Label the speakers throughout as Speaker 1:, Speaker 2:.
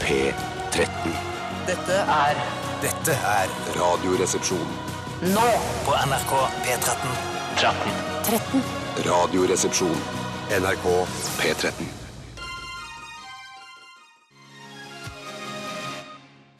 Speaker 1: P13.
Speaker 2: Dette er
Speaker 3: Dette er
Speaker 1: Radioresepsjon.
Speaker 2: nå
Speaker 3: på NRK P13.
Speaker 1: Radioresepsjon. NRK P13.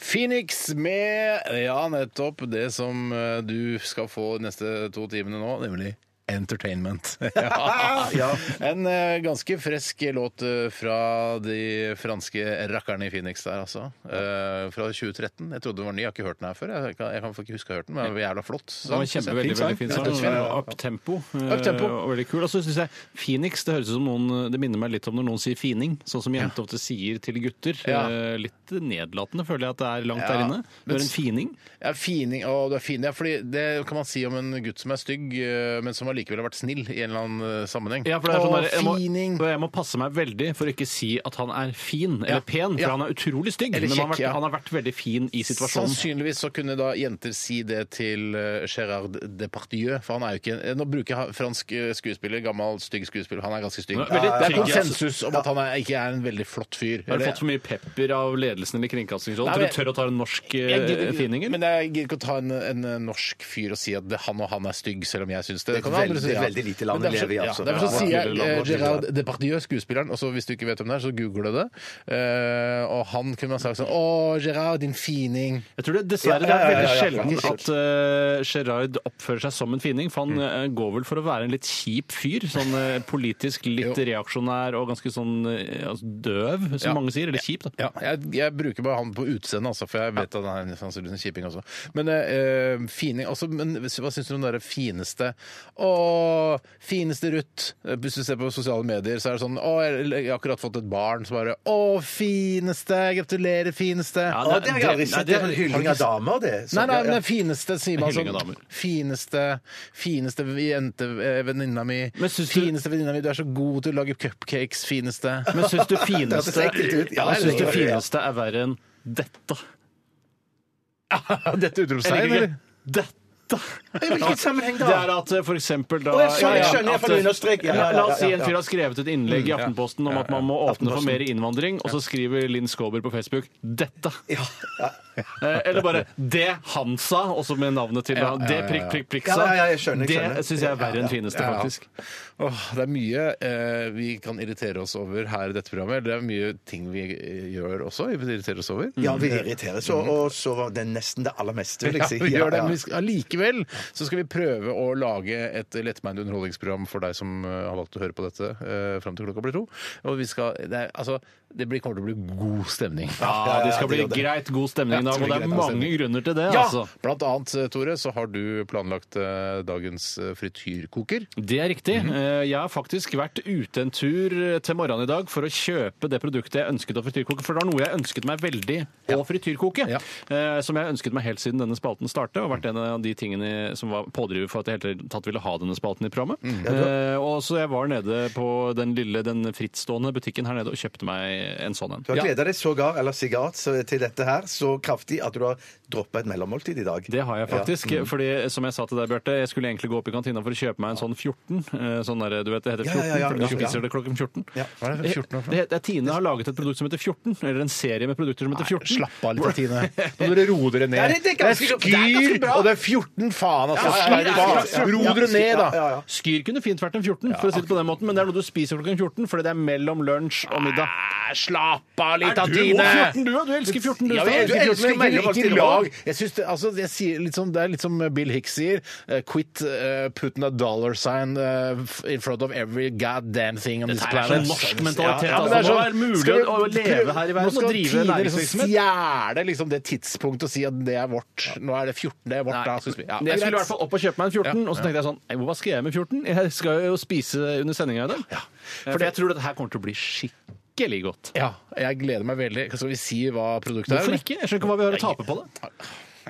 Speaker 4: Phoenix med ja, nettopp det som eh, du skal få de neste to timene nå, nemlig Entertainment. ja. En eh, ganske fresk låt eh, fra de franske rakkerne i Phoenix der, altså. Eh, fra 2013. Jeg trodde den var ny, jeg har ikke hørt den her før. Jeg kan, jeg kan ikke huske å ha hørt den, men den var jævla flott.
Speaker 5: Det var en kjempe, veldig, veldig fin sang.
Speaker 4: Fin sang, ja.
Speaker 5: Uptempo. eh,
Speaker 4: Uptempo.
Speaker 5: Og veldig kul. Og så synes jeg Phoenix det høres ut som noen Det minner meg litt om når noen sier fining, sånn som jenter ofte sier til gutter.
Speaker 4: Ja.
Speaker 5: Eh, Litt nedlatende føler jeg at det er langt
Speaker 4: Ja.
Speaker 5: der inne. Du er en fining.
Speaker 4: Ja, fining, å, du er fin. Ja, fordi det kan man si om en gutt som er stygg, eh, men som allikevel har vært snill i en eller annen eh, sammenheng.
Speaker 5: Ja, for det er sånn
Speaker 4: Å,
Speaker 5: der, jeg, må,
Speaker 4: fining!
Speaker 5: og jeg må passe meg veldig for å ikke si at han er fin eller
Speaker 4: Ja.
Speaker 5: pen, for
Speaker 4: Ja.
Speaker 5: han er utrolig stygg.
Speaker 4: Eller
Speaker 5: men han
Speaker 4: kjekk,
Speaker 5: har, vært,
Speaker 4: ja.
Speaker 5: han har vært veldig fin i situasjonen.
Speaker 4: Sannsynligvis så kunne da jenter si det til eh, Gérard Departieu, for han er jo ikke en- Nå bruker jeg ha- fransk eh, skuespiller, gammel, stygg skuespiller, han er ganske stygg.
Speaker 5: Han er veldig
Speaker 4: Det er
Speaker 5: trygg, ja.
Speaker 4: konsensus om at han er, ikke er en veldig flott fyr.
Speaker 5: Har du
Speaker 4: Eller-
Speaker 5: fått for mye pepper av ledelsen eller Kringkastingsrådet?
Speaker 4: Nei,
Speaker 5: Tror
Speaker 4: men-
Speaker 5: du tør å ta en norsk
Speaker 4: Jeg gidder-
Speaker 5: eh, fininger?
Speaker 4: Men jeg gidder ikke å ta en, en eh, norsk fyr og si at det, han og han er stygg, selv om jeg syns det. Det kan
Speaker 3: Veldig-
Speaker 4: andre si, ja.
Speaker 3: veldig lite land
Speaker 4: Men derfor
Speaker 3: å leve i,
Speaker 4: så-
Speaker 3: altså.
Speaker 4: Ja, derfor så
Speaker 3: Ja,
Speaker 4: sier jeg
Speaker 5: veldig
Speaker 4: eh,
Speaker 5: land å leve i.
Speaker 4: Gerard Depardieu, skuespilleren, og så hvis du ikke vet hvem det er, så google det. Eh, og han kunne man sagt sånn Å, Gerard, din fining.
Speaker 5: Jeg tror det, Dessverre
Speaker 4: Ja, ja, ja,
Speaker 5: det
Speaker 4: ja, ja,
Speaker 5: er veldig
Speaker 4: ja, ja.
Speaker 5: sjelden at uh, Gerard oppfører seg som en fining. For
Speaker 3: Mm.
Speaker 5: han eh, går vel for å være en litt kjip fyr. Sånn eh, politisk litt
Speaker 4: Jo.
Speaker 5: reaksjonær og ganske sånn eh, altså, døv, som
Speaker 4: Ja.
Speaker 5: mange sier. Eller kjip, da.
Speaker 4: Ja, jeg, jeg bruker bare han på utseendet, altså, for jeg vet at han er sannsynligvis en kjiping også. Men eh, eh, fining altså, men, Hva syns du om det der fineste Å, fineste Ruth! Eh, Hvis du ser på sosiale medier, så er det sånn Å, jeg, jeg har akkurat fått et barn, så bare Å, fineste! Gratulerer, fineste!
Speaker 5: Ja,
Speaker 3: Å, det har jeg aldri sett. Det er sånn hylling av damer, det.
Speaker 4: Nei,
Speaker 3: Så-
Speaker 4: nei, men
Speaker 3: ja.
Speaker 4: det fineste sier man
Speaker 5: Hylling
Speaker 4: sånn.
Speaker 5: av damer.
Speaker 4: Fineste, fineste jente, eh, venninna mi.
Speaker 5: Men syns du-
Speaker 4: Fineste venninna mi, du er så god til å lage cupcakes. Fineste.
Speaker 5: Men syns du
Speaker 3: Det
Speaker 5: fineste,
Speaker 3: hørtes ekkelt ut. Ja,
Speaker 5: ja, syns du
Speaker 3: det-
Speaker 5: fineste er verre enn dette?
Speaker 4: Dette
Speaker 5: Jeg
Speaker 4: utropstegn,
Speaker 5: liker
Speaker 4: eller?
Speaker 5: ikke dette!
Speaker 3: I hvilken sammenheng da?
Speaker 5: Det er at eh, for eksempel da
Speaker 3: Å, jeg skjønner,
Speaker 5: Ja, ja,
Speaker 3: jeg skjønner, jeg
Speaker 5: at,
Speaker 3: får
Speaker 5: eh,
Speaker 3: understreke. Ja,
Speaker 5: la-
Speaker 3: ja, ja,
Speaker 5: La oss si
Speaker 3: ja,
Speaker 5: en
Speaker 3: ja. Mm,
Speaker 5: fyr har skrevet et innlegg i Aftenposten om at man må åpne for
Speaker 3: Aftenposten.
Speaker 5: mer innvandring, og så skriver Linn Skåber på Facebook 'dette'. Eh, Eller bare 'det han sa', også med navnet til
Speaker 4: Ja,
Speaker 5: da.
Speaker 4: ja,
Speaker 5: Det
Speaker 4: ja,
Speaker 5: prikk,
Speaker 4: ja.
Speaker 5: prikk, prikk
Speaker 3: Ja,
Speaker 5: sa.
Speaker 3: ja, ja, jeg skjønner, jeg skjønner.
Speaker 5: Det syns jeg er verre enn fineste,
Speaker 4: Ja, ja.
Speaker 5: faktisk.
Speaker 4: Åh, det er mye eh, vi kan irritere oss over her i dette programmet. Det er mye ting vi eh, gjør også vi irriterer oss over.
Speaker 3: Ja, vi irriteres, og, og så var det nesten det aller meste, vil
Speaker 4: Ja,
Speaker 3: jeg si.
Speaker 4: vi gjør
Speaker 3: Ja,
Speaker 4: det,
Speaker 3: ja.
Speaker 4: men vi skal, allikevel så skal vi prøve å lage et lettmeint underholdningsprogram for deg som eh, har valgt å høre på dette eh, fram til klokka blir to. Og vi skal, det, er, altså, det blir, kommer til å bli god stemning.
Speaker 5: Ja, det Ah, skal bli greit god stemning i
Speaker 4: Ja, det
Speaker 5: dag,
Speaker 4: skal bli
Speaker 5: og det er
Speaker 4: greit god
Speaker 5: mange
Speaker 4: stemning.
Speaker 5: grunner til det,
Speaker 4: Ja!
Speaker 5: altså.
Speaker 4: Blant annet, eh, Tore, så har du planlagt eh, dagens eh, frityrkoker.
Speaker 5: Det er riktig.
Speaker 3: Mhm.
Speaker 5: Eh, Jeg har faktisk vært ute en tur eh, til morgenen i dag for å kjøpe det produktet jeg ønsket å frityrkoke, for det var noe jeg ønsket meg veldig å frityrkoke.
Speaker 4: Ja.
Speaker 5: eh, Som jeg ønsket meg helt siden denne spalten startet, og vært en av de tingene som var pådriver for at jeg helt tatt ville ha denne spalten i programmet.
Speaker 3: Mhm.
Speaker 5: Eh, Og så jeg var nede på den lille, den frittstående butikken her nede og kjøpte meg en sånn en.
Speaker 3: Du har
Speaker 4: Ja.
Speaker 3: gleda deg sågar, eller sigar, så- til dette her så kraftig at du har droppa et mellommåltid i dag.
Speaker 5: Det har jeg faktisk.
Speaker 3: Mhm.
Speaker 5: fordi som jeg sa til deg, Bjarte, jeg skulle egentlig gå opp i kantina for å kjøpe meg en sånn 14. eh, Sånn der, du vet, det heter
Speaker 3: Ja,
Speaker 5: 14,
Speaker 3: ja, ja,
Speaker 5: fordi du
Speaker 3: ja, ja.
Speaker 5: spiser det klokken 14.
Speaker 3: Ja.
Speaker 4: Hva er det for 14 år for?
Speaker 5: Det, det, Tine har laget et produkt som heter 14, eller en serie med produkter som heter 14.
Speaker 4: Slapp av litt, Tine. Nå må dere roe dere ned.
Speaker 3: Ja, det- det er ganske- det er ganske
Speaker 4: Skyr,
Speaker 3: bra.
Speaker 4: og det er 14, faen altså.
Speaker 3: Ja, ja, ja, ja,
Speaker 4: Slapp av.
Speaker 3: ja, ja, ja.
Speaker 4: Ro dere ned, da.
Speaker 3: Ja, ja, ja.
Speaker 5: Skyr kunne fint vært en 14, for å si det på den måten, men det er noe du spiser klokken 14 fordi det er mellom lunsj og middag.
Speaker 4: Æ, Slapp av litt, da,
Speaker 5: Er du
Speaker 4: Tine.
Speaker 5: også 14, du, ja? Du elsker 14, du.
Speaker 4: Ja,
Speaker 5: Stein.
Speaker 4: jeg
Speaker 3: Du elsker
Speaker 4: elsker meg,
Speaker 3: mellomvalg
Speaker 4: ikke
Speaker 3: til
Speaker 4: lag.
Speaker 3: lag.
Speaker 4: Jeg synes det, altså, jeg sier litt som, det er litt som Bill Hicks sier. eh, quit eh, putting a dollar sign eh, f- in front of every goddamn thing on this
Speaker 5: her er
Speaker 4: planet.
Speaker 5: sånn norsk mentalitet,
Speaker 4: men
Speaker 5: altså.
Speaker 4: det er
Speaker 5: Det må
Speaker 4: sånn,
Speaker 5: være mulig
Speaker 4: skal vi
Speaker 5: å- å leve
Speaker 4: prøve-
Speaker 5: her i verden
Speaker 4: Nå skal
Speaker 5: og drive
Speaker 4: Tine liksom
Speaker 5: næringsvirksomhet.
Speaker 4: stjele liksom det tidspunktet og si at det er vårt. Nå er det 14, det er vårt.
Speaker 5: Nei.
Speaker 4: Da, synes vi. Ja,
Speaker 5: Men
Speaker 4: det
Speaker 5: jeg
Speaker 4: er
Speaker 5: skulle i
Speaker 4: greit.
Speaker 5: hvert fall opp og kjøpe meg en 14,
Speaker 4: Ja,
Speaker 5: og så tenkte jeg sånn «Nei, Hva skal jeg med 14? Jeg skal jo spise under sendinga i dag. Eh, For jeg tror dette her kommer til å bli skikkelig godt.
Speaker 4: Ja, jeg gleder meg veldig. Skal vi si hva produktet er?
Speaker 5: Hvorfor
Speaker 4: eller?
Speaker 5: ikke? Jeg skjønner ikke hva vi har å tape på det.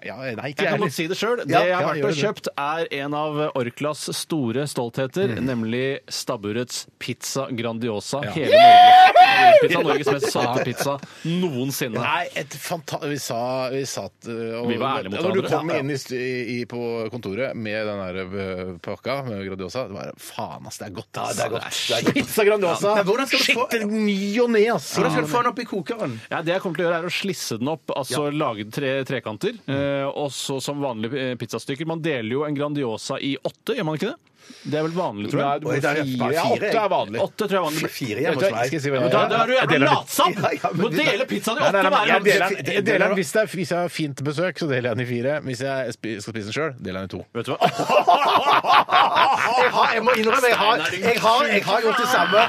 Speaker 4: Ja, nei, ikke
Speaker 5: Jeg
Speaker 4: jeg
Speaker 5: kan godt
Speaker 4: heller.
Speaker 5: si det sjøl. Det
Speaker 4: Ja,
Speaker 5: jeg har
Speaker 4: ja,
Speaker 5: vært
Speaker 4: gjør
Speaker 5: og kjøpt, er en av Orklas
Speaker 4: Mm.
Speaker 5: store stoltheter, nemlig stabburets pizza Grandiosa. Hele Norge. Sarpizza, Norges mest sarte pizza noensinne.
Speaker 4: Nei, et fanta vi sa, vi satt øh, og,
Speaker 5: Vi var ærlige mot
Speaker 4: og Når du
Speaker 5: hverandre.
Speaker 4: kom
Speaker 5: Ja, ja.
Speaker 4: inn i, st- i, på kontoret med den der øh, pakka med Grandiosa, det var faen, ass, det er godt. Ass.
Speaker 3: det er godt, det er
Speaker 4: Shit, Pizza Grandiosa!
Speaker 3: Men hvordan skal du få-
Speaker 4: Shit, det er ny og ne, ass!
Speaker 3: Hvordan skal du få den opp i kokeren?
Speaker 5: Ja, det jeg kommer til å gjøre er å slisse den opp, altså lage tre trekanter,
Speaker 4: Mm.
Speaker 5: eh, og så som vanlige eh, pizzastykker. Man deler jo en Grandiosa i åtte, gjør man ikke det? Det er vel vanlig, tror
Speaker 4: Nei,
Speaker 5: jeg.
Speaker 4: du må
Speaker 3: Oi, det er
Speaker 4: fire.
Speaker 3: bare
Speaker 4: Ja,
Speaker 3: fire,
Speaker 4: åtte
Speaker 3: jeg.
Speaker 4: er vanlig.
Speaker 5: Åtte tror jeg er vanlig.
Speaker 3: Fire
Speaker 4: Vet
Speaker 3: hjemme
Speaker 4: du hva,
Speaker 3: hos meg.
Speaker 4: skal jeg si hva
Speaker 5: Ja, men da, da er du
Speaker 4: Jeg deler
Speaker 5: jævla
Speaker 4: den.
Speaker 5: latsabb!
Speaker 3: Ja, ja,
Speaker 5: Du må
Speaker 3: men vi-
Speaker 5: dele pizzaen i
Speaker 4: Nei, nei,
Speaker 5: åtte
Speaker 4: nei, men
Speaker 5: hver
Speaker 4: jeg
Speaker 5: gang.
Speaker 4: deler den- jeg deler den hvis, det er, hvis jeg har fint besøk, så deler jeg den i fire. Hvis jeg spi- skal spise den sjøl, deler jeg den i to.
Speaker 5: Vet du hva?
Speaker 3: Jeg, har, jeg må innrømme, jeg har, jeg, har, jeg har gjort det samme.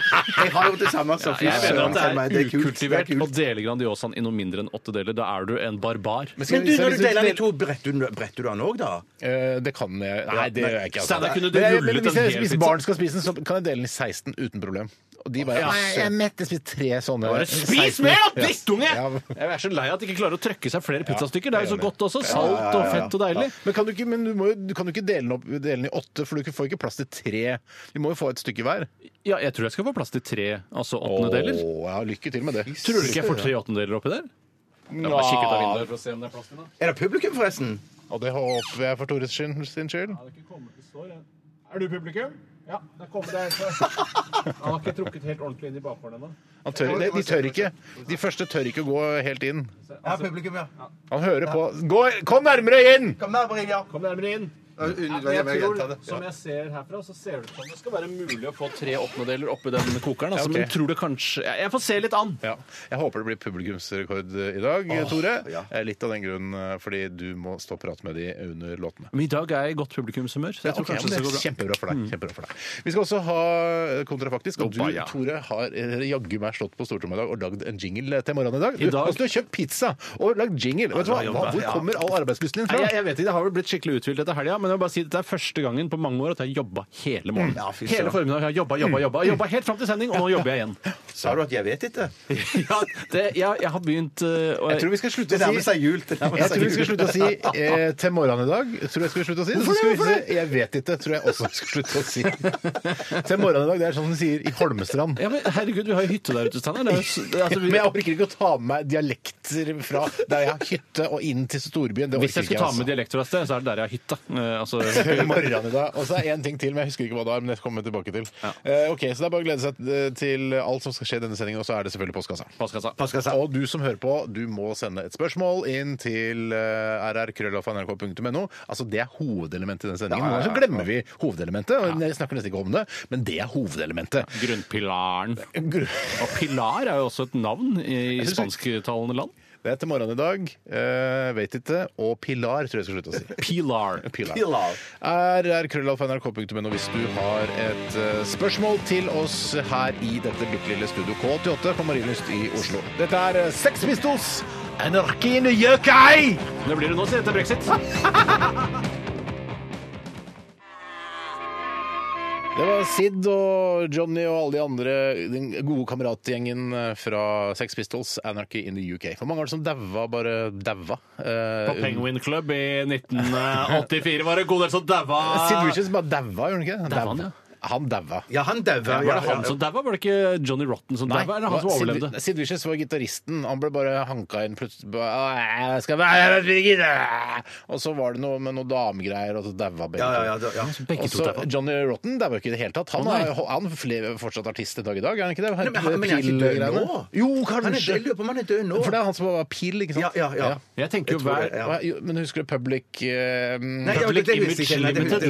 Speaker 3: Jeg har gjort det samme som fy
Speaker 5: Jeg mener
Speaker 3: søren, selv om
Speaker 5: at det
Speaker 3: kult,
Speaker 5: er
Speaker 3: det er
Speaker 5: ukultivert å
Speaker 3: kult.
Speaker 5: dele Grandiosaen i noe mindre enn åtte deler. Da er du en barbar.
Speaker 3: Men du, når du deler den i to, bretter du, bretter du den òg, da?
Speaker 4: Eh, Det kan jeg Nei, det gjør jeg ikke. altså.
Speaker 5: Steinar, kunne du
Speaker 4: Men jeg-
Speaker 5: rullet
Speaker 4: men hvis,
Speaker 5: en
Speaker 4: jeg,
Speaker 5: hel
Speaker 4: hvis
Speaker 5: pizza?
Speaker 4: barn skal spise den, så kan jeg dele den i 16 uten problem. Og de bare
Speaker 5: Ja,
Speaker 4: «Nei, Jeg er mett, jeg spiser tre sånne.
Speaker 5: Bare
Speaker 4: 16.
Speaker 5: spis mer, da, drittunge!
Speaker 4: Ja.
Speaker 5: Jeg er så lei av at de ikke klarer å trøkke seg flere pizzastykker. Det er jo så
Speaker 4: det er
Speaker 5: godt også. Salt og fett og deilig.
Speaker 4: Men, kan du, ikke, men du, må, jo- du kan jo ikke dele den, opp, dele den i åtte, for du får ikke plass til tre. Vi må jo få et stykke hver.
Speaker 5: Ja, jeg tror jeg skal få plass til tre, altså åttendedeler.
Speaker 4: Åh, ja, lykke til med det.
Speaker 5: Tror du ikke jeg får tre åttendedeler oppi der? Jeg må bare kikke ut av
Speaker 4: Ah.
Speaker 5: vinduet for å se om det er plass til den.
Speaker 3: Er det publikum, forresten?
Speaker 4: Og det håper jeg for Tores sin, sin skyld.
Speaker 5: Er du publikum? Ja, det kommer der. Han har ikke trukket helt ordentlig inn i bakhånden ennå.
Speaker 4: Han tør, de, de tør ikke. De første tør ikke å gå helt inn.
Speaker 3: Ja, publikum, ja.
Speaker 4: Han hører på. Gå, kom nærmere inn!
Speaker 3: Kom nærmere inn, ja.
Speaker 5: Kom nærmere inn.
Speaker 3: Unødvendig, men jeg gjentar det.
Speaker 5: som jeg ser herfra, så ser det ut som det skal være mulig å få tre åttendedeler oppi den kokeren. Altså,
Speaker 4: Ja, ok.
Speaker 5: Men tror du kanskje Jeg jeg får se litt an.
Speaker 4: Ja. Jeg håper det blir publikumsrekord eh, i dag, Tore.
Speaker 3: ja.
Speaker 4: Eh, Litt av den grunnen eh, fordi du må stå og prate med de under låtene.
Speaker 5: Men i dag er jeg i godt publikumshumør, så jeg tror
Speaker 4: Ok,
Speaker 5: kanskje
Speaker 4: men
Speaker 5: det skal
Speaker 4: det
Speaker 5: gå
Speaker 4: er
Speaker 5: bra.
Speaker 4: kjempebra for deg. Kjempebra for deg. Vi skal også ha eh, kontrafaktisk. Og du,
Speaker 5: Oppa, ja.
Speaker 4: Tore, har eh, jaggu meg slått på stortrommet i dag og lagd en jingle eh, til morgenen i dag. Du,
Speaker 5: I dag-
Speaker 4: altså, du har kjøpt pizza og lagd jingle. Vet du hva?
Speaker 5: det er
Speaker 4: Hva-
Speaker 5: jobba,
Speaker 4: Hvor
Speaker 5: ja.
Speaker 4: kommer all arbeidslysten din
Speaker 5: Nei,
Speaker 4: fra?
Speaker 5: jeg, jeg vet ikke, Det har vel blitt skikkelig uthvilt etter helga, men jeg vil bare si at det er første gangen på mange år at jeg har jobba hele morgenen.
Speaker 3: Ja, fy søren.
Speaker 5: hele formiddagen har jeg jobba, jobba, jobba. Jobba helt fram til sending, og nå jobber jeg igjen.
Speaker 3: Sa du at jeg vet ikke?
Speaker 5: Ja, det, jeg, jeg har begynt eh, og
Speaker 4: Jeg tror vi skal slutte
Speaker 3: Det
Speaker 4: å
Speaker 3: nærmer
Speaker 4: si
Speaker 3: seg jul. Det nærmer
Speaker 4: jeg tror vi skal
Speaker 3: seg jul.
Speaker 4: slutte å si eh, 'til morgenen i dag'. Jeg tror jeg skal slutte å si. Så skal vi si, Jeg vet ikke, tror jeg også vi skal slutte å si. 'Til morgenen i dag' det er sånn som de sier i Holmestrand.
Speaker 5: Ja, men herregud, vi har jo hytte der ute, Steinar. Det er jo s- det- Altså,
Speaker 4: Men jeg
Speaker 5: vi-
Speaker 4: orker ikke å ta med meg dialekter fra der jeg har hytte og inn til storbyen. Det orker
Speaker 5: hvis
Speaker 4: ikke
Speaker 5: jeg skulle
Speaker 4: jeg,
Speaker 5: ta med
Speaker 4: altså.
Speaker 5: dialekter av sted, så er det der jeg har hytta. Eh, altså,
Speaker 4: Til morgenen i dag. Og så er det én ting til, men jeg husker ikke hva det er. Men det kommer jeg tilbake til. Eh, ok, Så det er bare å glede seg eh, til alt som skal skje i denne sendingen, og så er det selvfølgelig postkassa.
Speaker 5: postkassa.
Speaker 4: Og du som hører på, du må sende et spørsmål inn til eh, rrkrøllalfa.nrk.no. Altså, det er hovedelementet i den sendingen. Noen ganger så glemmer vi hovedelementet, og vi snakker nesten ikke om det, men det er hovedelementet.
Speaker 5: Grunnpilaren.
Speaker 4: Gru-
Speaker 5: Og pilar er jo også et navn i spansktalende land.
Speaker 4: Det er til morgenen i dag. eh, vet ikke. Og Pilar, tror jeg skal slutte å si.
Speaker 5: Pilar.
Speaker 4: Pilar.
Speaker 3: Pilar.
Speaker 4: rrkrøllalfa.nrk.no hvis du har et eh, spørsmål til oss her i dette bitte lille Studio K88 på Marienlyst i Oslo. Dette er eh, Sex Pistols. Anarkin Jøkei!
Speaker 5: Det blir det nå, sier jeg, til brexit.
Speaker 4: Det var Sid og Johnny og alle de andre, den gode kameratgjengen eh, fra Sex Pistols, Anarchy in the UK. For mange var det som daua, bare daua. Eh,
Speaker 5: På Penguin Club i 1984 var det en god del som daua.
Speaker 4: Sid Richards bare daua, gjorde han ikke? det?
Speaker 5: Daua han, ja.
Speaker 4: Han daua.
Speaker 3: Ja, han dauer.
Speaker 5: Var det han som daua? Var det ikke Johnny Rotten som daua? Eller han som
Speaker 4: Sid-
Speaker 5: overlevde?
Speaker 4: Sid Vicious var gitaristen. Han ble bare hanka inn plutselig. bare, «Jeg skal være med gitar!» Og så var det noe med noen damegreier, og så daua begge
Speaker 3: Ja, ja, ja,
Speaker 4: to.
Speaker 3: ja.
Speaker 5: Begge
Speaker 4: Og
Speaker 5: to
Speaker 4: så
Speaker 5: daua.
Speaker 4: Johnny Rotten daua ikke i det hele tatt. Han
Speaker 5: Å, nei.
Speaker 4: er jo- han er fle- fortsatt artist en dag i dag, er han ikke det?
Speaker 3: Nei, men han- men er ikke død
Speaker 4: Pill-greiene.
Speaker 3: nå?
Speaker 4: Jo,
Speaker 3: Han er død, jeg
Speaker 4: kanskje.
Speaker 3: lurer på om han er død nå.
Speaker 4: For det er han som var pill, ikke sant?
Speaker 3: Ja, ja, ja.
Speaker 5: Jeg tenker jo
Speaker 3: Jeg tror
Speaker 5: hver
Speaker 3: det, ja.
Speaker 4: Hva- jo, Men husker du Public eh,
Speaker 3: Nei, ja, det, det husker jeg ikke. Nei, det, det, det, det husker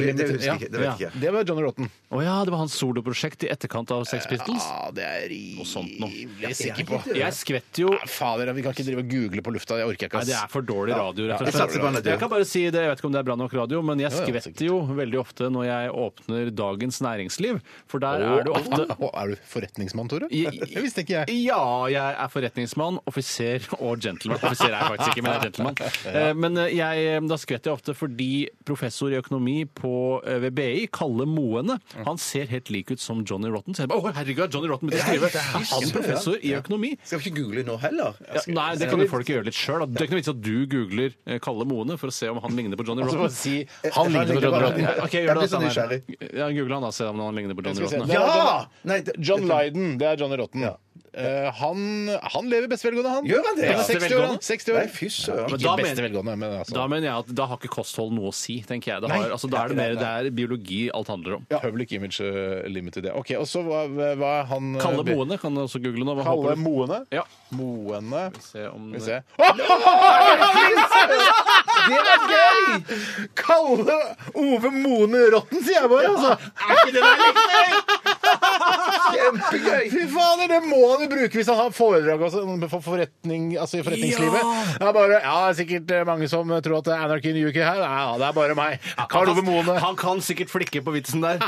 Speaker 3: jeg ikke. Det vet
Speaker 5: Ja.
Speaker 3: jeg ikke.
Speaker 4: Det var Johnny Rotten.
Speaker 5: Å ja, det var hans soloprosjekt i etterkant av Sex Pistols.
Speaker 4: Ja, det er
Speaker 5: Noe sånt nå.
Speaker 4: rimelig sikker på.
Speaker 3: Ja,
Speaker 5: Jeg skvetter jo
Speaker 4: Ja, Fader, vi kan ikke drive og google på lufta. Det orker jeg ikke.
Speaker 5: Nei,
Speaker 4: ass.
Speaker 5: det er for dårlig radio, rett og
Speaker 3: Jeg satser på han er
Speaker 5: slett.
Speaker 3: død.
Speaker 5: Jeg kan bare si det, jeg vet ikke om det er bra nok radio, men jeg
Speaker 4: ja,
Speaker 5: skvetter jo veldig ofte når jeg åpner Dagens Næringsliv, for der er det ofte
Speaker 4: Å, er du forretningsmann, Tore? Det visste ikke jeg.
Speaker 5: Ja, jeg er forretningsmann, offiser og gentleman. Offiser er jeg faktisk ikke, men jeg er gentleman. Eh, Men jeg, da skvetter jeg ofte fordi professor i økonomi på eh, ved BI, Kalle Moene, han ser helt lik ut som Johnny Rotten. Så jeg bare, Å, herregud, Johnny Rotten begynte å skrive! Er han professor i økonomi?
Speaker 3: Skal vi ikke google nå heller?
Speaker 5: Ja, nei, det kan jo folk gjøre litt sjøl. Det er ikke noe vits at du googler eh, Kalle Moene for å se om han ligner på Johnny
Speaker 4: Så Altså, bare
Speaker 5: Rotten.
Speaker 4: si Han ligner på Johnny Rotten.
Speaker 5: Ja, Ok, gjør
Speaker 3: Jeg
Speaker 5: det
Speaker 3: blir så
Speaker 5: da, Steinar.
Speaker 3: nysgjerrig.
Speaker 5: Ja, Google han da, se om han ligner på Johnny
Speaker 4: Skal vi se.
Speaker 5: Rotten. da.
Speaker 4: Det er
Speaker 3: Ja!
Speaker 4: John-
Speaker 3: Nei, det-
Speaker 4: John Lydon, det er Johnny Rotten. Eh, han, han lever beste velgående, han.
Speaker 3: Gjør han det?
Speaker 4: er
Speaker 5: Beste
Speaker 4: 60 år, han.
Speaker 5: velgående?
Speaker 4: 60 år.
Speaker 3: Nei, fy søren.
Speaker 5: Men
Speaker 4: Ikke
Speaker 5: da
Speaker 4: beste
Speaker 5: mener-
Speaker 4: velgående, men altså.
Speaker 5: Da mener jeg at da har ikke kosthold noe å si, tenker jeg. Det har,
Speaker 4: Nei.
Speaker 5: altså, da er det mer det er biologi alt handler om.
Speaker 4: Public Image eh, Limited, ja. Ok, og så hva, hva er han eh,
Speaker 5: Kalle
Speaker 4: be-
Speaker 5: Moene kan du også google nå. Hva
Speaker 4: Kalle
Speaker 5: håper du?
Speaker 4: Moene?
Speaker 5: Ja.
Speaker 4: Moene
Speaker 5: Se om
Speaker 4: Skal vi se. Det er gøy! Kalle Ove Moene Rotten, sier jeg bare. altså.
Speaker 3: Kjempegøy!
Speaker 4: Fy fader, det må han jo bruke hvis han har foredrag også, for forretning, altså i forretningslivet. Det er bare, ja, det er sikkert eh, mange som tror at det er anarky i UK her. Ja, det er bare meg. Karl Ove Moene.
Speaker 5: Han kan sikkert flikke på vitsen der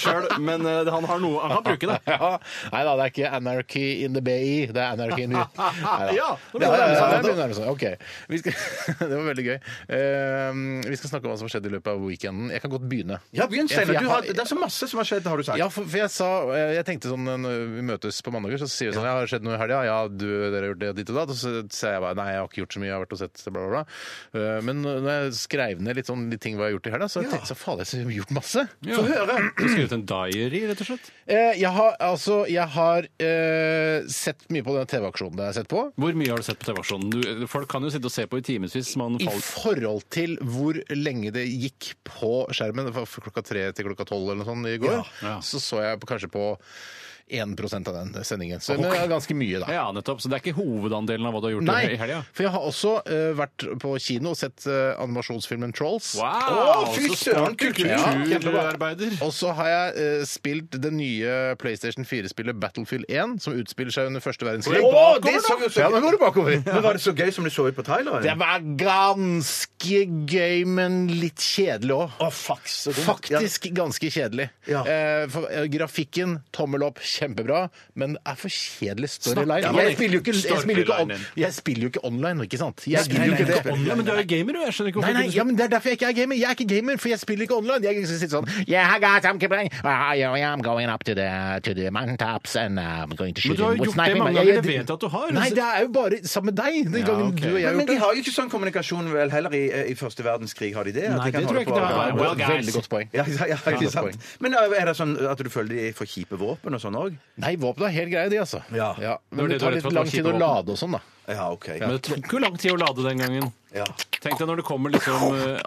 Speaker 5: sjøl, men eh, han, har noe, han kan bruke det.
Speaker 4: Ja. Nei da, det er ikke anarchy in the bay, det er anarchy in the Neida.
Speaker 5: Ja, nå
Speaker 4: det
Speaker 5: begynner det å nærme seg.
Speaker 4: begynner å nærme seg. Ok. Vi skal... Det var veldig gøy. Eh, vi skal snakke om hva som skjedde i løpet av weekenden. Jeg kan godt begynne.
Speaker 3: Ja, begynn, Steinar.
Speaker 4: Jeg-
Speaker 3: Du har- Det er så masse som har skjedd, har du sagt.
Speaker 4: Ja, for, for jeg sa eh, Jeg tenkte sånn eh, når vi møtes på mandager, så sier vi sånn Ja, har det skjedd noe i helga? Ja, du, dere har gjort det og ditt og datt. Og så sier jeg bare nei, jeg har ikke gjort så mye, jeg har vært og sett bla, bla, bla. Eh, Men når jeg skrev ned litt sånn de ting hva jeg har gjort i helga, så jeg tenkte jeg så fader, jeg har gjort masse.
Speaker 5: Få høre! Du har skrevet en diary, rett og slett.
Speaker 4: Eh, Jeg har altså Jeg har eh, sett mye på den TV-aksjonen det jeg har sett på.
Speaker 5: Hvor mye har du sett på TV-aksjonen? Du- Folk kan jo sitte og se på i timevis. Man
Speaker 4: I
Speaker 5: faller-
Speaker 4: forhold til hvor lenge det gikk på skjermen, fra klokka tre til klokka tolv eller noe sånt i går,
Speaker 5: ja.
Speaker 4: så så jeg på, kanskje på 1 av den sendingen. Så men det er ganske mye, da.
Speaker 5: Ja, nettopp. Så det er ikke hovedandelen av hva du har gjort i- i helga?
Speaker 4: for jeg har også eh, vært på kino og sett eh, animasjonsfilmen Trolls.
Speaker 3: Å, fy
Speaker 5: så
Speaker 3: søren,
Speaker 5: sporty
Speaker 3: kultur-
Speaker 5: kulturarbeider.
Speaker 4: Og så har jeg eh, spilt det nye PlayStation 4-spillet Battlefield 1, som utspiller seg under første verdenskrig.
Speaker 3: Å, det så jo så-
Speaker 4: Ja, nå går det bakover.
Speaker 3: Men var det så gøy som du så ut på traileren?
Speaker 4: Det var ganske gøy, men litt kjedelig òg.
Speaker 3: Å, fuck, så dumt.
Speaker 4: Faktisk ganske kjedelig.
Speaker 3: Ja.
Speaker 4: Eh, for, eh, grafikken, tommel opp, kjempebra, men det er for kjedelig storyline.
Speaker 5: Ja, men
Speaker 4: jeg, spiller jo ikke, jeg, spiller jo ikke on,
Speaker 5: storylinen.
Speaker 4: jeg spiller jo ikke online, ikke sant? Jeg spiller jo ikke det.
Speaker 5: Ja, men du er jo gamer, du. Jeg skjønner ikke
Speaker 4: Nei,
Speaker 5: hvorfor
Speaker 4: nei,
Speaker 5: ikke du
Speaker 4: ja, men Det er derfor jeg ikke er gamer. Jeg er ikke gamer, for jeg spiller ikke online. Jeg skal sitte sånn Yeah, guys, I'm playing. Ah, yeah, I'm going up to the, to the mountaintops and uh, I'm going to shoot
Speaker 5: Men du har
Speaker 4: him with
Speaker 5: jo gjort det
Speaker 4: sniper,
Speaker 5: mange
Speaker 4: men-
Speaker 5: ganger,
Speaker 4: Ja,
Speaker 5: det vet jeg at du har. altså.
Speaker 4: Nei, det er jo bare sammen med deg. Den
Speaker 5: Ja,
Speaker 4: gangen
Speaker 5: ok.
Speaker 4: du og jeg har
Speaker 3: Men
Speaker 4: gjort
Speaker 3: de
Speaker 4: det.
Speaker 3: har jo ikke sånn kommunikasjon vel heller i, eh, i første verdenskrig, har de det? At
Speaker 5: Nei,
Speaker 3: de kan
Speaker 5: det tror jeg
Speaker 3: holde
Speaker 5: ikke
Speaker 3: på-
Speaker 5: det har.
Speaker 4: Ja,
Speaker 5: Well, guys.
Speaker 4: Veldig godt poeng.
Speaker 3: Ja, ja, ja, ikke
Speaker 4: godt
Speaker 3: sant.
Speaker 4: poeng.
Speaker 3: Men ø, er det sånn at du føler de får kjipe våpen og sånn òg?
Speaker 4: Nei, våpen er helt greie, de, altså.
Speaker 3: Ja.
Speaker 5: Det var
Speaker 4: Men det
Speaker 5: det du var
Speaker 4: tar
Speaker 5: redd
Speaker 4: litt
Speaker 5: for at
Speaker 4: lang
Speaker 5: det
Speaker 4: tid
Speaker 5: var
Speaker 4: å
Speaker 5: kjipe
Speaker 4: lade og sånn, da.
Speaker 3: Ja, OK.
Speaker 5: Men det tok jo lang tid å lade den gangen.
Speaker 3: Ja.
Speaker 5: Tenk deg når det kommer liksom eh,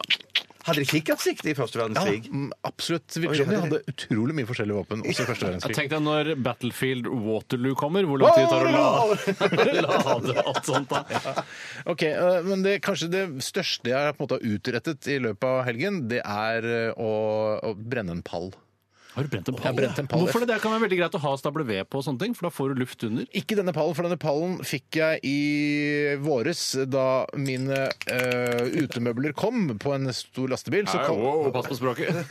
Speaker 3: Hadde de kikkertsikte i første verdenskrig?
Speaker 4: Mm, Absolutt.
Speaker 3: Oi,
Speaker 4: Virker som de
Speaker 3: hadde
Speaker 4: hadde utrolig mye forskjellige våpen også i første verdenskrig.
Speaker 5: Tenk deg når Battlefield Waterloo kommer, hvor lang tid det tar å lade, lade alt sånt da.
Speaker 4: Ok, eh, men det, kanskje det største jeg på en måte har utrettet i løpet av helgen, det er eh, å, å brenne en pall.
Speaker 5: Har du brent en
Speaker 4: Jeg har brent en pall.
Speaker 5: Hvorfor det? Det kan være veldig greit å ha stable ved på og sånne ting, for da får du luft under.
Speaker 4: Ikke denne pallen, for denne pallen fikk jeg i våres da mine eh, utemøbler kom på en stor lastebil. Så kom,
Speaker 5: pass på språket.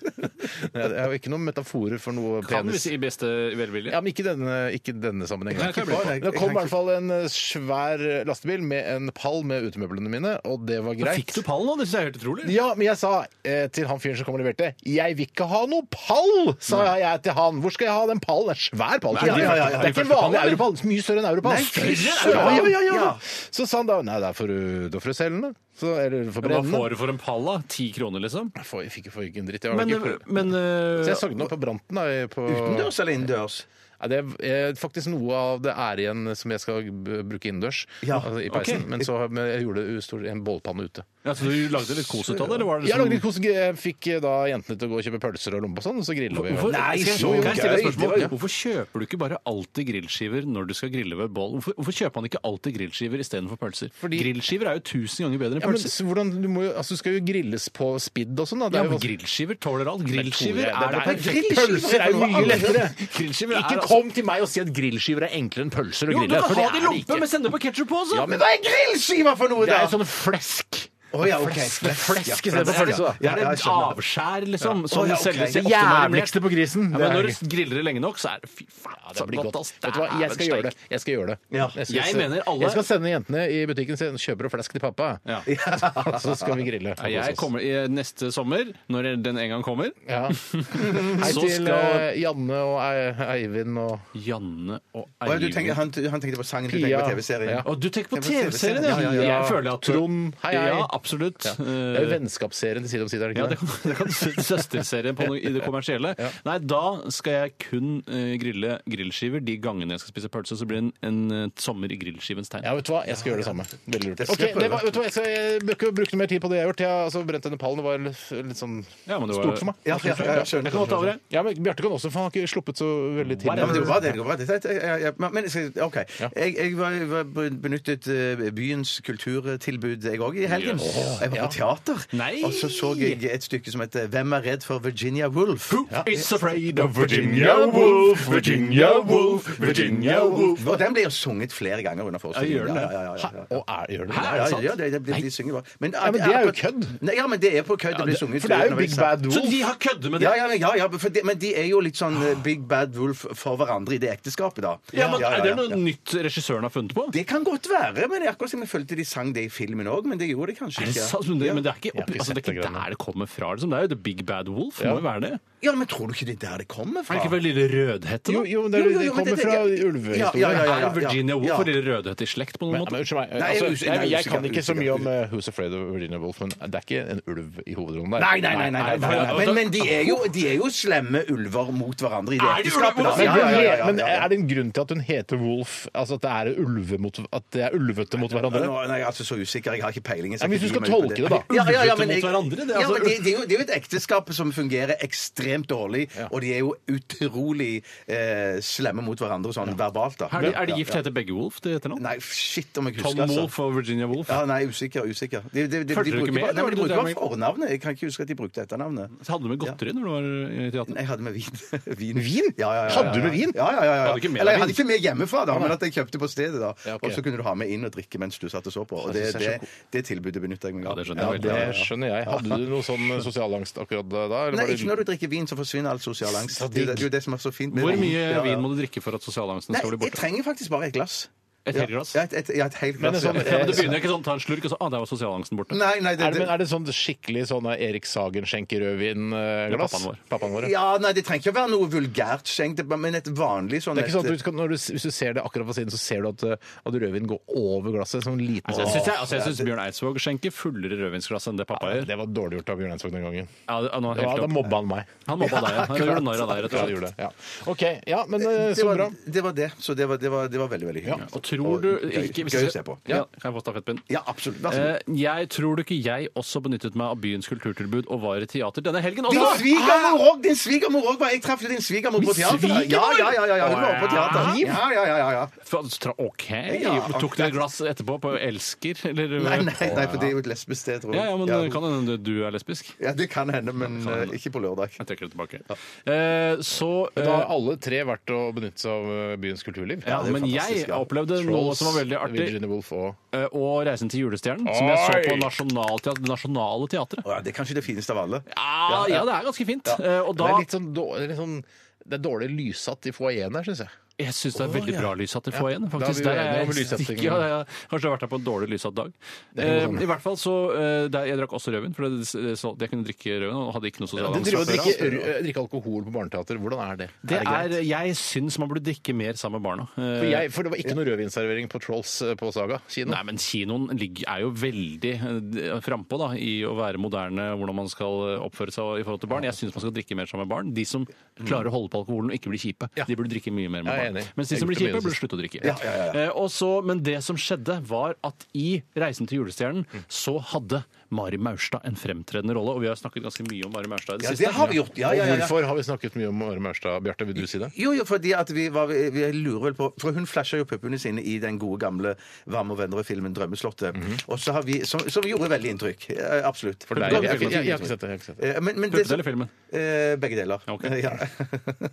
Speaker 4: jeg har jo ikke noen metaforer for noe
Speaker 5: Kan vi
Speaker 4: penis.
Speaker 5: si i beste velvilje.
Speaker 4: Ja, men ikke denne, ikke denne sammenhengen.
Speaker 5: Nei, det kan jeg bli
Speaker 3: på.
Speaker 4: det kom i hvert fall en eh, svær lastebil med en pall med utemøblene mine, og det var greit.
Speaker 5: Fikk du pallen nå? Det syns jeg er helt utrolig.
Speaker 4: Ja, men jeg sa eh, til han fyren som kom og leverte Jeg vil ikke ha noe pall, sa jeg til han. Hvor skal jeg ha den pallen? En svær pall.
Speaker 3: ja, ja, ja, ja.
Speaker 4: Det er ikke en vanlig europall. Mye større enn europall.
Speaker 3: Nei, større
Speaker 4: ja, ja, ja, ja.
Speaker 3: Ja.
Speaker 4: Så sa han da Nei, det er for, uh, da får du selge den, da. Så, eller for
Speaker 5: Hva
Speaker 4: brennende.
Speaker 5: får du for en pall, da? Ti kroner, liksom?
Speaker 4: Jeg får- jeg fikk jo for ikke en dritt. Jeg var
Speaker 5: Men,
Speaker 4: ikke full.
Speaker 5: men
Speaker 4: så
Speaker 5: eh,
Speaker 4: jeg sagde den opp på branten. Da, i- på,
Speaker 3: Utendørs eller innendørs?
Speaker 4: Nei, det er eh, faktisk noe av det er igjen som jeg skal b- bruke innendørs.
Speaker 3: Ja,
Speaker 4: Altså, I peisen.
Speaker 5: ok.
Speaker 4: Men så har- men jeg gjorde det i stor- i en bålpanne ute.
Speaker 5: ja, så du lagde litt kos ut av det? Eller var det
Speaker 4: Jeg
Speaker 3: sånn-
Speaker 4: lagde litt
Speaker 5: liksom
Speaker 4: kos. Jeg fikk eh, da jentene til å gå og kjøpe pølser og lompe og sånn, og så grilla vi.
Speaker 5: Hvorfor,
Speaker 3: Nei,
Speaker 5: skal jeg-
Speaker 3: så
Speaker 5: kan jeg stille et
Speaker 3: gøy,
Speaker 5: spørsmål?
Speaker 3: det var jo-
Speaker 5: Hvorfor kjøper du ikke bare alltid grillskiver når du skal grille ved bål? Hvorfor, hvorfor kjøper man ikke alltid grillskiver istedenfor pølser?
Speaker 4: Fordi-
Speaker 5: Grillskiver er jo tusen ganger bedre enn
Speaker 4: Ja, men
Speaker 5: pølser.
Speaker 4: så hvordan, du, må jo, altså, du skal jo grilles på spidd og sånn. Da. Det
Speaker 5: Ja,
Speaker 4: er jo
Speaker 5: men
Speaker 4: vanskelig.
Speaker 5: grillskiver tåler alt. Grillskiver
Speaker 4: Det
Speaker 5: er det
Speaker 4: er-
Speaker 5: perfekte.
Speaker 4: Pølser er jo mye lettere.
Speaker 5: Grillskiver er
Speaker 4: Ikke
Speaker 5: altså-
Speaker 4: kom til meg og si at grillskiver er enklere enn pølser å
Speaker 5: Jo, du
Speaker 4: grille.
Speaker 5: kan
Speaker 4: for det
Speaker 5: ha det
Speaker 4: er
Speaker 5: i
Speaker 4: det
Speaker 5: lompe,
Speaker 4: ikke.
Speaker 5: men sende på ketsjup på også!
Speaker 4: Ja, men
Speaker 3: Men hva er grillskiva for noe,
Speaker 4: det er
Speaker 3: da?!
Speaker 4: jo sånn flesk.
Speaker 3: Å, ja, ok.
Speaker 4: Flesk
Speaker 3: Ja,
Speaker 4: istedenfor
Speaker 3: flesk,
Speaker 4: pølse. da.
Speaker 5: Det
Speaker 3: Ja,
Speaker 5: er
Speaker 3: ja, jeg
Speaker 5: et
Speaker 3: skjønner.
Speaker 5: avskjær, liksom, som
Speaker 3: Å, ja, ok.
Speaker 5: selges i
Speaker 4: Det
Speaker 5: ofte marinert.
Speaker 4: jævligste på grisen.
Speaker 5: Ja, men når du griller det lenge nok, så er det fy faen,
Speaker 4: Ja, det blir
Speaker 5: godt,
Speaker 4: godt.
Speaker 5: ass.
Speaker 4: Vet du hva, jeg skal
Speaker 5: Dæven
Speaker 4: gjøre det.
Speaker 5: steik.
Speaker 4: Jeg skal gjøre det.
Speaker 3: Ja.
Speaker 4: skal,
Speaker 5: Jeg mener alle-
Speaker 4: jeg skal sende jentene i butikken sin kjøper og flesk til pappa,
Speaker 5: Ja.
Speaker 4: og så skal vi grille.
Speaker 5: Ja, Jeg kommer i- Neste sommer, når den en gang kommer
Speaker 4: Ja. Hei
Speaker 5: Så
Speaker 4: til
Speaker 5: skal-
Speaker 4: eh, Janne og Ei- Eivind og
Speaker 5: Janne og
Speaker 3: Å, ja, du tenker,
Speaker 5: Eivind
Speaker 3: han, han tenkte på sangen, du tenker
Speaker 4: Pia.
Speaker 3: på TV-serien.
Speaker 4: Ja.
Speaker 5: Å, du tenker på
Speaker 3: Jeg må se
Speaker 5: TV-serien,
Speaker 3: det.
Speaker 5: ja.
Speaker 3: Ja,
Speaker 4: ja, ja.
Speaker 5: Jeg føler at
Speaker 4: Trond, hei, hei.
Speaker 5: Ja, absolutt. Eh,
Speaker 4: Ja. Det er jo vennskapsserien til Side om side, er det
Speaker 5: Ja,
Speaker 4: ikke
Speaker 5: det kan, det kan du si. Søsterserien på noe, i det kommersielle. Nei, da skal jeg kun eh, grille grillskiver de gangene jeg skal spise pølse. Så blir det en, en eh, sommer i grillskivens tegn.
Speaker 4: Ja, vet du hva? Jeg skal gjøre det samme. Veldig lurt.
Speaker 3: Det skal
Speaker 4: Ok,
Speaker 3: jeg prøve.
Speaker 4: det var, vet du hva? Jeg, skal, jeg bør ikke bruke noe mer tid på det jeg har gjort. Jeg har altså, brent denne pallen. Det var litt, litt sånn
Speaker 5: Ja, men det var-
Speaker 4: stort for meg.
Speaker 3: Ja, ja, ja, jeg skjønner.
Speaker 5: Jeg kan godt ta over, jeg.
Speaker 4: Ja, men Bjarte kan også, for han har ikke sluppet så veldig tidlig.
Speaker 5: Hva er det?
Speaker 3: Ja, men det var det. det var det. Jeg- jeg- jeg- Men jeg skal- OK. Jeg, jeg var, var benyttet eh, byens kulturtilbud, jeg òg, i helgen. Jeg var på teater,
Speaker 5: Nei!
Speaker 3: og så så jeg et stykke som heter 'Hvem er redd for Virginia Woolf'?
Speaker 5: It's afraid of
Speaker 4: Virginia Woolf, Virginia Woolf, Virginia Woolf.
Speaker 3: Og den ble jo sunget flere ganger under forestillingen.
Speaker 5: Ja, gjør den det?
Speaker 3: Ja, ja, ja, ja, ja.
Speaker 4: Og er, gjør det
Speaker 3: Ja,
Speaker 4: det?
Speaker 3: ja, ja, det, det, det, de synger bare. Men,
Speaker 4: Ja, men det er jo
Speaker 3: på-
Speaker 4: kødd.
Speaker 3: Nei, ja, men det er på kødd. Det blir sunget
Speaker 4: For det er jo Big
Speaker 3: underveis.
Speaker 4: Bad
Speaker 5: Så
Speaker 4: Wolf.
Speaker 5: de har køddet med det?
Speaker 3: Ja, ja, men- ja, ja for de, men de er jo litt sånn eh, Big Bad Wolf for hverandre i det ekteskapet, da.
Speaker 5: Ja, men Er det noe
Speaker 3: ja.
Speaker 5: nytt regissøren har funnet på?
Speaker 3: Det kan godt være, men det er akkurat som jeg følte de sang det i filmen òg, men det gjorde de kanskje
Speaker 5: Er det
Speaker 3: ikke.
Speaker 5: sant? Men det, men det er ikke, opp,
Speaker 4: ikke
Speaker 5: altså, det er
Speaker 4: sett det
Speaker 5: ikke
Speaker 4: greiene.
Speaker 5: der det kommer fra. Liksom. Det er jo The Big Bad Wolf. Må jo være det.
Speaker 3: Ja, men tror du ikke det er der det kommer fra?
Speaker 5: Er det ikke fra Lille Rødhette, da?
Speaker 4: Jo, jo, men det, er-
Speaker 3: Jo, jo, jo,
Speaker 4: det
Speaker 3: men
Speaker 4: kommer
Speaker 3: det-
Speaker 4: fra
Speaker 3: det-
Speaker 4: ulvehistorien.
Speaker 3: Ja, ja, ja, ja.
Speaker 5: Er Virginia Woolf
Speaker 3: Ja.
Speaker 5: og Lille Rødhette i slekt på noen
Speaker 4: Men,
Speaker 5: måte?
Speaker 4: men unnskyld meg.
Speaker 3: Nei, jeg er
Speaker 4: Altså,
Speaker 3: usikker,
Speaker 4: jeg, jeg,
Speaker 3: jeg er
Speaker 4: kan
Speaker 3: usikker,
Speaker 4: ikke så mye
Speaker 3: usikker.
Speaker 4: om eh, Who's Afraid of Virginia Woolf, men det er ikke en ulv i hovedrollen der.
Speaker 3: Nei, nei, nei. nei, nei, nei, nei. Men, men de, er jo, de er jo slemme ulver mot hverandre i det
Speaker 5: Er de
Speaker 3: ekteskapet. da.
Speaker 5: ulver?
Speaker 4: Men,
Speaker 3: Ja, ja, ja, ja, ja,
Speaker 4: men
Speaker 3: ja.
Speaker 4: er det en grunn til at hun heter Wolf? Altså at det er, ulve mot, at det er ulvete mot hverandre?
Speaker 3: Nå- Nei, altså så usikker. Jeg har ikke peiling. Jeg
Speaker 4: Ja,
Speaker 3: skal
Speaker 4: men hvis
Speaker 3: ikke gi
Speaker 4: du skal
Speaker 3: meg ut på
Speaker 4: tolke det, da.
Speaker 3: Ja, ja, ja,
Speaker 5: Ulvete
Speaker 3: men
Speaker 5: mot
Speaker 3: jeg-
Speaker 5: hverandre, det er
Speaker 3: Ja,
Speaker 5: altså-
Speaker 3: men det, det, er jo, det er jo et ekteskap som fungerer ekstremt dårlig, og de er jo utrolig eh, slemme mot hverandre sånn verbalt, da.
Speaker 5: Er de, er de gift?
Speaker 3: Ja,
Speaker 5: Heter begge Wolf til etternavn?
Speaker 3: ja. Nei, shit om jeg
Speaker 5: Tom
Speaker 3: husker, altså.
Speaker 5: Wolf og Virginia Wolf.
Speaker 3: Ja, nei, usikker, usikker. De, de, de, de,
Speaker 5: Følte du ikke
Speaker 3: bruker
Speaker 5: med,
Speaker 3: bare-
Speaker 5: eller
Speaker 3: Nei, men de
Speaker 5: var det
Speaker 3: bruker
Speaker 5: det
Speaker 3: bare fornavnet. Jeg kan ikke huske at de brukte etternavnet.
Speaker 5: Hadde du med godteri når du var eh, i teater?
Speaker 3: Nei, Jeg hadde med vin. vin?
Speaker 4: Vin?
Speaker 3: Ja, ja, ja, ja, ja.
Speaker 4: Hadde du med vin?
Speaker 3: Ja, ja, ja, ja.
Speaker 5: Hadde ikke med
Speaker 3: Eller
Speaker 5: deg
Speaker 3: jeg hadde
Speaker 5: vin?
Speaker 3: ikke med hjemmefra, da, men at jeg kjøpte på stedet. da.
Speaker 4: Ja, ok.
Speaker 3: Og så kunne du ha med inn og drikke mens du satt og så på. Og det,
Speaker 4: synes jeg
Speaker 3: det,
Speaker 4: er så
Speaker 3: det tilbudet benytter jeg meg
Speaker 5: Ja,
Speaker 3: av.
Speaker 5: det skjønner
Speaker 4: Ja,
Speaker 5: jeg
Speaker 4: det
Speaker 5: veldig.
Speaker 4: skjønner jeg. Hadde du noe sånn eh, sosial angst akkurat da? eller var
Speaker 3: Nei,
Speaker 4: det-
Speaker 3: ikke når du drikker vin, så forsvinner all sosial angst. Det, er jo- det er jo det som er så fint med
Speaker 5: Hvor mye
Speaker 3: Ja, ja.
Speaker 5: vin må du drikke for at sosialangsten
Speaker 3: Nei,
Speaker 5: skal bli
Speaker 3: jeg
Speaker 5: borte?
Speaker 3: trenger faktisk bare et glass.
Speaker 5: Et helt glass?
Speaker 3: Ja, et, et, ja, et helt glass.
Speaker 4: det er sånn-
Speaker 5: Ja, men
Speaker 3: ja.
Speaker 5: det begynner ikke sånn, ta en slurk, og så ah, der var sosialangsten borte.
Speaker 3: Nei, nei, det,
Speaker 4: Er det, men er det sånn skikkelig sånn Erik Sagen skjenker rødvin-glass?
Speaker 5: Det er pappaen vår.
Speaker 4: Pappaen vår, ja.
Speaker 3: ja, nei, det trenger ikke å være noe vulgært skjenkt, det er bare- men et vanlig sånn
Speaker 4: Det er ikke sånn
Speaker 3: et-
Speaker 4: at du kan, når du, Hvis du ser det akkurat fra siden, så ser du at, eh, at rødvin går over glasset. Sånn liten
Speaker 5: Så Jeg syns, jeg, altså jeg synes Bjørn Eidsvåg skjenker fullere rødvinsglass enn det pappa gjør.
Speaker 4: Det var dårlig gjort av Bjørn Eidsvåg den gangen.
Speaker 5: Ja, det- ja, nå er
Speaker 4: Ja,
Speaker 5: helt
Speaker 4: da
Speaker 5: opp.
Speaker 4: mobba han meg.
Speaker 5: Han mobba deg. ja. Han gjorde narr av deg, rett
Speaker 4: Ja,
Speaker 5: og
Speaker 4: det gjorde
Speaker 5: slett.
Speaker 4: det. Ja. OK. Ja, men eh,
Speaker 3: det
Speaker 4: så
Speaker 3: var,
Speaker 4: bra.
Speaker 3: det var det. Så det var, det var, det var veldig, veldig hyggelig.
Speaker 5: Og tror du ikke hvis-
Speaker 3: Gøy å se på.
Speaker 5: Ja, kan jeg få stafettpinnen?
Speaker 3: Ja, absolutt. Vær så god.
Speaker 5: Eh, jeg tror du ikke jeg også benyttet meg av byens kulturtilbud og var i teater denne helgen
Speaker 3: Din
Speaker 5: også!
Speaker 3: svigermor òg! Din svigermor òg! Jeg traff jo din svigermor på teater.
Speaker 5: svigermor?
Speaker 3: Ja, ja, ja, ja, ja, hun var på teater. Ja, ja, ja, ja, ja.
Speaker 5: Fa- tra- OK.
Speaker 3: Ja,
Speaker 5: Tok dere et glass etterpå på Elsker, eller?
Speaker 3: Nei, nei, nei, for det er jo et lesbisk sted, tror jeg.
Speaker 5: Ja, ja, men
Speaker 3: ja,
Speaker 5: kan hende du er lesbisk.
Speaker 3: ja, det kan hende, men eh, ikke på lørdag.
Speaker 5: Jeg trekker det tilbake. Eh, så eh,
Speaker 4: Da har alle tre vært å benytte seg av eh, byens kulturliv.
Speaker 5: ja,
Speaker 3: det er jo
Speaker 5: men jeg
Speaker 3: fantastisk, ja.
Speaker 5: opplevde noe som var veldig artig,
Speaker 4: Virginia Woolf og
Speaker 5: eh, og 'Reisen til julestjernen', som jeg så på
Speaker 4: Oi!
Speaker 5: Nationalteatret- Det Nasjonale Teatret.
Speaker 3: Å, ja, det er kanskje det fineste av alle.
Speaker 5: Ja, ja, det er ganske fint. Eh, og
Speaker 4: Det
Speaker 5: da
Speaker 4: er litt sånn, dår- litt sånn det er dårlig lyssatt i foajeen her, syns jeg.
Speaker 5: Jeg syns det er veldig bra lyssatt i foajeen.
Speaker 4: da er vi
Speaker 5: faktisk. Der
Speaker 4: uenige
Speaker 5: er
Speaker 4: om
Speaker 5: jeg
Speaker 4: lyssettingen.
Speaker 5: ikke- Ja, ja, ja. Kanskje jeg har vært her på en dårlig lyssatt dag.
Speaker 4: er
Speaker 5: Eh,
Speaker 4: noe sånt.
Speaker 5: I hvert fall så eh, der, Jeg drakk også rødvin, for det, så, jeg kunne drikke rødvin og hadde ikke noe sosial
Speaker 4: Det
Speaker 5: angst
Speaker 4: driver å
Speaker 5: fra før av.
Speaker 4: drikke, eh, drikke alkohol på barneteater, hvordan er det?
Speaker 5: altså. Det
Speaker 4: greit?
Speaker 5: er, jeg syns man burde drikke mer sammen med barna. Eh,
Speaker 4: for, jeg, for det var ikke noe rødvinservering på Trolls eh, på Saga kino.
Speaker 5: Nei, men kinoen ligger- er jo veldig eh, frampå da, i å være moderne, hvordan man skal eh, oppføre seg i forhold til barn. Jeg syns man skal drikke mer sammen med barn. De som klarer å holde på alkoholen og ikke bli kjipe, de burde drikke mye mer
Speaker 4: Ja, jeg er
Speaker 5: med barn.
Speaker 4: enig.
Speaker 5: Mens de
Speaker 4: Jeg
Speaker 5: som blir
Speaker 4: gjorde det mye i
Speaker 5: kjipe,
Speaker 4: det
Speaker 5: burde slutte å drikke.
Speaker 3: Ja, ja, ja,
Speaker 5: Eh, og så- men det som skjedde, var at i 'Reisen til julestjernen' så hadde Mari Maurstad en fremtredende rolle, og vi har snakket ganske mye om Mari Maurstad i det
Speaker 3: Ja,
Speaker 5: siste.
Speaker 3: det har vi gjort. Ja,
Speaker 4: Og
Speaker 3: ja, ja, ja.
Speaker 4: hvorfor har vi snakket mye om Mare Maurstad? Bjarte, vil du si det?
Speaker 3: Jo, jo, fordi at vi, var, vi vi lurer vel på For hun flasha jo puppene sine i den gode gamle Varme og venner-filmen 'Drømmeslottet'. Og så har vi, som, som gjorde veldig inntrykk. eh, Absolutt.
Speaker 4: For deg,
Speaker 5: Puppene-
Speaker 4: jeg, jeg, jeg, jeg har ikke sett det. Jeg har ikke sett det.
Speaker 3: Eh, Men, men det,
Speaker 5: Puppene eller filmen?
Speaker 3: Eh, begge deler.
Speaker 5: Ok.
Speaker 3: Ja.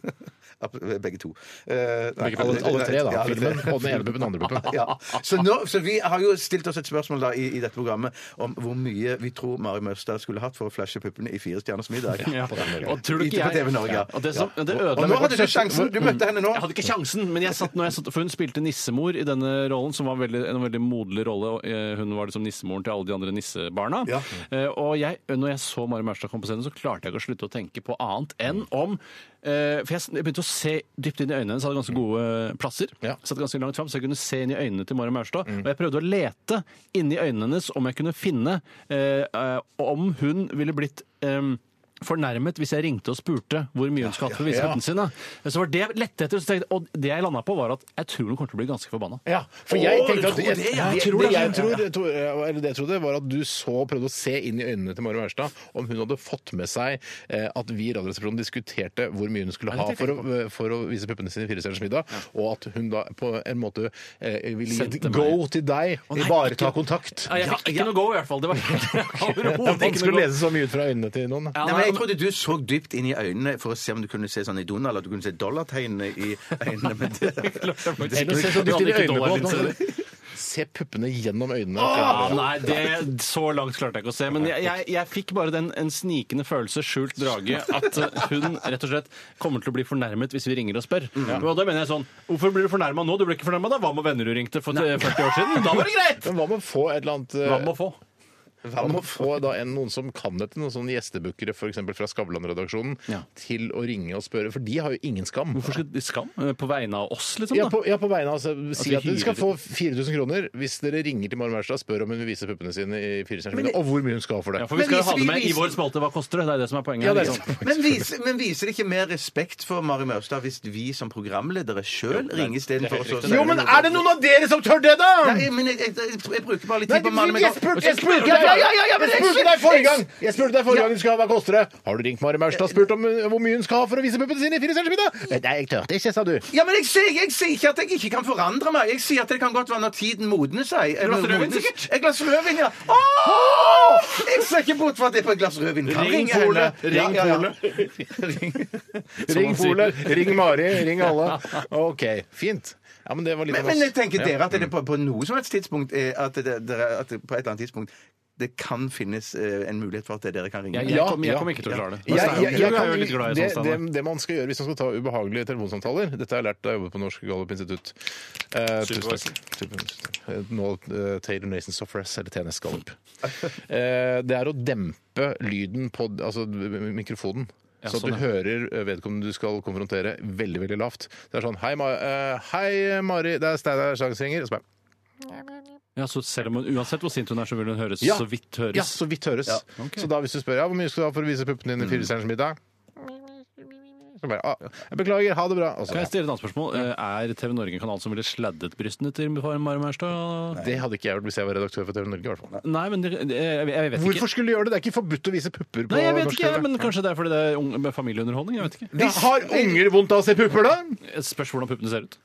Speaker 3: Ab- begge to. Eh, nei,
Speaker 4: Begge, alle, alle tre, da.
Speaker 3: Ja, alle tre.
Speaker 4: Filmen og den ene puppen og den andre puppen.
Speaker 3: Ja. Så, nå, så vi har jo stilt oss et spørsmål da i, i dette programmet om hvor mye vi tror Mari Møstad skulle hatt for å flashe puppene i Fire stjerners middag.
Speaker 5: Ja.
Speaker 4: på TV Norge.
Speaker 5: Og tror du ikke
Speaker 3: Ikke på
Speaker 5: jeg
Speaker 3: TV Norge, ja.
Speaker 5: Og det, som,
Speaker 3: Ja.
Speaker 5: det
Speaker 3: Og
Speaker 5: ødela
Speaker 3: nå
Speaker 5: meg
Speaker 3: hadde du
Speaker 5: godt.
Speaker 3: sjansen! Du møtte henne nå.
Speaker 5: Jeg hadde ikke sjansen, men jeg satt, når jeg satt, for hun spilte nissemor i denne rollen, som var veldig, en veldig moderlig rolle. og, eh, Hun var liksom nissemoren til alle de andre nissebarna.
Speaker 3: Ja.
Speaker 5: Eh, Og jeg, når jeg så Mari Maurstad komme på scenen, så klarte jeg ikke å slutte å tenke på annet enn om eh, For jeg, s- jeg begynte å se dypt inn i øynene hennes. Hadde ganske gode eh, plasser.
Speaker 4: Ja.
Speaker 5: Satt ganske langt fram, så jeg kunne se inn i øynene til Mari Maurstad. Og jeg prøvde å lete inni øynene hennes om jeg kunne finne eh, eh, om hun ville blitt eh, fornærmet hvis jeg ringte og spurte hvor mye hun skulle hatt for
Speaker 4: ja, ja.
Speaker 5: visehøtten sin. da. Så var det jeg lette etter, så tenkte, jeg- og det jeg landa på, var at jeg tror hun kommer til å bli ganske forbanna.
Speaker 4: Ja, for jeg
Speaker 3: Å,
Speaker 4: tenkte
Speaker 3: du
Speaker 4: at
Speaker 3: tror det, ja.
Speaker 4: jeg
Speaker 3: Jeg tror
Speaker 4: det
Speaker 3: det,
Speaker 4: jeg
Speaker 3: ja.
Speaker 4: tror, to- eller det jeg trodde, var at du så prøvde å se inn i øynene til Mari Maurstad om hun hadde fått med seg eh, at vi i Radioresepsjonen diskuterte hvor mye hun skulle
Speaker 5: Ja,
Speaker 4: ha
Speaker 5: det tenkte
Speaker 4: for å, for å vise puppene sine i Firestjerners middag, og at hun da på en måte eh, ville gi et
Speaker 5: Sendte meg.
Speaker 4: go til deg, ivareta kontakt.
Speaker 5: Ja, jeg fikk ikke noe go, i hvert fall. Det var helt
Speaker 4: Det er vanskelig å lese så mye ut fra øynene til noen. da.
Speaker 5: Ja,
Speaker 3: Nei, men Jeg trodde du så dypt inn i øynene for å se om du kunne se sånn i Donald at du kunne se dollartegnene i øynene. Men det,
Speaker 4: Eller se så
Speaker 5: Du
Speaker 4: dypt inn i øynene
Speaker 5: hadde ikke
Speaker 4: på
Speaker 5: dollarlinser,
Speaker 4: at man- Se puppene gjennom øynene.
Speaker 5: Ja, nei, det, så langt klarte jeg ikke å se. Men jeg, jeg, jeg fikk bare den, en snikende følelse, skjult drage, at eh, hun rett og slett kommer til å bli fornærmet hvis vi ringer og spør. Og da mener jeg sånn Hvorfor blir du fornærma nå? Du ble ikke fornærma da? Hva med venner du ringte for 40 år siden? Da var det greit!
Speaker 4: Men hva med å få et eller annet eh,
Speaker 5: Hva med å få?
Speaker 4: Hva med å få da en, noen som kan dette, noen sånne gjestebukkere for eksempel fra Skavlan-redaksjonen,
Speaker 5: Ja.
Speaker 4: til å ringe og spørre? For de har jo ingen skam.
Speaker 5: Hvorfor skal de skam? Eh, På vegne av oss, liksom?
Speaker 4: Ja
Speaker 5: da?
Speaker 4: på, ja, på vegne av altså, Si
Speaker 5: vi
Speaker 4: at dere skal få
Speaker 5: hyrer-
Speaker 4: 4000 kroner hvis dere ringer til Mari Maurstad og spør om hun vil vise puppene sine i Firestjerners middag, og hvor mye hun skal ha for det.
Speaker 5: Ja, for vi
Speaker 3: Men
Speaker 5: skal jo
Speaker 3: hvis
Speaker 5: ha det
Speaker 3: vi
Speaker 5: med i
Speaker 3: viser-
Speaker 5: vår spalte. Hva koster det? Det er det som er poenget. Liksom.
Speaker 4: Ja, det
Speaker 5: her,
Speaker 4: er
Speaker 5: ikke sant?
Speaker 3: men, viser, men viser det ikke mer respekt for Mari Maurstad hvis vi som programledere sjøl ringer istedenfor å
Speaker 4: Jo, men er det noen av dere som tør det, da?!
Speaker 3: Nei, men jeg, jeg, jeg, jeg bruker bare litt
Speaker 4: Nei,
Speaker 3: tid på
Speaker 4: du-
Speaker 3: Mari
Speaker 4: jeg
Speaker 3: Maurstad.
Speaker 4: spurte jeg spurte deg
Speaker 3: Ja, ja, ja, ja, men
Speaker 4: Jeg
Speaker 3: jeg-
Speaker 4: spurte deg forrige gang Jeg spurte deg forrige gang du skal ha hva koster det. Har du ringt Mari Maurstad og spurt om uh, hvor mye hun skal ha for å vise puppene sine i Firestjerners middag? Nei, jeg tørte ikke, sa du.
Speaker 3: Ja, men jeg sier, jeg sier ikke at jeg ikke kan forandre meg. Jeg sier at det kan godt være når tiden modner seg. Et
Speaker 5: glass rødvin,
Speaker 3: sikkert? Et glass rødvin, ja. Åh! Jeg ser ikke bort fra at jeg på et glass rødvin kan
Speaker 5: Ring
Speaker 3: ringe henne.
Speaker 5: Polet. Ring
Speaker 3: Ja, ja, ja.
Speaker 5: Polet.
Speaker 4: Ring
Speaker 5: man sier.
Speaker 4: Polet, ring Mari, ring alle. OK, fint. Ja, men det var litt
Speaker 3: Men,
Speaker 4: av oss.
Speaker 3: men jeg tenker dere at det på, på noe som helst tidspunkt er at, det, dere, at det på et eller annet tidspunkt det kan finnes eh, en mulighet for at dere kan ringe.
Speaker 5: Jeg,
Speaker 4: Ja,
Speaker 5: jeg, kommer-
Speaker 4: ja.
Speaker 5: jeg kommer ikke til å klare det.
Speaker 4: Jeg- jeg- jeg
Speaker 5: Du er jo
Speaker 4: kan-
Speaker 5: litt glad i
Speaker 4: det,
Speaker 5: sånn, Steinar.
Speaker 4: det, det man skal gjøre hvis man skal ta ubehagelige telefonsamtaler Dette har jeg lært da jeg jobbet på Norsk Gallup-institutt. Eh, tusen takk. Super- eh, Nå eh, Taylor Nason Softwares, eller TNS Gallup. Eh, det er å dempe lyden på d- altså, m- mikrofonen.
Speaker 5: Ja,
Speaker 4: Så at du
Speaker 5: sånn, ja.
Speaker 4: hører vedkommende du skal konfrontere, veldig veldig lavt. Det er sånn Hei, Ma eh, hei Mari, det er Steinar Sagsringer. Og så bare
Speaker 5: Ja, så selv om hun, Uansett hvor sint hun er, så vil hun høres
Speaker 4: Ja.
Speaker 5: så vidt høres.
Speaker 4: Ja, så vidt høres. Så da hvis du spør ja, hvor mye skal du ha for å vise puppene
Speaker 5: Mm.
Speaker 4: dine i Firestjerners middag, så bare ah, jeg beklager, ha det bra. Og så,
Speaker 5: Kan jeg stille et annet spørsmål? Eh, Er TV Norge en kanal som ville sladdet brystene til Mari Maurstad?
Speaker 4: det hadde ikke jeg gjort hvis jeg var redaktør for TV Norge. i hvert fall.
Speaker 5: Nei, men det, det- jeg, jeg vet ikke.
Speaker 4: Hvorfor skulle du gjøre det? Det er ikke forbudt å vise pupper på
Speaker 5: Nei, jeg vet
Speaker 4: norsk
Speaker 5: ikke,
Speaker 4: TV.
Speaker 5: men Kanskje det er fordi det er unge, med familieunderholdning? jeg vet ikke.
Speaker 4: Ja, har unger vondt av å se pupper, da?
Speaker 5: Jeg spørs hvordan puppene ser ut.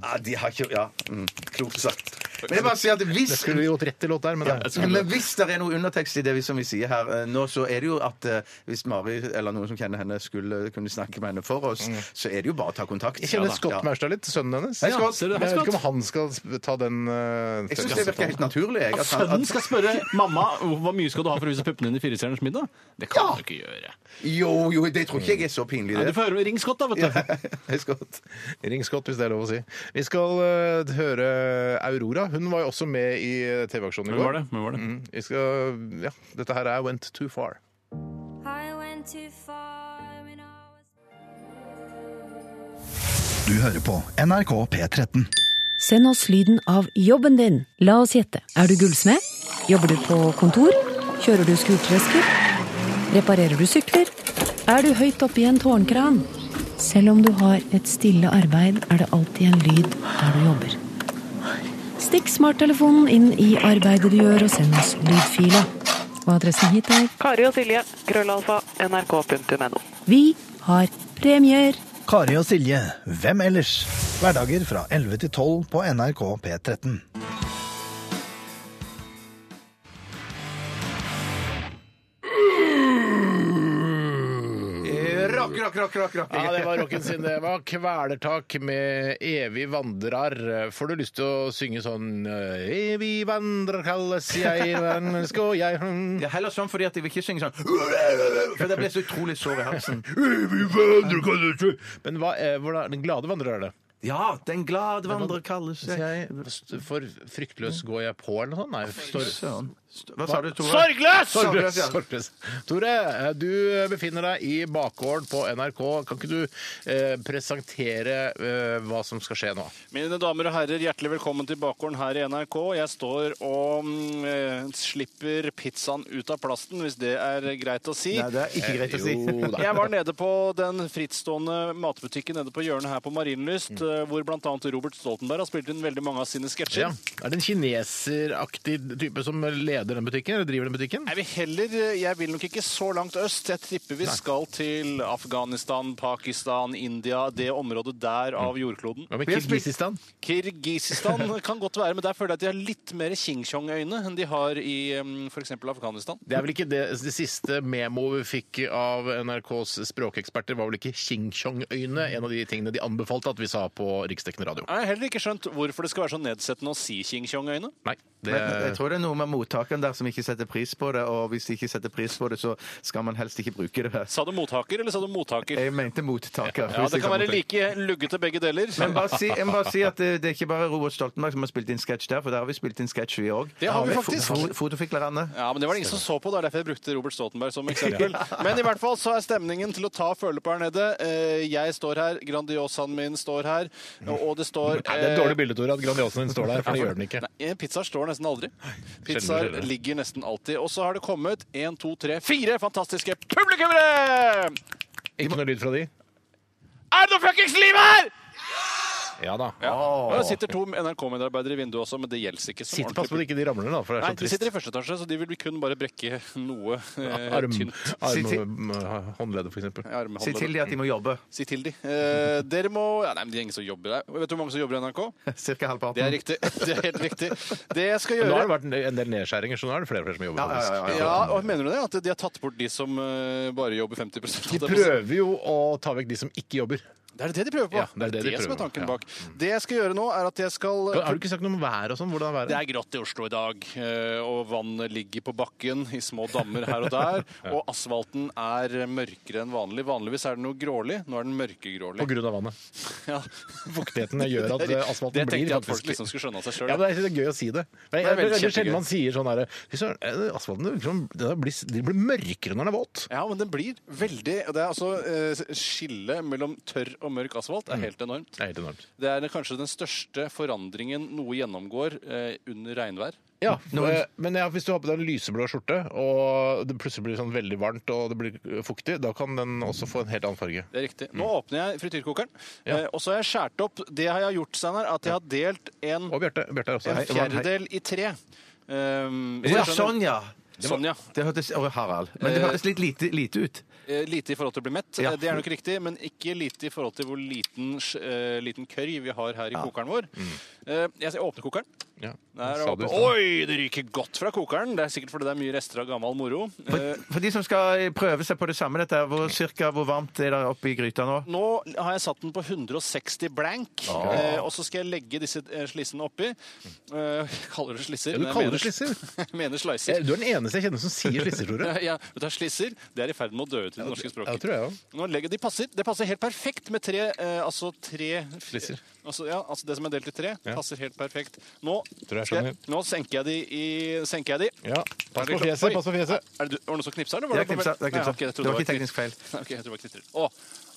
Speaker 3: Ja, de har ikke Ja, mm, klokt sagt. Men jeg bare sier at hvis
Speaker 4: Skulle vi gått rett i låt der, men det
Speaker 3: Men hvis det er noe undertekst i det vi, som vi sier her eh, nå, så er det jo at eh, hvis Mari eller noen som kjenner henne, skulle kunne snakke med henne for oss, så er det jo bare å ta kontakt.
Speaker 4: jeg kjenner
Speaker 3: Ja da,
Speaker 4: Scott
Speaker 3: ja.
Speaker 4: Maurstad litt, sønnen hennes.
Speaker 3: Hei, Scott.
Speaker 5: ser du,
Speaker 4: Jeg
Speaker 5: hei,
Speaker 4: vet ikke
Speaker 5: Scott.
Speaker 4: om han skal sp- ta den eh,
Speaker 3: Jeg syns det virker helt naturlig. Jeg, at han-
Speaker 5: Sønnen
Speaker 3: at,
Speaker 5: skal spørre mamma hvor mye skal du ha for å vise puppene dine i Firestjerners middag. Det kan
Speaker 3: Ja.
Speaker 5: du ikke gjøre.
Speaker 3: jo, jo, det tror ikke jeg er så pinlig,
Speaker 5: Nei, du
Speaker 3: det.
Speaker 5: får høre, Ring Scott, da, vet du.
Speaker 3: Hei, Scott.
Speaker 4: Ring Scott, hvis det er lov å si. Vi skal eh, høre Aurora. Hun var jo også med i eh, TV-aksjonen i
Speaker 5: Men
Speaker 4: går.
Speaker 5: var det? Men var det?
Speaker 4: Mm, Vi skal, ja, dette her er Went Too Far.
Speaker 6: I went too far when I was.
Speaker 7: Du hører på NRK P13.
Speaker 8: Send oss lyden av jobben din. La oss gjette. Er du gullsmed? Jobber du på kontor? Kjører du skurtresker? Reparerer du sykler? Er du høyt oppe i en tårnkran? Selv om du har et stille arbeid, er det alltid en lyd der du jobber. Stikk smarttelefonen inn i arbeidet du gjør, og send oss lydfila. Og adressen hit er
Speaker 9: Kari og Silje, krøllalfa, nrk.no.
Speaker 8: Vi har premier!
Speaker 7: Kari og Silje, hvem ellers? Hverdager fra 11 til 12 på NRK P13.
Speaker 3: Rock, rock, rock, rock, rock.
Speaker 4: Ja, det var rocken sin. Det var Kvelertak med 'Evig vandrar'. Får du lyst til å synge sånn eh, 'Evig vandrar kalles jeg, menneske og jeg' hm.
Speaker 3: Ja, heller sånn fordi at jeg vil ikke synge sånn For det blir så utrolig sår i halsen.
Speaker 4: Evig vandrer kalles jeg Men hva, eh, hvordan, den glade vandrer er det?
Speaker 3: Ja, den glade vandrer kalles jeg.
Speaker 4: St- For fryktløs går jeg på, eller noe sånt? Nei, stor-
Speaker 3: Søren. Hva sa du, Tore?
Speaker 4: Sorgløs!
Speaker 3: Sorgløs, ja.
Speaker 4: Sorgløs. Tore, eh, du befinner deg i bakgården på NRK. Kan ikke du eh, presentere eh, hva som skal skje nå?
Speaker 5: Mine damer og herrer, hjertelig velkommen til bakgården her i NRK. Jeg står og mm, eh, slipper pizzaen ut av plasten, hvis det er greit å si.
Speaker 3: Nei, det er ikke greit å si.
Speaker 4: Jo da.
Speaker 5: Jeg var nede på den frittstående matbutikken nede på hjørnet her på Marienlyst,
Speaker 3: Mm.
Speaker 5: eh, hvor bl.a. Robert Stoltenberg har spilt inn veldig mange av sine
Speaker 4: Ja.
Speaker 5: sketsjer.
Speaker 4: Er det en kineseraktig type som leder den butikken, eller driver den butikken?
Speaker 5: Jeg vil heller, eh, jeg vil nok ikke så langt øst. Jeg tipper vi skal til Afghanistan, Pakistan, India, det området der av jordkloden.
Speaker 4: Hva med Kirgisistan?
Speaker 5: Kirgisistan kan godt være, men der føler jeg at de har litt mer Qingchong-øyne enn de har i f.eks. Afghanistan.
Speaker 4: Det er vel ikke det, det siste memoet vi fikk av NRKs språkeksperter, var vel ikke Qingchong-øyne, en av de tingene de anbefalte at vi sa på riksdekkende radio.
Speaker 5: Jeg har heller ikke skjønt hvorfor det skal være så nedsettende å si Qingchong-øyne.
Speaker 4: Nei, det
Speaker 3: Men jeg tror det er noe med mottakeren der som ikke setter pris på det, og hvis de ikke setter pris på det, så skal man helst ikke bruke det.
Speaker 5: Sa du mottaker, eller sa du mottaker?
Speaker 3: Jeg mente mottaker.
Speaker 5: Ja, Det kan være like luggete begge deler.
Speaker 3: Men bare si, jeg må bare si at det, det er ikke bare Robert Stoltenberg som har spilt inn sketsj der, for der har vi spilt inn sketsj, vi òg.
Speaker 5: Det har vi faktisk.
Speaker 3: Fotofiklerne.
Speaker 5: Ja, men Det var det ingen som så på, det er derfor jeg brukte Robert Stoltenberg som eksempel. Men i hvert fall så er stemningen til å ta føle på her nede. Eh, Jeg står her, Grandiosaen min står her, og og det står
Speaker 4: Nei, det er et dårlig
Speaker 5: eh,
Speaker 4: bilde, Tore, at Grandiosaen din står der, for det gjør den ikke.
Speaker 5: Nei, eh, Pizzaer står nesten aldri. Pizzaer
Speaker 4: sjelden.
Speaker 5: ligger nesten alltid. Og så har det kommet én, to, tre, fire fantastiske publikummere!
Speaker 4: Ikke noe lyd fra de?
Speaker 5: Er det noe fuckings liv her?!
Speaker 4: Ja da. Ah,
Speaker 5: Og det sitter to NRK-medarbeidere i vinduet også, men det gjelder ikke. som
Speaker 4: Sitt pass på at
Speaker 5: ordentlig.
Speaker 4: ikke de ramler, da, for det
Speaker 5: Nei,
Speaker 4: er så
Speaker 5: de
Speaker 4: trist.
Speaker 5: sitter i første etasje, så de vil kun bare brekke noe eh,
Speaker 4: Arm,
Speaker 5: tynt.
Speaker 4: arm, håndledd, for eksempel.
Speaker 3: Si
Speaker 5: Armhåndledd.
Speaker 3: til de at de må jobbe.
Speaker 5: Si til de. Eh, dere må ja, Nei, men det er ingen som jobber der. Vet du hvor mange som jobber i NRK?
Speaker 3: Cirka halvparten.
Speaker 5: Det er riktig. Det er helt riktig. Det jeg skal
Speaker 4: Nå
Speaker 5: gjøre
Speaker 4: har det vært en del nedskjæringer, så nå er det flere og flere som jobber.
Speaker 3: Ja, ja, ja,
Speaker 4: faktisk.
Speaker 3: ja, ja.
Speaker 5: ja, og Mener du det? At de har tatt bort de som eh, bare jobber 50
Speaker 4: De prøver jo å ta vekk de som ikke jobber.
Speaker 5: Det er det de prøver på.
Speaker 4: Ja, det er det de
Speaker 5: som er
Speaker 4: prøver på.
Speaker 5: tanken
Speaker 4: Ja.
Speaker 5: bak. Det jeg skal gjøre nå, er at jeg skal
Speaker 4: Har du ikke sagt noe om været og sånn? Hvordan er
Speaker 5: det
Speaker 4: været?
Speaker 5: er grått i Oslo i dag, eh, og vannet ligger på bakken i små dammer her og der. Og asfalten er mørkere enn vanlig. Vanligvis er den noe grålig, nå er den
Speaker 4: På
Speaker 5: mørkegrålig.
Speaker 4: grunn av vannet.
Speaker 5: Ja.
Speaker 4: Fuktigheten gjør at eh, asfalten
Speaker 5: Det tenkte
Speaker 4: blir
Speaker 5: jeg at folk
Speaker 4: faktisk
Speaker 5: liksom skulle skjønne av seg sjøl.
Speaker 4: ja, men jeg synes Det er gøy å si det. Men jeg,
Speaker 5: Det er
Speaker 4: det
Speaker 5: veldig
Speaker 4: er veldig
Speaker 5: kjempegøy.
Speaker 4: sjelden man sier sånn herre "Fy søren, eh, Asfalten det virker som- det der blir, det blir mørkere når den er våt.
Speaker 5: Ja, men den blir veldig Det er altså eh, Skillet mellom tørr og mørk asfalt
Speaker 4: Mm.
Speaker 5: er helt enormt.
Speaker 4: Det er helt enormt.
Speaker 5: Det er kanskje den største forandringen noe gjennomgår eh, under regnvær.
Speaker 4: Ja, eh, men ja, hvis du har på deg en lyseblå skjorte, og det plutselig blir sånn veldig varmt og det blir eh, fuktig, da kan den også få en helt annen farge.
Speaker 5: Det er riktig. Nå
Speaker 4: Mm.
Speaker 5: åpner jeg frityrkokeren, eh, og så har jeg skåret opp Det har jeg gjort, Steinar, at jeg har delt en,
Speaker 4: Og Bjarte. Bjarte er også
Speaker 5: en
Speaker 4: her.
Speaker 5: fjerdedel i tre. Um, hvis
Speaker 3: Ja,
Speaker 5: du skjønner.
Speaker 3: sånn, ja.
Speaker 5: Sånn, ja.
Speaker 3: Det hørtes, og Harald. Men det hørtes litt lite, lite ut.
Speaker 5: Eh, Lite i forhold til å bli mett,
Speaker 3: Ja.
Speaker 5: eh, det er nok riktig, men ikke lite i forhold til hvor liten, sj- eh, liten curry vi har her i kokeren vår. Eh, jeg åpner kokeren.
Speaker 4: Mm. Ja.
Speaker 5: Der
Speaker 4: Sa du sånn.
Speaker 5: oppe.
Speaker 4: i stad.
Speaker 5: Oi, det ryker godt fra kokeren. Det er sikkert fordi det er mye rester av gammel moro. Eh,
Speaker 3: For, for de som skal prøve seg på det samme, dette, her, hvor, cirka, hvor varmt er det oppe i gryta nå?
Speaker 5: nå har jeg satt den på 160 blank, eh, og så skal jeg legge disse eh, slissene oppi. Eh, jeg kaller det
Speaker 4: Mm.
Speaker 5: slisser?
Speaker 4: Ja, du
Speaker 5: men jeg
Speaker 4: kaller
Speaker 5: mener-
Speaker 4: det slisser.
Speaker 5: Jeg mener
Speaker 4: Eh,
Speaker 5: slicer.
Speaker 4: Du er den eneste jeg kjenner som sier slisser, Tore.
Speaker 5: Ja, vet du, hva, slisser det er i ferd med å dø ut i det norske
Speaker 4: Ja,
Speaker 5: språket.
Speaker 4: det tror jeg òg.
Speaker 5: Nå legger de passer. Det passer helt perfekt med tre eh, Altså tre
Speaker 4: Slisser.
Speaker 5: Altså, ja, altså det som er delt i tre,
Speaker 4: Ja.
Speaker 5: passer helt perfekt. Nå,
Speaker 4: Tror jeg
Speaker 5: skal
Speaker 4: skjønner.
Speaker 5: nå senker jeg de i Senker jeg de.
Speaker 4: Ja. Pass på fjeset, pass på fjeset.
Speaker 5: Er det, du- var det noen som knipsa, eller?
Speaker 3: Det
Speaker 5: Var
Speaker 3: er knipsa. Det, er knipsa.
Speaker 5: Ja, ok, jeg
Speaker 3: det
Speaker 5: trodde
Speaker 3: var ikke
Speaker 5: knip-
Speaker 3: teknisk feil.
Speaker 5: Nei, Ok, jeg tror det var knitrer. Å.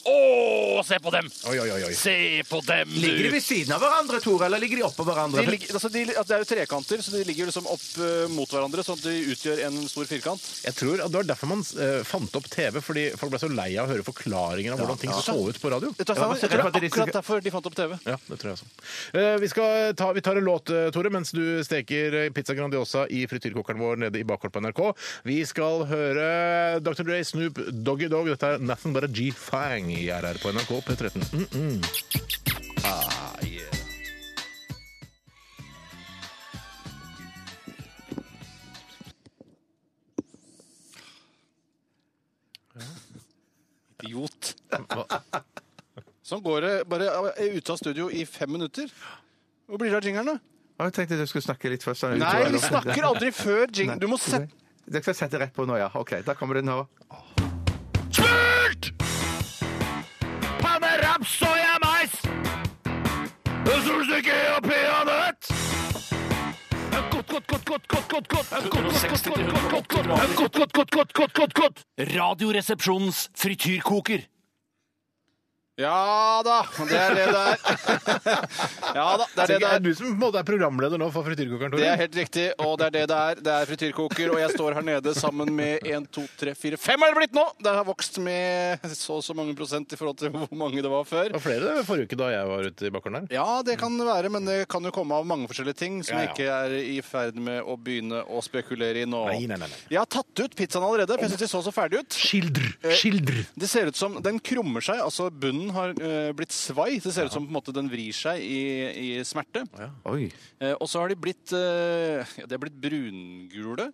Speaker 5: Å, se på dem!
Speaker 4: Oi, oi, oi, oi.
Speaker 5: Se på dem, du!
Speaker 3: Ligger de ved siden av hverandre, Tore, eller ligger de oppå hverandre?
Speaker 5: De ligger, altså de, at det er jo trekanter, så de ligger jo liksom opp eh, mot hverandre, sånn at de utgjør en stor firkant.
Speaker 4: Jeg tror at Det var derfor man eh, fant opp TV, fordi folk ble så lei av å høre forklaringer om hvordan ting så ut på radio.
Speaker 5: Vet du hva,
Speaker 3: Ja,
Speaker 5: Steinar? Jeg tror
Speaker 3: akkurat
Speaker 5: det er
Speaker 3: de-
Speaker 5: akkurat derfor de fant opp TV.
Speaker 4: Ja, det tror jeg også. Eh, vi, skal ta, vi tar en låt, eh, Tore, mens du steker eh, pizza Grandiosa i frityrkokeren vår nede i bakhånd på NRK. Vi skal høre Dr. Dre, Snoop, Doggy Dog. Dette er Nothing But A G-Fang i RR på NRK P13. Mm -mm. Ah, yeah.
Speaker 5: Idiot.
Speaker 4: Hva?
Speaker 5: Sånn går det. Bare eh, ute av studio i fem minutter. Hvor blir det av jingeren, da?
Speaker 3: Å, Jeg tenkte du skulle snakke litt først. sånn,
Speaker 5: Nei,
Speaker 3: utover-
Speaker 5: vi snakker aldri før jing... Du må sette
Speaker 3: Det skal jeg sette rett på nå, ja. Ok, Da kommer det nå.
Speaker 5: Panne, raps, soya, mais!
Speaker 10: ikke og peanøtt! Godt, godt, godt, godt, godt, godt, godt, godt, godt, godt, godt, godt, godt, godt, godt, godt, godt, godt. Radioresepsjonens frityrkoker.
Speaker 5: Ja da, det er det det er. Ja da, det er det det er.
Speaker 4: du som på en måte er programleder nå for frityrkokeren, Tore?
Speaker 5: Det er helt riktig, og det er det det er. Det er frityrkoker, og jeg står her nede sammen med 1, 2, 3, 4, 5 er det blitt nå! Det har vokst med så og så mange prosent i forhold til hvor mange det var før.
Speaker 4: Det var flere forrige uke da jeg var ute i bakgården her.
Speaker 5: Ja, det kan være, men det kan jo komme av mange forskjellige ting som
Speaker 4: Ja, ja.
Speaker 5: jeg ikke er i ferd med å begynne å spekulere i nå.
Speaker 4: Nei, nei, nei, nei.
Speaker 5: Jeg har tatt ut pizzaen allerede, for jeg syns de så så ferdig ut.
Speaker 4: Skildr!
Speaker 3: Eh.
Speaker 4: Skildr!
Speaker 5: Det ser ut som den krummer seg, altså bunnen har eh, blitt svai. Det ser ut som på en måte den vrir seg i, i smerte.
Speaker 3: Oi.
Speaker 5: Eh, og så har de blitt, eh, ja, de har blitt brungule.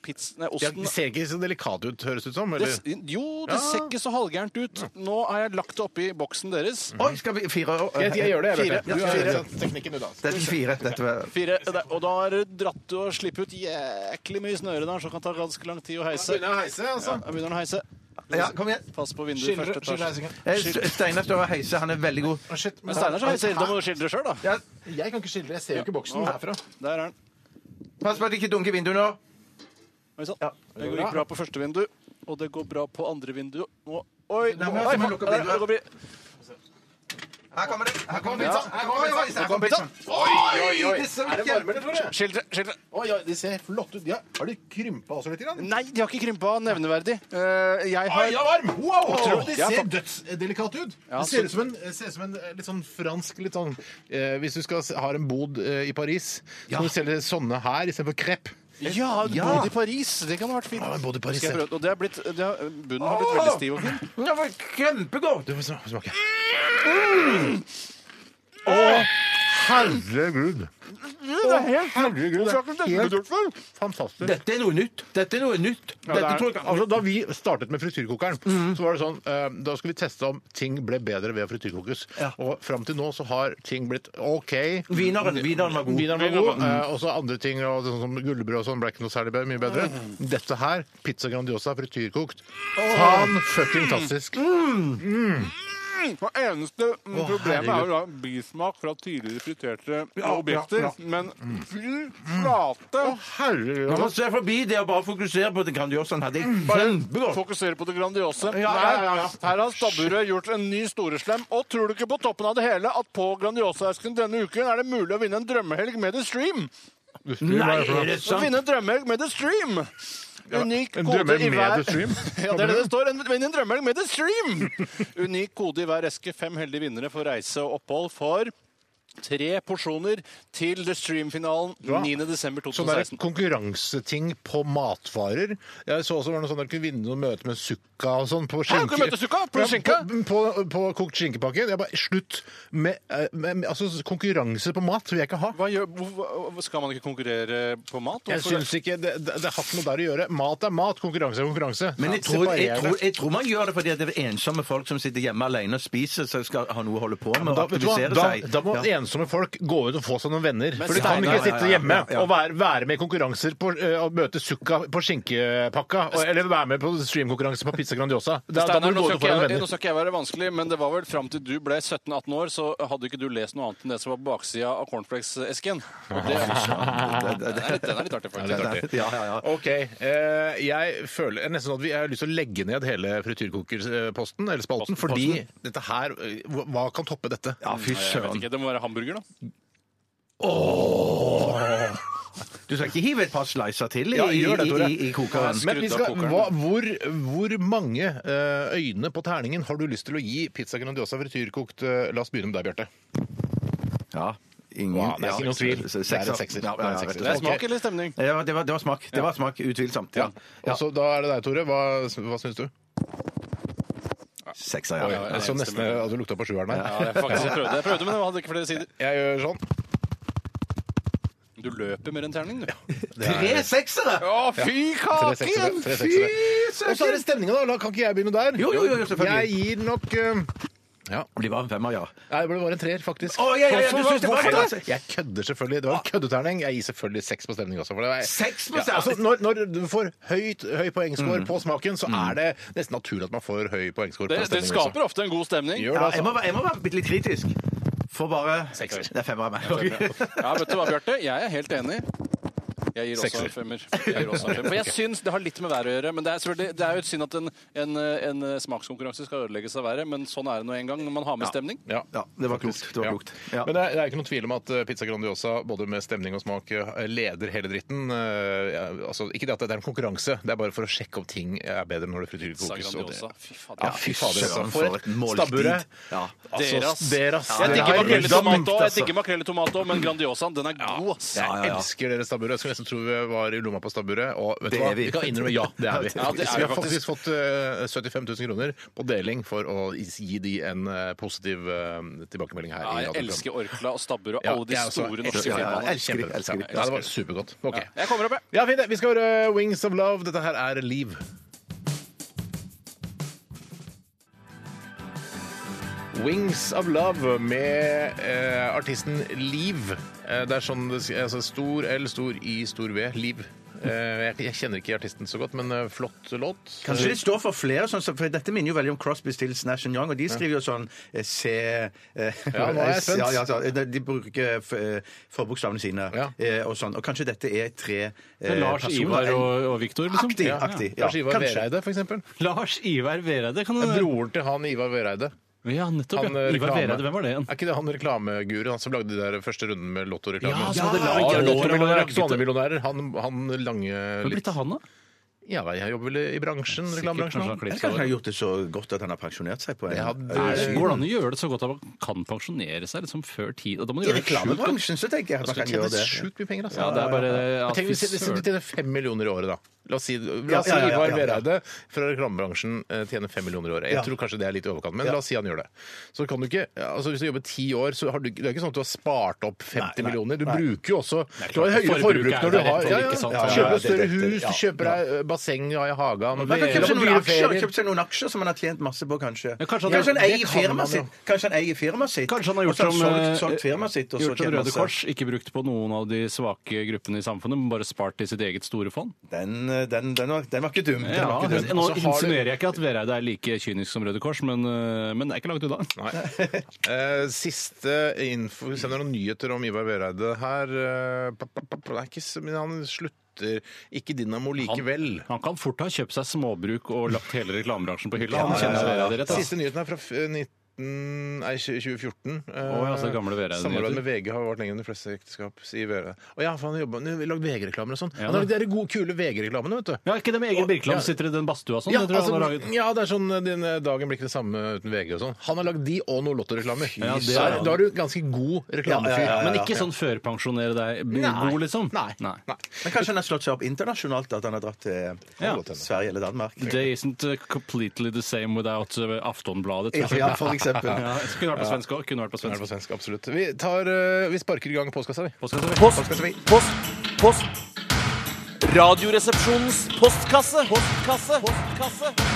Speaker 5: Pizz, nei,
Speaker 4: Ja,
Speaker 5: osten
Speaker 4: det ser ikke så delikat ut, høres det ut som.
Speaker 5: det,
Speaker 4: Eller?
Speaker 5: s- Jo, det ser ikke så halvgærent ut. Nå har jeg lagt det oppi boksen deres.
Speaker 3: Oi, skal vi fire
Speaker 4: Jeg, jeg gjør det, jeg,
Speaker 3: Fire.
Speaker 4: Bjarte. Du har satt teknikken ut, altså.
Speaker 3: Dette er fire. Dette var
Speaker 5: Fire, der, og da har du dratt og slippet ut jæklig mye snøre der, så det kan ta ganske lang tid å heise.
Speaker 4: Begynner å heise, altså.
Speaker 5: Jeg begynner å heise.
Speaker 3: Ja, kom igjen.
Speaker 5: Pass på vinduet i
Speaker 4: Skildre-
Speaker 5: første
Speaker 4: skildre
Speaker 5: etasje.
Speaker 4: heisingen.
Speaker 3: Eh, St- Steinar står og heiser. Han er veldig god.
Speaker 4: Å, shit, men-
Speaker 5: Men Steinar så heiser, da må du skildre sjøl, da.
Speaker 4: Jeg kan ikke skildre, jeg ser jo ikke boksen herfra.
Speaker 5: Der er den.
Speaker 3: Pass på at det ikke dunker vinduet nå.
Speaker 5: Oi sann. Det går ikke bra på første vindu, og det går bra på andre vindu. Nå- Oi!
Speaker 3: Nei,
Speaker 5: Nå,
Speaker 3: men
Speaker 5: oi,
Speaker 3: jeg må lukke opp
Speaker 5: der,
Speaker 3: vinduet.
Speaker 5: det går bra.
Speaker 3: Her kommer det. Her kommer pizzaen. Her kommer pizzaen. Her kommer pizzaen.
Speaker 4: Oi,
Speaker 3: Oi,
Speaker 4: oi.
Speaker 3: det er så
Speaker 4: Er det
Speaker 3: mye.
Speaker 4: varmere, tror jeg?
Speaker 5: Skildre, skildre.
Speaker 4: Oi, oi, de ser flott ut. Ja, har de krympa også litt? Grann?
Speaker 5: Nei, de har ikke krympa nevneverdig. Eh, Jeg har
Speaker 4: ja, varm! Wow!
Speaker 5: tror-
Speaker 4: de
Speaker 5: ja,
Speaker 4: ser
Speaker 5: fa-
Speaker 4: dødsdelikate ut.
Speaker 5: Ja,
Speaker 4: det ser
Speaker 5: så-
Speaker 4: ut som en, ser ut som en eh, litt sånn fransk litt sånn, eh, Hvis du skal s- har en bod eh, i Paris, så kan du selge sånne her istedenfor krepp.
Speaker 5: Ja, bodd i Paris. Det kan ha vært fint.
Speaker 4: Eh, Ja, bodd i Paris,
Speaker 5: Skal jeg
Speaker 4: ja.
Speaker 5: prøve- Og det er blitt, det har, bunnen har blitt veldig stiv og fin.
Speaker 3: Det var kjempegodt.
Speaker 4: Du får sma- smake. Å, herregud! Herregud, det er helt fantastisk.
Speaker 3: Dette er noe nytt. Dette er noe nytt.
Speaker 4: Ja, det
Speaker 3: Dette
Speaker 4: er,
Speaker 3: tror jeg
Speaker 4: altså, da vi startet med frityrkokeren, så var det sånn eh, Da skulle vi teste om ting ble bedre ved å frityrkokes. Og fram til nå så har ting blitt OK.
Speaker 3: Wieneren wieneren var god.
Speaker 4: Vineren var god. eh, og så andre ting og sånn som gullbrød og sånn ble ikke noe særlig bedre, mye bedre. Dette her, pizza Grandiosa frityrkokt, fan fucking tastisk.
Speaker 5: Det eneste mm, problemet er
Speaker 4: herregud.
Speaker 5: jo da bismak fra tidligere friterte
Speaker 4: ja,
Speaker 5: objekter.
Speaker 4: ja.
Speaker 5: Men fy flate!
Speaker 4: Herregud. altså.
Speaker 3: Du må se forbi det og bare fokusere på det Grandiosaen hadde.
Speaker 4: Mm.
Speaker 3: Kjempegodt.
Speaker 5: Fokusere på det grandiose.
Speaker 4: Ja, ja, ja, ja.
Speaker 5: Nei, Her har stabburet gjort en ny storeslem. Og tror du ikke på toppen av det hele at på Grandiosa-esken denne uken er det mulig å vinne en drømmehelg med The Stream?
Speaker 3: Nei, er det
Speaker 5: Å
Speaker 3: sant?
Speaker 5: vinne en drømmehelg med The Stream! Unik
Speaker 4: en
Speaker 5: kode
Speaker 4: drømmehelg
Speaker 5: i
Speaker 4: med
Speaker 5: hver
Speaker 4: The Stream?
Speaker 5: ja, det er det det står. En, vinn en drømmehelg med The Stream! Unik kode i hver eske. Fem heldige vinnere for reise og opphold for tre porsjoner til The Stream-finalen
Speaker 4: Ja.
Speaker 5: 9.12.2016.
Speaker 4: Sånn der konkurranseting på matvarer. Jeg så også var det noe sånn der kunne vinne noe møte med sukka og sånn på
Speaker 5: Ja, du
Speaker 4: skinke.
Speaker 5: kunne møte Sukka på skinke.
Speaker 4: Ja, På, på, på kokt skinkepakke. Jeg bare Slutt med, eh, med, med altså, konkurranse på mat vil jeg ikke ha.
Speaker 5: Hva gjør, hvorfor- skal man ikke konkurrere på mat?
Speaker 4: Jeg
Speaker 5: Hvorfor-
Speaker 4: syns ikke det, det, det har ikke noe der å gjøre. Mat er mat, konkurranse er konkurranse.
Speaker 3: Men jeg
Speaker 4: Ja,
Speaker 3: tror, jeg,
Speaker 4: separer
Speaker 3: tror,
Speaker 4: det.
Speaker 3: jeg tror man gjør det fordi at det er ensomme folk som sitter hjemme alene og spiser, så skal ha noe å holde på med og
Speaker 4: da, vet du hva?
Speaker 3: aktivisere
Speaker 4: da,
Speaker 3: seg.
Speaker 4: da må
Speaker 3: Ja.
Speaker 4: ensomme folk gå ut og få seg noen venner.
Speaker 5: Men
Speaker 4: For de kan ikke
Speaker 5: Steinar- Ja, ja,
Speaker 3: ja,
Speaker 4: sitte
Speaker 3: ja,
Speaker 4: hjemme
Speaker 3: ja.
Speaker 4: og være, være med i konkurranser på, eh, og møte sukka på skinkepakka. og- Eller være med på streamkonkurranse på Pizza Grandiosa. Da, da må
Speaker 5: Steinar,
Speaker 4: du
Speaker 5: nå
Speaker 4: gå ut
Speaker 5: skal,
Speaker 4: og få deg
Speaker 5: ikke
Speaker 4: noen
Speaker 5: jeg,
Speaker 4: venner.
Speaker 5: nå skal ikke jeg være vanskelig, men det var vel fram til du ble 17-18 år, så hadde ikke du lest noe annet enn det som var på baksida av cornflakes-esken. Og det Den er litt- den er litt artig,
Speaker 4: Det er
Speaker 5: faktisk.
Speaker 4: artig.
Speaker 3: Ja, ja, ja.
Speaker 4: OK. eh, jeg føler nesten sånn at vi har lyst til å legge ned hele frityrkokerposten, eller spalten, fordi dette her eh, hva- Hva kan toppe dette?
Speaker 3: Ja, fy
Speaker 5: Jeg vet
Speaker 3: søren.
Speaker 5: ikke, Det må være hamburger, da.
Speaker 3: Du skal ikke hive et par slicer til i,
Speaker 4: Ja,
Speaker 3: i,
Speaker 4: gjør det, Tore.
Speaker 3: i, i kokeren?
Speaker 4: Men vi
Speaker 5: Skrudd av
Speaker 4: skal,
Speaker 5: kokeren.
Speaker 4: hva, hvor, hvor mange eh, øyne på terningen har du lyst til å gi Pizza Grandiosa frityrkokt? eh, la oss begynne med deg, Bjarte.
Speaker 3: Ja. Ingen,
Speaker 4: Wow, det er ikke noen tvil.
Speaker 3: Sekser.
Speaker 4: Det er en sekser.
Speaker 3: Ja,
Speaker 4: Det er en
Speaker 3: ja,
Speaker 4: sekser.
Speaker 3: rett og
Speaker 5: Det er
Speaker 3: slett.
Speaker 5: smak eller stemning.
Speaker 3: Ja, det, var, det var smak. Det var smak, Utvilsomt. Ja. Ja.
Speaker 4: Og så da er det deg, Tore. Hva, hva syns du?
Speaker 3: Sekser,
Speaker 4: Oi,
Speaker 3: ja.
Speaker 4: jeg så nesten eh, at du lukta på sjueren her.
Speaker 5: Ja, jeg, faktisk, jeg, prøvde, jeg prøvde, men jeg hadde ikke flere sider.
Speaker 4: Jeg gjør sånn.
Speaker 5: Du løper mer enn terning, du.
Speaker 3: Tre seksere!
Speaker 5: Å, fy
Speaker 4: Tre seksere. Tre seksere. Og så er det stemninga, da. La- Kan ikke jeg begynne der?
Speaker 3: Jo, jo, jo, selvfølgelig.
Speaker 4: Jeg gir nok eh,
Speaker 3: Det var en femmer, ja.
Speaker 4: Nei, det ble bare en treer, faktisk.
Speaker 3: Å, ja, ja, ja, du
Speaker 4: Hvorfor-
Speaker 3: synes det var det?
Speaker 4: hvorfor det? Altså, Jeg kødder selvfølgelig. Det var en køddeterning. Jeg gir selvfølgelig seks på stemning også. For det var...
Speaker 3: Ah. Seks på
Speaker 4: Ja, altså,
Speaker 3: stemning?
Speaker 4: når, når du får høyt, høy poengscore på smaken, så er det nesten naturlig at man får høy poengscore
Speaker 5: Det,
Speaker 4: på
Speaker 5: det
Speaker 4: stemning også.
Speaker 5: altså. skaper ofte en god stemning.
Speaker 4: Gjør
Speaker 3: ja
Speaker 4: det,
Speaker 3: jeg,
Speaker 4: altså.
Speaker 3: må, være- jeg må være bitte litt kritisk. Får bare
Speaker 4: Sekser.
Speaker 3: Det er femmer av meg. Ok.
Speaker 11: Ja, vet du hva, Bjarte? Jeg er helt enig. Jeg gir også
Speaker 4: Sekser.
Speaker 11: en femmer. Jeg gir også en femmer. For jeg syns det har litt med været å gjøre. Men det er, selvfølgelig- det er jo synd at en, en, en smakskonkurranse skal ødelegges av været, men sånn er det nå en gang når man har med stemning.
Speaker 4: Ja.
Speaker 3: Ja, det var klokt. Det var
Speaker 4: Ja.
Speaker 3: klokt. Ja.
Speaker 4: Men det er, det er ikke noen tvil om at eh, pizza Grandiosa både med stemning og smak eh, leder hele dritten. Eh, ja, altså, ikke det at det er en konkurranse, det er bare for å sjekke om ting er bedre når
Speaker 11: Sa
Speaker 4: det frityrkokes. og det-
Speaker 11: Grandiosa. Fy fader.
Speaker 4: Ja, fy fader, altså.
Speaker 3: søren,
Speaker 4: For
Speaker 3: for
Speaker 4: et
Speaker 3: et måltid.
Speaker 4: stabburet.
Speaker 3: Ja.
Speaker 4: Altså,
Speaker 11: Deras.
Speaker 4: deras.
Speaker 11: Jeg
Speaker 4: Det
Speaker 11: digger
Speaker 4: er
Speaker 11: makrell i
Speaker 4: helt
Speaker 11: tomat òg, jeg
Speaker 4: altså.
Speaker 11: digger makrell i tomat også, men Grandiosaen, den er god, ass.
Speaker 4: Jeg elsker dere stabburet. Jeg skulle nesten tro vi var i lomma på stabburet. Og vet
Speaker 3: Det
Speaker 4: du hva?
Speaker 3: er vi.
Speaker 4: Vi kan innrømme ja, det er vi.
Speaker 11: Ja, det er
Speaker 4: Så vi
Speaker 11: vi
Speaker 4: har
Speaker 11: faktisk.
Speaker 4: faktisk fått eh, 75 000 kroner på deling for å gi de en eh, positiv eh, tilbakemelding
Speaker 11: Ja,
Speaker 4: her. i
Speaker 11: jeg
Speaker 4: radioprogrammet.
Speaker 11: elsker Orkla og Stabburet og
Speaker 4: Ja,
Speaker 11: alle de
Speaker 4: jeg også
Speaker 11: store norske
Speaker 4: elsker-
Speaker 11: firmaene.
Speaker 3: ja, elsker de, elsker de.
Speaker 4: Kjempebra. Ja, det var supergodt. Ok.
Speaker 11: Jeg kommer opp, jeg.
Speaker 4: Ja, fint. det. Vi skal høre Wings of Love. Dette her er Liv. Wings of Love med eh, artisten Liv. Eh, det er sånn det s- altså, Stor L, stor I, stor V. Liv. Eh, jeg, jeg kjenner ikke artisten så godt, men eh, flott låt.
Speaker 3: Kanskje det står for flere, sånn, som- for dette minner jo veldig om Crosby, Stills, Nash Young, og de skriver jo sånn eh, C eh,
Speaker 4: Ja, nå er jeg spent.
Speaker 3: Ja, ja, altså, de, de bruker f- eh, forbokstavene sine
Speaker 4: Ja.
Speaker 3: eh, og sånn. Og kanskje dette er tre eh,
Speaker 5: Det er Lars,
Speaker 3: personer.
Speaker 5: Ivar og, og Viktor, liksom.
Speaker 3: Aktig,
Speaker 5: Ja, ja.
Speaker 3: aktig. Ja,
Speaker 4: Lars Ivar
Speaker 3: kanskje.
Speaker 4: Vereide, for eksempel.
Speaker 5: Lars Ivar Vereide, kan det være?
Speaker 4: Broren til han Ivar Vereide.
Speaker 5: Ja, nettopp.
Speaker 4: Han,
Speaker 5: ja.
Speaker 4: eh,
Speaker 5: Ivar
Speaker 4: reklame-
Speaker 5: Vereide, hvem var det igjen?
Speaker 4: Er ikke det han reklameguruen han som lagde de der første runden med lottoreklame?
Speaker 5: Ja, som hadde
Speaker 4: Ja,
Speaker 5: laget-
Speaker 4: lottomillionærer,
Speaker 5: laget-
Speaker 4: Svanemillionærer. Han, han lange
Speaker 5: Hvor blitt
Speaker 4: litt
Speaker 5: av han, da?
Speaker 4: Ja, jeg jobber vel i bransjen,
Speaker 5: Sikkert kanskje
Speaker 4: reklamebransjen.
Speaker 5: han
Speaker 4: da.
Speaker 5: klippet
Speaker 3: Eller kanskje han
Speaker 5: seg
Speaker 3: har
Speaker 5: over.
Speaker 3: gjort det så godt at han har pensjonert seg på en
Speaker 4: Det hadde-
Speaker 5: Er det-
Speaker 3: Eh,
Speaker 5: Går det an å gjøre det så godt at man kan pensjonere seg liksom før tid? Og da må man
Speaker 3: I
Speaker 5: gjøre det sjukt godt.
Speaker 3: reklamebransjen så tenker jeg at
Speaker 4: Altså,
Speaker 3: man kan
Speaker 4: du
Speaker 3: gjøre
Speaker 4: tjener
Speaker 3: det.
Speaker 4: sjukt mye penger, altså.
Speaker 5: Ja, det er bare ja,
Speaker 4: Jeg tenker,
Speaker 5: fy
Speaker 4: hvis, hvis du
Speaker 5: søren.
Speaker 4: tjener fem millioner i året, da. La oss si, la oss si
Speaker 3: Ja, ja, ja,
Speaker 4: Ivar
Speaker 3: ja, ja.
Speaker 4: Vereide fra reklamebransjen eh, tjener fem millioner i året.
Speaker 3: Ja.
Speaker 4: Jeg tror kanskje det er litt i overkant, men
Speaker 3: Ja.
Speaker 4: la oss si han gjør det. Så kan du ikke, ja, altså Hvis du jobber ti år, så har du, det er ikke sånn at du har spart opp 50
Speaker 3: Nei, nei,
Speaker 4: millioner. Du
Speaker 3: nei.
Speaker 4: bruker jo også
Speaker 5: er klart,
Speaker 4: Du har høyere
Speaker 5: forbruket
Speaker 4: forbruk
Speaker 5: er
Speaker 4: når du
Speaker 5: der,
Speaker 4: har
Speaker 5: sånn,
Speaker 4: ja, ja,
Speaker 5: ikke sant?
Speaker 4: ja,
Speaker 3: Ja, ja,
Speaker 4: Kjøper
Speaker 3: ja,
Speaker 4: deg
Speaker 3: det-
Speaker 4: større
Speaker 3: det-
Speaker 4: hus,
Speaker 3: ja,
Speaker 4: du kjøper deg eh, basseng ja, i hagen
Speaker 3: Men kanskje
Speaker 4: eller på
Speaker 3: noen
Speaker 4: dyre
Speaker 3: aksjer,
Speaker 4: ferier.
Speaker 3: kjøpt seg noen aksjer som han har tjent masse på, kanskje.
Speaker 5: Ja, kanskje
Speaker 3: kanskje,
Speaker 5: han-
Speaker 3: han,
Speaker 5: det
Speaker 3: eier
Speaker 4: kan man
Speaker 3: firmaet
Speaker 4: jo.
Speaker 3: sitt. Kanskje han eier firmaet sitt.
Speaker 5: Kanskje han har
Speaker 3: og
Speaker 5: gjort
Speaker 3: så
Speaker 5: som,
Speaker 3: solgt,
Speaker 5: eh,
Speaker 3: solgt firmaet sitt, og så
Speaker 5: gjort som
Speaker 3: tjent
Speaker 5: Røde
Speaker 3: masse.
Speaker 5: Kors, ikke brukt på noen av de svake gruppene i samfunnet, men bare spart til sitt eget store fond.
Speaker 3: Den, eh, den, den, var, den var ikke dum. Den
Speaker 5: Ja,
Speaker 3: var ikke dum.
Speaker 5: nå
Speaker 4: Og så har du-
Speaker 5: insinuerer jeg ikke at Vereide er like kynisk som Røde Kors, men, øh, men det er ikke langt unna.
Speaker 4: Nei. Eh, siste info Hvis det er noen nyheter om Ivar Vereide her eh, pa, pa, pa, pa, det er ikke, så- Men han slutter ikke Dinamo likevel.
Speaker 5: Han kan fort ha kjøpt seg småbruk og lagt hele reklamebransjen på hylla.
Speaker 3: Ja,
Speaker 5: Han
Speaker 3: ja,
Speaker 5: kjenner
Speaker 3: ja, ja.
Speaker 5: Vereide rett. ass.
Speaker 4: Siste nyheten er fra f- 19... Nei, 2014. Eh,
Speaker 5: Å, ja, så det gamle Vereide-nyheter.
Speaker 4: Samarbeidet med VG har vart lenger enn de fleste ekteskap, sier Vereide. Å ja, for han har jobbet- han har lagd VG-reklamer og sånn. Han
Speaker 5: Ja,
Speaker 4: har
Speaker 5: da.
Speaker 4: lagd de der gode, kule VG-reklamene, vet du.
Speaker 5: Ja, ikke det med Egil Birkeland
Speaker 4: Ja.
Speaker 5: som sitter i den badstua og sånn?
Speaker 4: Ja,
Speaker 5: det tror jeg
Speaker 4: altså,
Speaker 5: han har laget.
Speaker 4: ja, det er sånn eh, din, eh, dagen blir ikke det samme uten VG og sånn. Han har lagd de og noen lottoreklamer.
Speaker 5: Ja, det
Speaker 4: Så
Speaker 5: er
Speaker 4: er-
Speaker 5: han.
Speaker 4: Da er du ganske god reklamefyr.
Speaker 3: Ja, ja,
Speaker 5: Men ikke sånn førpensjonere deg
Speaker 4: Nei.
Speaker 5: god, liksom?
Speaker 4: Nei. Nei.
Speaker 3: Men kanskje han har slått seg opp internasjonalt, at han har dratt til
Speaker 5: Ja.
Speaker 3: Sverige eller Danmark.
Speaker 5: Day isn't uh, completely the same without uh, Aftonbladet.
Speaker 3: Ja, ja, for eksempel.
Speaker 5: Ja, så kunne vært på svensk òg. Kunne vært på
Speaker 4: Den er
Speaker 5: svensk.
Speaker 4: på svensk, absolutt. Vi, tar, eh, vi sparker i gang postkassa, vi.
Speaker 5: Hva skal jeg si?
Speaker 2: Post, post, post. Radioresepsjonens postkasse. Postkasse. Postkasse.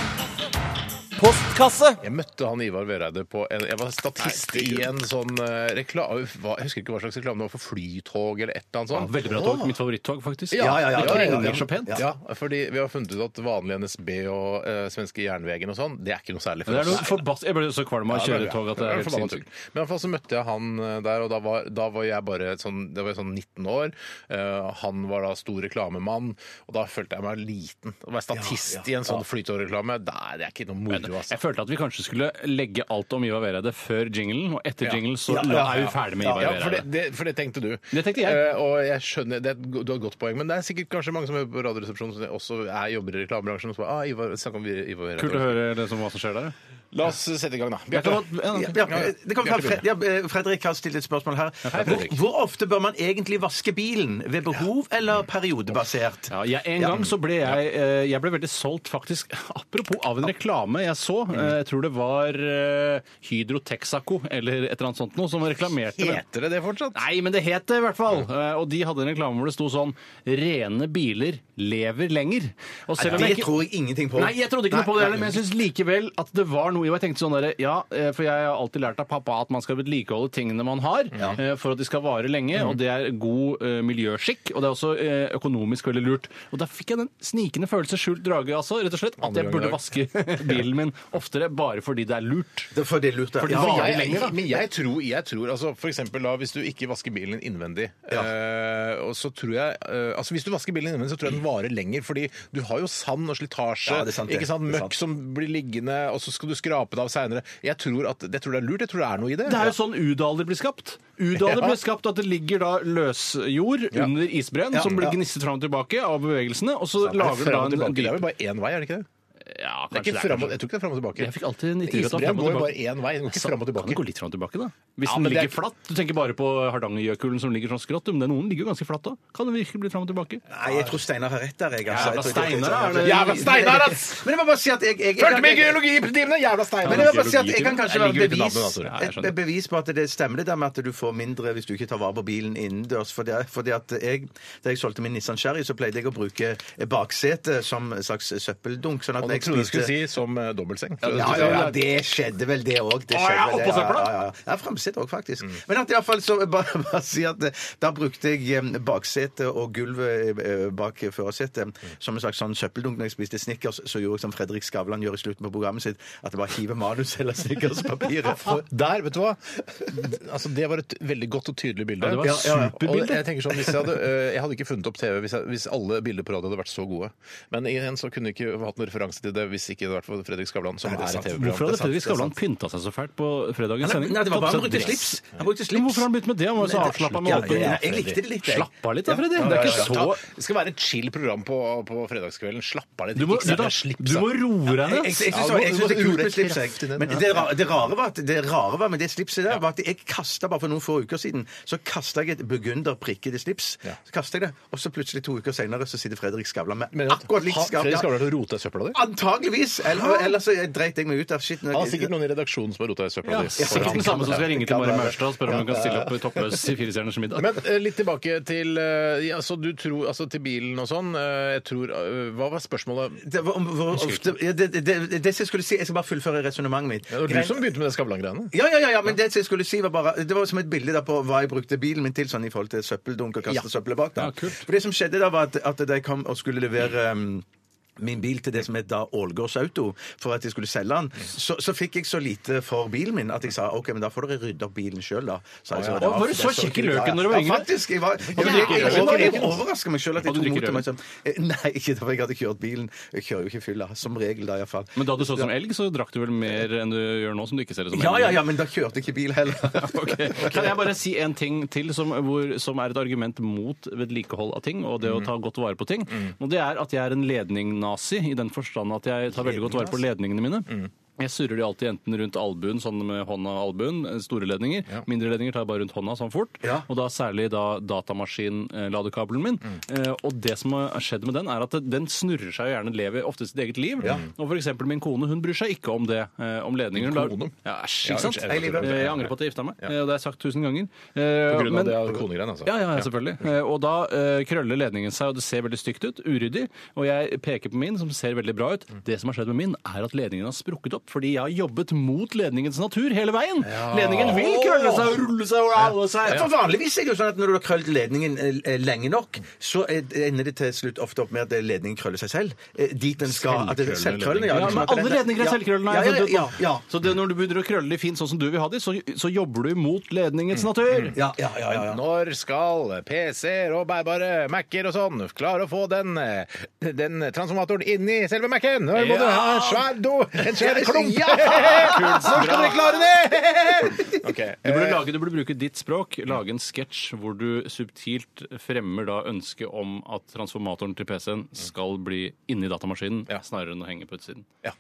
Speaker 2: Postkasse.
Speaker 4: Jeg møtte han Ivar Vereide på en, Jeg var statist i en sånn eh, rekla- hva- Jeg husker ikke hva slags reklame det var for flytog eller et eller annet
Speaker 5: Ja,
Speaker 4: sånt.
Speaker 5: veldig bra tog. Mitt favorittog, faktisk.
Speaker 4: Ja, ja, ja,
Speaker 5: Det
Speaker 4: ja, ja,
Speaker 5: ringer
Speaker 4: ja.
Speaker 5: så pent.
Speaker 4: Ja. fordi vi har funnet ut at vanlig NSB og eh, svenske Jernvegen og sånn, det er ikke noe særlig
Speaker 5: Men
Speaker 4: for
Speaker 5: Det er noe
Speaker 4: oss.
Speaker 5: forbass... Jeg ble så kvalm av å
Speaker 4: Ja,
Speaker 5: kjøre
Speaker 4: er
Speaker 5: tog at det
Speaker 4: Ja,
Speaker 5: er helt
Speaker 4: forbanna
Speaker 5: sinnssykt.
Speaker 4: tull. Men i hvert fall så møtte jeg han eh, der, og da var, da var jeg bare sånn, da var jeg sånn 19 år. Eh, han var da stor reklamemann, og da følte jeg meg liten. Å være statist i en sånn flytogreklame, det er det er ikke noe moro, altså.
Speaker 5: Jeg følte at vi kanskje skulle legge alt om Ivar Vereide før jinglen, og etter
Speaker 4: Ja.
Speaker 5: jinglen så
Speaker 4: Ja, ja,
Speaker 5: er vi
Speaker 4: ja.
Speaker 5: ferdig med Ivar
Speaker 4: Ja, for det,
Speaker 5: Vereide.
Speaker 4: det, for det tenkte du.
Speaker 5: Det tenkte jeg.
Speaker 4: Eh, og jeg skjønner, det er et, go- du har et godt poeng, men det er sikkert kanskje mange som hører på Radioresepsjonen som også er, jobber i reklamebransjen og så bare ah, Ivar, snakk om Ivar Vereide.
Speaker 5: Kult å høre det som, hva som skjer der.
Speaker 4: La oss sette i gang, da.
Speaker 5: Jeg
Speaker 4: Bjarte.
Speaker 5: kan godt- ja,
Speaker 3: Ja,
Speaker 5: ok.
Speaker 3: ja, det kom fra Fred, ja, eh, Fredrik har stilt et spørsmål her. Hvor,
Speaker 4: Fredrik.
Speaker 3: hvor ofte bør man egentlig vaske bilen? Ved behov eller periodebasert?
Speaker 5: Ja, jeg, en
Speaker 3: Ja.
Speaker 5: gang så ble jeg, eh, jeg ble veldig solgt, faktisk. Apropos av en reklame jeg så.
Speaker 3: Mm.
Speaker 5: eh, Jeg tror det var eh, Hydro Texaco eller et eller annet sånt noe som reklamerte med
Speaker 4: Heter det det fortsatt?
Speaker 5: Nei, men det het det i hvert fall. Eh, Og de hadde en reklame hvor det sto sånn 'Rene biler lever lenger'. Og selv om
Speaker 3: Det
Speaker 5: jeg ikke-
Speaker 3: tror jeg ingenting på.
Speaker 5: Nei, jeg trodde ikke noe på det heller, men jeg syns likevel at det var noe Jo, jo, jeg tenkte sånn der, ja, eh, for jeg har alltid lært av pappa at man skal vedlikeholde tingene man har eh, for at de skal vare lenge,
Speaker 4: Mm.
Speaker 5: og det er god eh, miljøskikk, og det er også eh, økonomisk veldig lurt. Og da fikk jeg den snikende følelse, skjult drage altså, rett og slett, at
Speaker 4: Andre
Speaker 5: jeg
Speaker 4: gang i
Speaker 5: burde vaske bilen min oftere bare fordi det er lurt.
Speaker 3: Det er for det er lurt, da.
Speaker 5: Fordi
Speaker 3: Ja,
Speaker 5: varer
Speaker 4: jeg,
Speaker 5: lenger, da.
Speaker 4: men jeg tror, jeg tror altså for eksempel da, Hvis du ikke vasker bilen din innvendig eh, og så tror jeg, eh, altså Hvis du vasker bilen innvendig, så tror jeg den varer lenger. Fordi du har jo sand og slitasje,
Speaker 3: Ja, det er sant, det.
Speaker 4: ikke sant,
Speaker 3: Det er sant.
Speaker 4: møkk som blir liggende, og så skal du skrape det av seinere. Jeg, tror at- jeg tror det er lurt. Jeg tror det er noe i det.
Speaker 5: Det er jo sånn udaler blir skapt. Udaler
Speaker 4: Ja.
Speaker 5: blir skapt at det ligger da løsjord
Speaker 4: Ja.
Speaker 5: under isbreen, som blir gnisset fram og tilbake av bevegelsene, og så
Speaker 4: Ja,
Speaker 5: lager det da
Speaker 4: fram og
Speaker 5: en
Speaker 4: tilbake. Det er vel
Speaker 5: dyp
Speaker 4: bare én vei, er det ikke det?
Speaker 5: Ja,
Speaker 4: det er ikke
Speaker 5: kanskje
Speaker 4: fram,
Speaker 5: kanskje
Speaker 4: og- jeg tror ikke det er fram og tilbake.
Speaker 5: Jeg fikk alltid en idé om at
Speaker 4: Isbreen går jo
Speaker 5: fram og
Speaker 4: bare
Speaker 5: tilbake. Altså,
Speaker 4: én vei, den går ikke fram og
Speaker 5: Kan det gå
Speaker 4: tilbake.
Speaker 5: litt fram og tilbake, da? Hvis
Speaker 4: Ja, men
Speaker 5: den
Speaker 4: det
Speaker 5: ligger
Speaker 4: er-
Speaker 5: flatt. Du tenker bare på Hardangerjøkulen som ligger sånn skrått, men noen ligger jo ganske flatt da. Kan det virkelig bli fram og tilbake?
Speaker 3: Nei, jeg tror Steinar har rett der. Jeg, altså.
Speaker 5: Jævla
Speaker 3: Jeg tror ikke-
Speaker 5: Steinar, er det-
Speaker 4: Jævla Steinar, ass!
Speaker 3: Men jeg må bare si at jeg, jeg, jeg,
Speaker 4: Fulgte med i geologitimene! Jævla
Speaker 3: men
Speaker 4: Steinar!
Speaker 3: jeg, må bare si at jeg kan kanskje
Speaker 5: Jeg
Speaker 3: være
Speaker 5: liker jo ikke
Speaker 3: bevis,
Speaker 5: navnet, altså. Ja, jeg skjønner.
Speaker 3: et bevis på at det stemmer det der med at du får mindre hvis du ikke tar vare på bilen innendørs. Fordi, fordi at jeg, Da jeg solgte min Nissan Sherry, så pleide jeg å bruke baksetet som en slags søppeldunk. Sånn at
Speaker 4: Og
Speaker 3: når
Speaker 4: nå
Speaker 3: jeg
Speaker 4: trodde jeg skulle
Speaker 3: spiste
Speaker 4: si som eh, dobbeltseng.
Speaker 3: ja, ja, ja, det skjedde vel, det òg. Det
Speaker 5: Å, ja,
Speaker 3: skjedde vel,
Speaker 5: oppå søpla?
Speaker 3: ja, ja. ja framsett òg, faktisk. Men at iallfall så bare, bare si at eh, da brukte jeg eh, baksetet og gulvet eh, bak førersetet som en slags sånn søppeldunk. Når jeg spiste Snickers, så gjorde jeg som Fredrik Skavlan gjør i slutten på programmet sitt, at jeg bare hiver manus eller Snickers-papiret fra
Speaker 4: Der, vet du hva? Altså, det var et veldig godt og tydelig bilde.
Speaker 5: Ja, det var et
Speaker 4: Og jeg tenker sånn, hvis jeg, hadde, øh, jeg hadde ikke funnet opp TV hvis, jeg, hvis alle bilder på radio hadde vært så gode. Men igjen så kunne jeg ikke hatt noen referanse til det hvis ikke det hadde vært for Fredrik Skavlan, som er, et TV-program.
Speaker 5: Hvorfor hadde
Speaker 4: Det er
Speaker 5: Fredrik
Speaker 4: sant,
Speaker 5: Skavlan pynta seg så fælt på fredagens
Speaker 3: Nei,
Speaker 5: sending?
Speaker 3: nei, det var bare han
Speaker 5: Tatt på seg
Speaker 3: brukte
Speaker 5: dress.
Speaker 3: slips. Han brukte slips.
Speaker 5: Men Hvorfor har han begynt med det? Han var jo så
Speaker 3: Nei, det-
Speaker 5: avslappa
Speaker 3: ja,
Speaker 5: med åpen
Speaker 3: jeg- jeg likte det litt, jeg.
Speaker 5: Slapp av litt da, Fredrik.
Speaker 3: Ja,
Speaker 5: Det er
Speaker 3: ja,
Speaker 5: ikke
Speaker 4: det er sant.
Speaker 5: så
Speaker 4: Ta- Det skal være et chill program på, på fredagskvelden. Slapp av litt.
Speaker 5: Du må,
Speaker 4: Ikke
Speaker 5: du,
Speaker 4: sant?
Speaker 5: da,
Speaker 4: Slipp
Speaker 5: du
Speaker 4: seg.
Speaker 5: må roe
Speaker 3: Jeg,
Speaker 5: deg
Speaker 3: jeg,
Speaker 5: ned.
Speaker 3: jeg, synes-
Speaker 4: Ja,
Speaker 3: jeg synes det er
Speaker 4: du må-
Speaker 3: kult med slips.
Speaker 4: kraftig
Speaker 3: Jeg.
Speaker 4: den,
Speaker 3: Men
Speaker 4: ja.
Speaker 3: det, ra- det, rare var at, det rare var med det slipset der, var at jeg kasta bare for noen få uker siden så kastet jeg et burgunder prikkete slips.
Speaker 4: Ja.
Speaker 3: Så kastet jeg det, Og så plutselig to uker senere så sitter Fredrik Skavlan med
Speaker 4: Men,
Speaker 3: akkurat likt
Speaker 4: har
Speaker 3: skap.
Speaker 4: Fredrik
Speaker 3: Ja,
Speaker 4: Skavlan til å rote i søpla di?
Speaker 3: antageligvis! Eller, ellers så dreit jeg meg ut av skitten.
Speaker 4: Han har sikkert noen i redaksjonen som har rota i søpla
Speaker 5: Ja,
Speaker 4: di.
Speaker 5: sikkert den samme som skal ringe til Mari Maurstad og spørre om hun kan stille opp toppløs i Firestjerners middag.
Speaker 4: Men eh, litt tilbake til, eh, ja, så du tror, altså, til bilen og sånn. eh, jeg tror, eh, hva var spørsmålet?
Speaker 3: det, var, om, hvor, ofte, ja, det, det, det, det som jeg skulle si Jeg skal bare fullføre resonnementet mitt.
Speaker 4: Det var du som begynte med det Skavlan-greiene.
Speaker 3: Ja, ja, ja, ja, men det som jeg skulle si var bare Det var som et bilde da på hva jeg brukte bilen min til sånn i forhold til søppeldunk og kaste søppelet bak. da.
Speaker 5: Ja, kult.
Speaker 3: For det som skjedde da, var at, at da jeg kom og skulle levere um, Min bil til det som het da Ålgårds Auto, for at jeg skulle selge den. Så, så fikk jeg så lite for bilen min at jeg sa OK, men da får dere rydde opp bilen sjøl, da. Sa jeg,
Speaker 5: Å, ja. Å, var du så kjekk i løken når du var
Speaker 3: Ja,
Speaker 5: yngre?
Speaker 3: faktisk. Jeg var jeg,
Speaker 5: du
Speaker 3: jeg,
Speaker 5: drikke
Speaker 3: jeg,
Speaker 5: rødvin?
Speaker 3: jeg overraska meg sjøl at jeg
Speaker 5: Hadde du
Speaker 3: tok
Speaker 5: drikke
Speaker 3: mot til meg sånn eh, Nei, ikke da for jeg hadde kjørt bilen. Jeg kjører jo ikke fylla, som regel da, iallfall.
Speaker 5: Men da du så ut som elg, så drakk du vel mer enn du gjør nå, som du ikke ser ut som elg?
Speaker 3: Ja, ja, ja, men da kjørte jeg ikke bil heller.
Speaker 5: Ok. Kan jeg bare si en ting til som, hvor, som er et argument mot vedlikehold av ting og det å ta godt vare på ting? Og det er at jeg er en ledningnazi i den forstand at jeg tar veldig godt vare på ledningene mine.
Speaker 4: Mm.
Speaker 5: Jeg surrer de alltid enten rundt albuen, sånn med hånda og albuen, eh, store ledninger. Mindre ledninger tar jeg bare rundt hånda sånn fort.
Speaker 3: Ja.
Speaker 5: Og da særlig da datamaskinladekabelen min.
Speaker 4: Mm.
Speaker 5: Eh, Og det som har skjedd med den, er at den snurrer seg og gjerne lever ofte sitt eget liv. Og for eksempel min kone, hun bryr seg ikke om det, eh, om ledninger. Hun lar-
Speaker 4: kone?
Speaker 5: Ja, æsj, ikke sant?
Speaker 4: Ja, unnskyld, jeg vet ikke.
Speaker 5: Eh, Jeg angrer på at jeg gifta meg, eh, og det har jeg sagt tusen ganger. Eh,
Speaker 4: På grunn av det konegreiene, altså.
Speaker 5: Ja, ja, ja, selvfølgelig. Eh, Og da eh, krøller ledningen seg, og det ser veldig stygt ut. Uryddig. Og jeg peker på min, som ser veldig bra ut. Det som har skjedd med min, er at ledningen har sprukket opp, fordi jeg har jobbet mot ledningens natur hele veien. Ledningen vil krølle seg og rulle seg og alle seg.
Speaker 3: For vanligvis er det jo sånn at når du har krøllet ledningen eh, lenge nok, så er- ender det til slutt ofte opp med at ledningen krøller seg selv. eh, Dit den skal. At det er
Speaker 4: Selvkrøllende
Speaker 3: selvkrøllende.
Speaker 5: Ja,
Speaker 3: liksom
Speaker 5: men
Speaker 3: at
Speaker 5: alle
Speaker 3: den-
Speaker 5: ledninger er
Speaker 3: Ja.
Speaker 5: selvkrøllende.
Speaker 3: Ja,
Speaker 5: har
Speaker 3: ja,
Speaker 5: jeg funnet ut
Speaker 3: ja,
Speaker 5: nå.
Speaker 3: ja.
Speaker 5: Så det, når du begynner å krølle de fint, sånn som du vil ha de, så, så jobber du mot ledningens natur.
Speaker 3: Ja, ja, ja, ja, ja.
Speaker 4: Når skal PC-er og bærbare Mac-er og sånn klare å få den, eh, den transformatoren inn i selve Mac-en? Når må
Speaker 5: Ja!
Speaker 4: du ha en svær do, en svær klump! Ja!
Speaker 5: Kult,
Speaker 4: Når
Speaker 5: så
Speaker 4: skal
Speaker 5: bra.
Speaker 4: dere klare det?! Ok,
Speaker 5: Du burde,
Speaker 4: eh,
Speaker 5: lage, du burde bruke ditt språk, lage en sketsj hvor du subtilt fremmer da ønsket om at transformatoren til PC-en skal bli inni datamaskinen,
Speaker 4: Ja.
Speaker 5: snarere enn å henge på utsiden.
Speaker 4: Ja.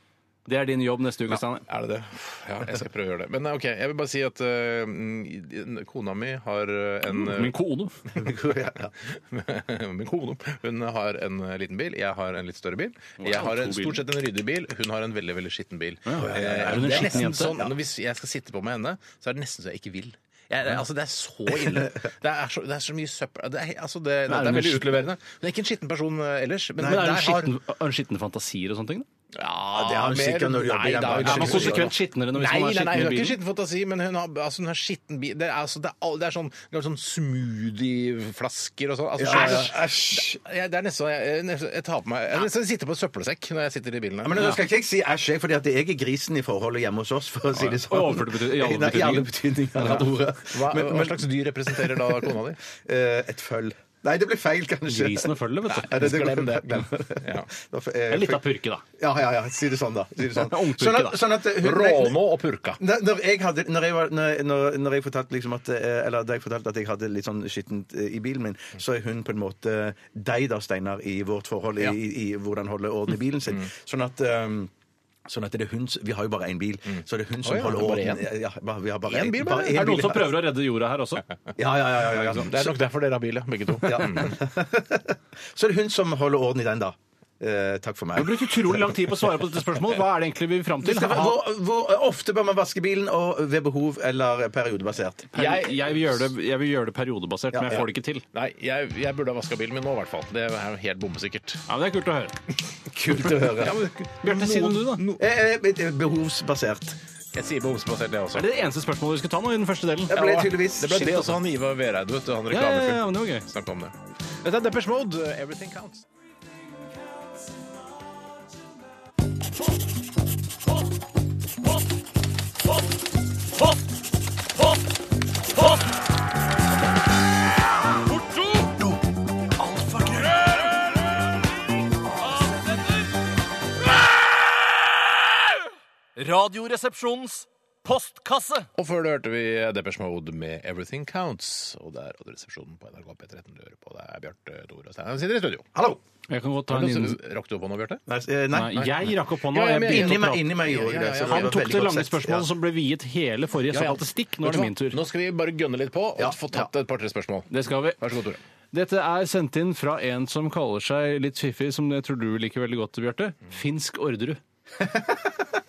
Speaker 5: Det er din jobb neste uke, Steinar.
Speaker 4: Er det det? Ja, jeg skal prøve å gjøre det. Men eh, ok, jeg vil bare si at eh, mm, kona mi har eh, en eh,
Speaker 5: Min kone.
Speaker 4: Min kone hun har en eh, liten bil, jeg har en litt større bil. Jeg har en,
Speaker 5: to
Speaker 4: stort sett en ryddig bil, hun har en veldig veldig skitten bil. Eh,
Speaker 5: Er hun en
Speaker 4: det er
Speaker 5: skitten
Speaker 4: nesten
Speaker 5: jente?
Speaker 4: sånn, når Hvis jeg skal sitte på med henne, så er det nesten så jeg ikke vil. Jeg, det- altså, det er så ille. Det er så, det er så mye søppel det er, altså, det, det,
Speaker 5: hun
Speaker 4: er
Speaker 5: en
Speaker 4: veldig
Speaker 5: skitten-
Speaker 4: utleverende. Hun er ikke en skitten person eh, ellers. Men,
Speaker 5: Men er
Speaker 4: der
Speaker 5: hun
Speaker 4: har-
Speaker 5: skitten, har hun skitten fantasier og sånne ting? da?
Speaker 4: Ja,
Speaker 3: det har hun sikkert når du jobber i den bransjen.
Speaker 5: Er man konsekvent skitnere når hvis
Speaker 4: Nei,
Speaker 5: man
Speaker 4: nei,
Speaker 5: er
Speaker 4: nei,
Speaker 5: skitten
Speaker 4: hun
Speaker 5: i
Speaker 4: har ikke
Speaker 5: bilen?
Speaker 4: skitten fantasi, men hun har, altså, hun har skitten bil. Det er, altså, det er, all- det er sånn, det er sånn smoothieflasker og sånn. Altså, skjønner du?
Speaker 3: Æsj!
Speaker 4: jeg, det er nesten jeg, jeg, nesten- jeg tar på meg Jeg nesten sitter på en søppelsekk når jeg sitter i bilen. her.
Speaker 3: Ja, men nå skal ikke jeg si æsj, jeg, fordi at jeg er grisen i forholdet hjemme hos oss, for å si det sånn.
Speaker 5: Overført betydning- i alle
Speaker 3: Nei, I alle betydninger av ordet.
Speaker 4: hva,
Speaker 3: Men-
Speaker 4: hva slags dyr representerer da kona di?
Speaker 3: Eh, Et føll. Nei, det ble feil, kanskje.
Speaker 5: Grisen og føllet, vet du.
Speaker 3: Nei, det- det-
Speaker 4: Glem det.
Speaker 3: Glem det.
Speaker 4: Ja.
Speaker 3: Da får- eh,
Speaker 5: Det er litt av purke, da.
Speaker 3: Ja, ja, ja. Si det sånn, da. Si det sånn.
Speaker 5: Ungpurke,
Speaker 3: Sånn at-
Speaker 5: da.
Speaker 3: Sånn at hun-
Speaker 4: Rånå og purka.
Speaker 3: Når når jeg, hadde, når, jeg var, når, når- når jeg fortalte liksom at eh, Eller da jeg fortalte at jeg hadde litt sånn skittent eh, i bilen min, så er hun på en måte deg, da, Steinar, i vårt forhold, i, i, i hvordan holde orden i
Speaker 4: Mm.
Speaker 3: bilen sin. Sånn at ehm, Sånn at det er hun, s- Vi har jo bare én bil, så det er hun som
Speaker 4: Mm. Å ja,
Speaker 3: holder
Speaker 4: bare
Speaker 3: orden.
Speaker 4: én.
Speaker 3: Ja, bare, vi har bare
Speaker 4: Én
Speaker 3: én
Speaker 4: bil,
Speaker 3: bare
Speaker 4: bare?
Speaker 3: én
Speaker 5: Er det noen
Speaker 3: bil.
Speaker 5: som prøver å redde jorda her også?
Speaker 3: Ja, ja, ja. ja, ja.
Speaker 4: Det er nok Mm. derfor dere har bil, ja, begge to.
Speaker 3: Ja. Så er det hun som holder orden i den, da. Eh, takk for
Speaker 5: Du
Speaker 3: meg.
Speaker 5: brukte utrolig lang tid på å svare på dette spørsmålet. Hva er det egentlig vi vil fram
Speaker 3: Det
Speaker 5: til?
Speaker 3: skal være- Hvor, hvor ofte bør man vaske bilen, og ved behov eller periodebasert?
Speaker 5: Jeg, jeg, vil gjøre det, jeg vil gjøre det periodebasert, men jeg får det ikke til.
Speaker 4: Nei, jeg, jeg burde ha vaska bilen min nå, i hvert fall. Det er jo helt bombesikkert.
Speaker 5: Ja, men Det er kult å høre.
Speaker 3: Kult å høre.
Speaker 4: Ja, men-
Speaker 5: Bjarte, si noe du, da.
Speaker 4: no-
Speaker 3: Eh, eh, Behovsbasert.
Speaker 4: Jeg sier bombesbasert, jeg også.
Speaker 5: Er det det eneste spørsmålet vi skal ta nå i den første delen?
Speaker 3: Jeg ble tydeligvis
Speaker 4: Det ble
Speaker 3: Shit,
Speaker 4: det
Speaker 3: altså.
Speaker 4: også han Ivar Vereid, vet du. Han
Speaker 5: Ja, ja, ja,
Speaker 4: reklamefyren.
Speaker 5: men det var gøy.
Speaker 4: Snakk om det. Dette er Depeche Mode. Everything counts.
Speaker 2: Radioresepsjonens postkasse.
Speaker 4: Og før det hørte vi Depeche Mode med Everything Counts. Og det er Radioresepsjonen på NRK P13 du hører på. Det er Bjarte, Tore og Steinar. Vi sitter i studio.
Speaker 3: Hallo!
Speaker 5: Jeg kan godt ta
Speaker 4: Har
Speaker 5: en
Speaker 4: du
Speaker 5: liten
Speaker 4: lyst til- Rakk du opp hånda, Bjarte?
Speaker 3: Nei, eh, nei.
Speaker 5: Nei, jeg rakk opp hånda.
Speaker 4: Ja, ja,
Speaker 5: og jeg
Speaker 4: men-
Speaker 5: begynte
Speaker 3: Inni
Speaker 5: å
Speaker 3: meg,
Speaker 5: prate.
Speaker 3: inni meg gjorde jeg det.
Speaker 4: Ja, ja,
Speaker 3: så
Speaker 4: ja.
Speaker 3: det var
Speaker 5: Han tok
Speaker 3: veldig
Speaker 5: det
Speaker 3: godt
Speaker 5: lange
Speaker 3: sett.
Speaker 5: spørsmålet som ble viet hele forrige såkalte stikk. Nå
Speaker 4: Vet du
Speaker 5: er det
Speaker 4: hva?
Speaker 5: min tur.
Speaker 4: Nå skal vi bare gønne litt på og
Speaker 3: Ja,
Speaker 4: få tatt et par-tre spørsmål.
Speaker 5: Det skal vi.
Speaker 4: Vær så god, Tore.
Speaker 5: Dette er sendt inn fra en som kaller seg litt fiffig, som jeg tror du liker veldig godt, Bjarte. Finsk Orderud.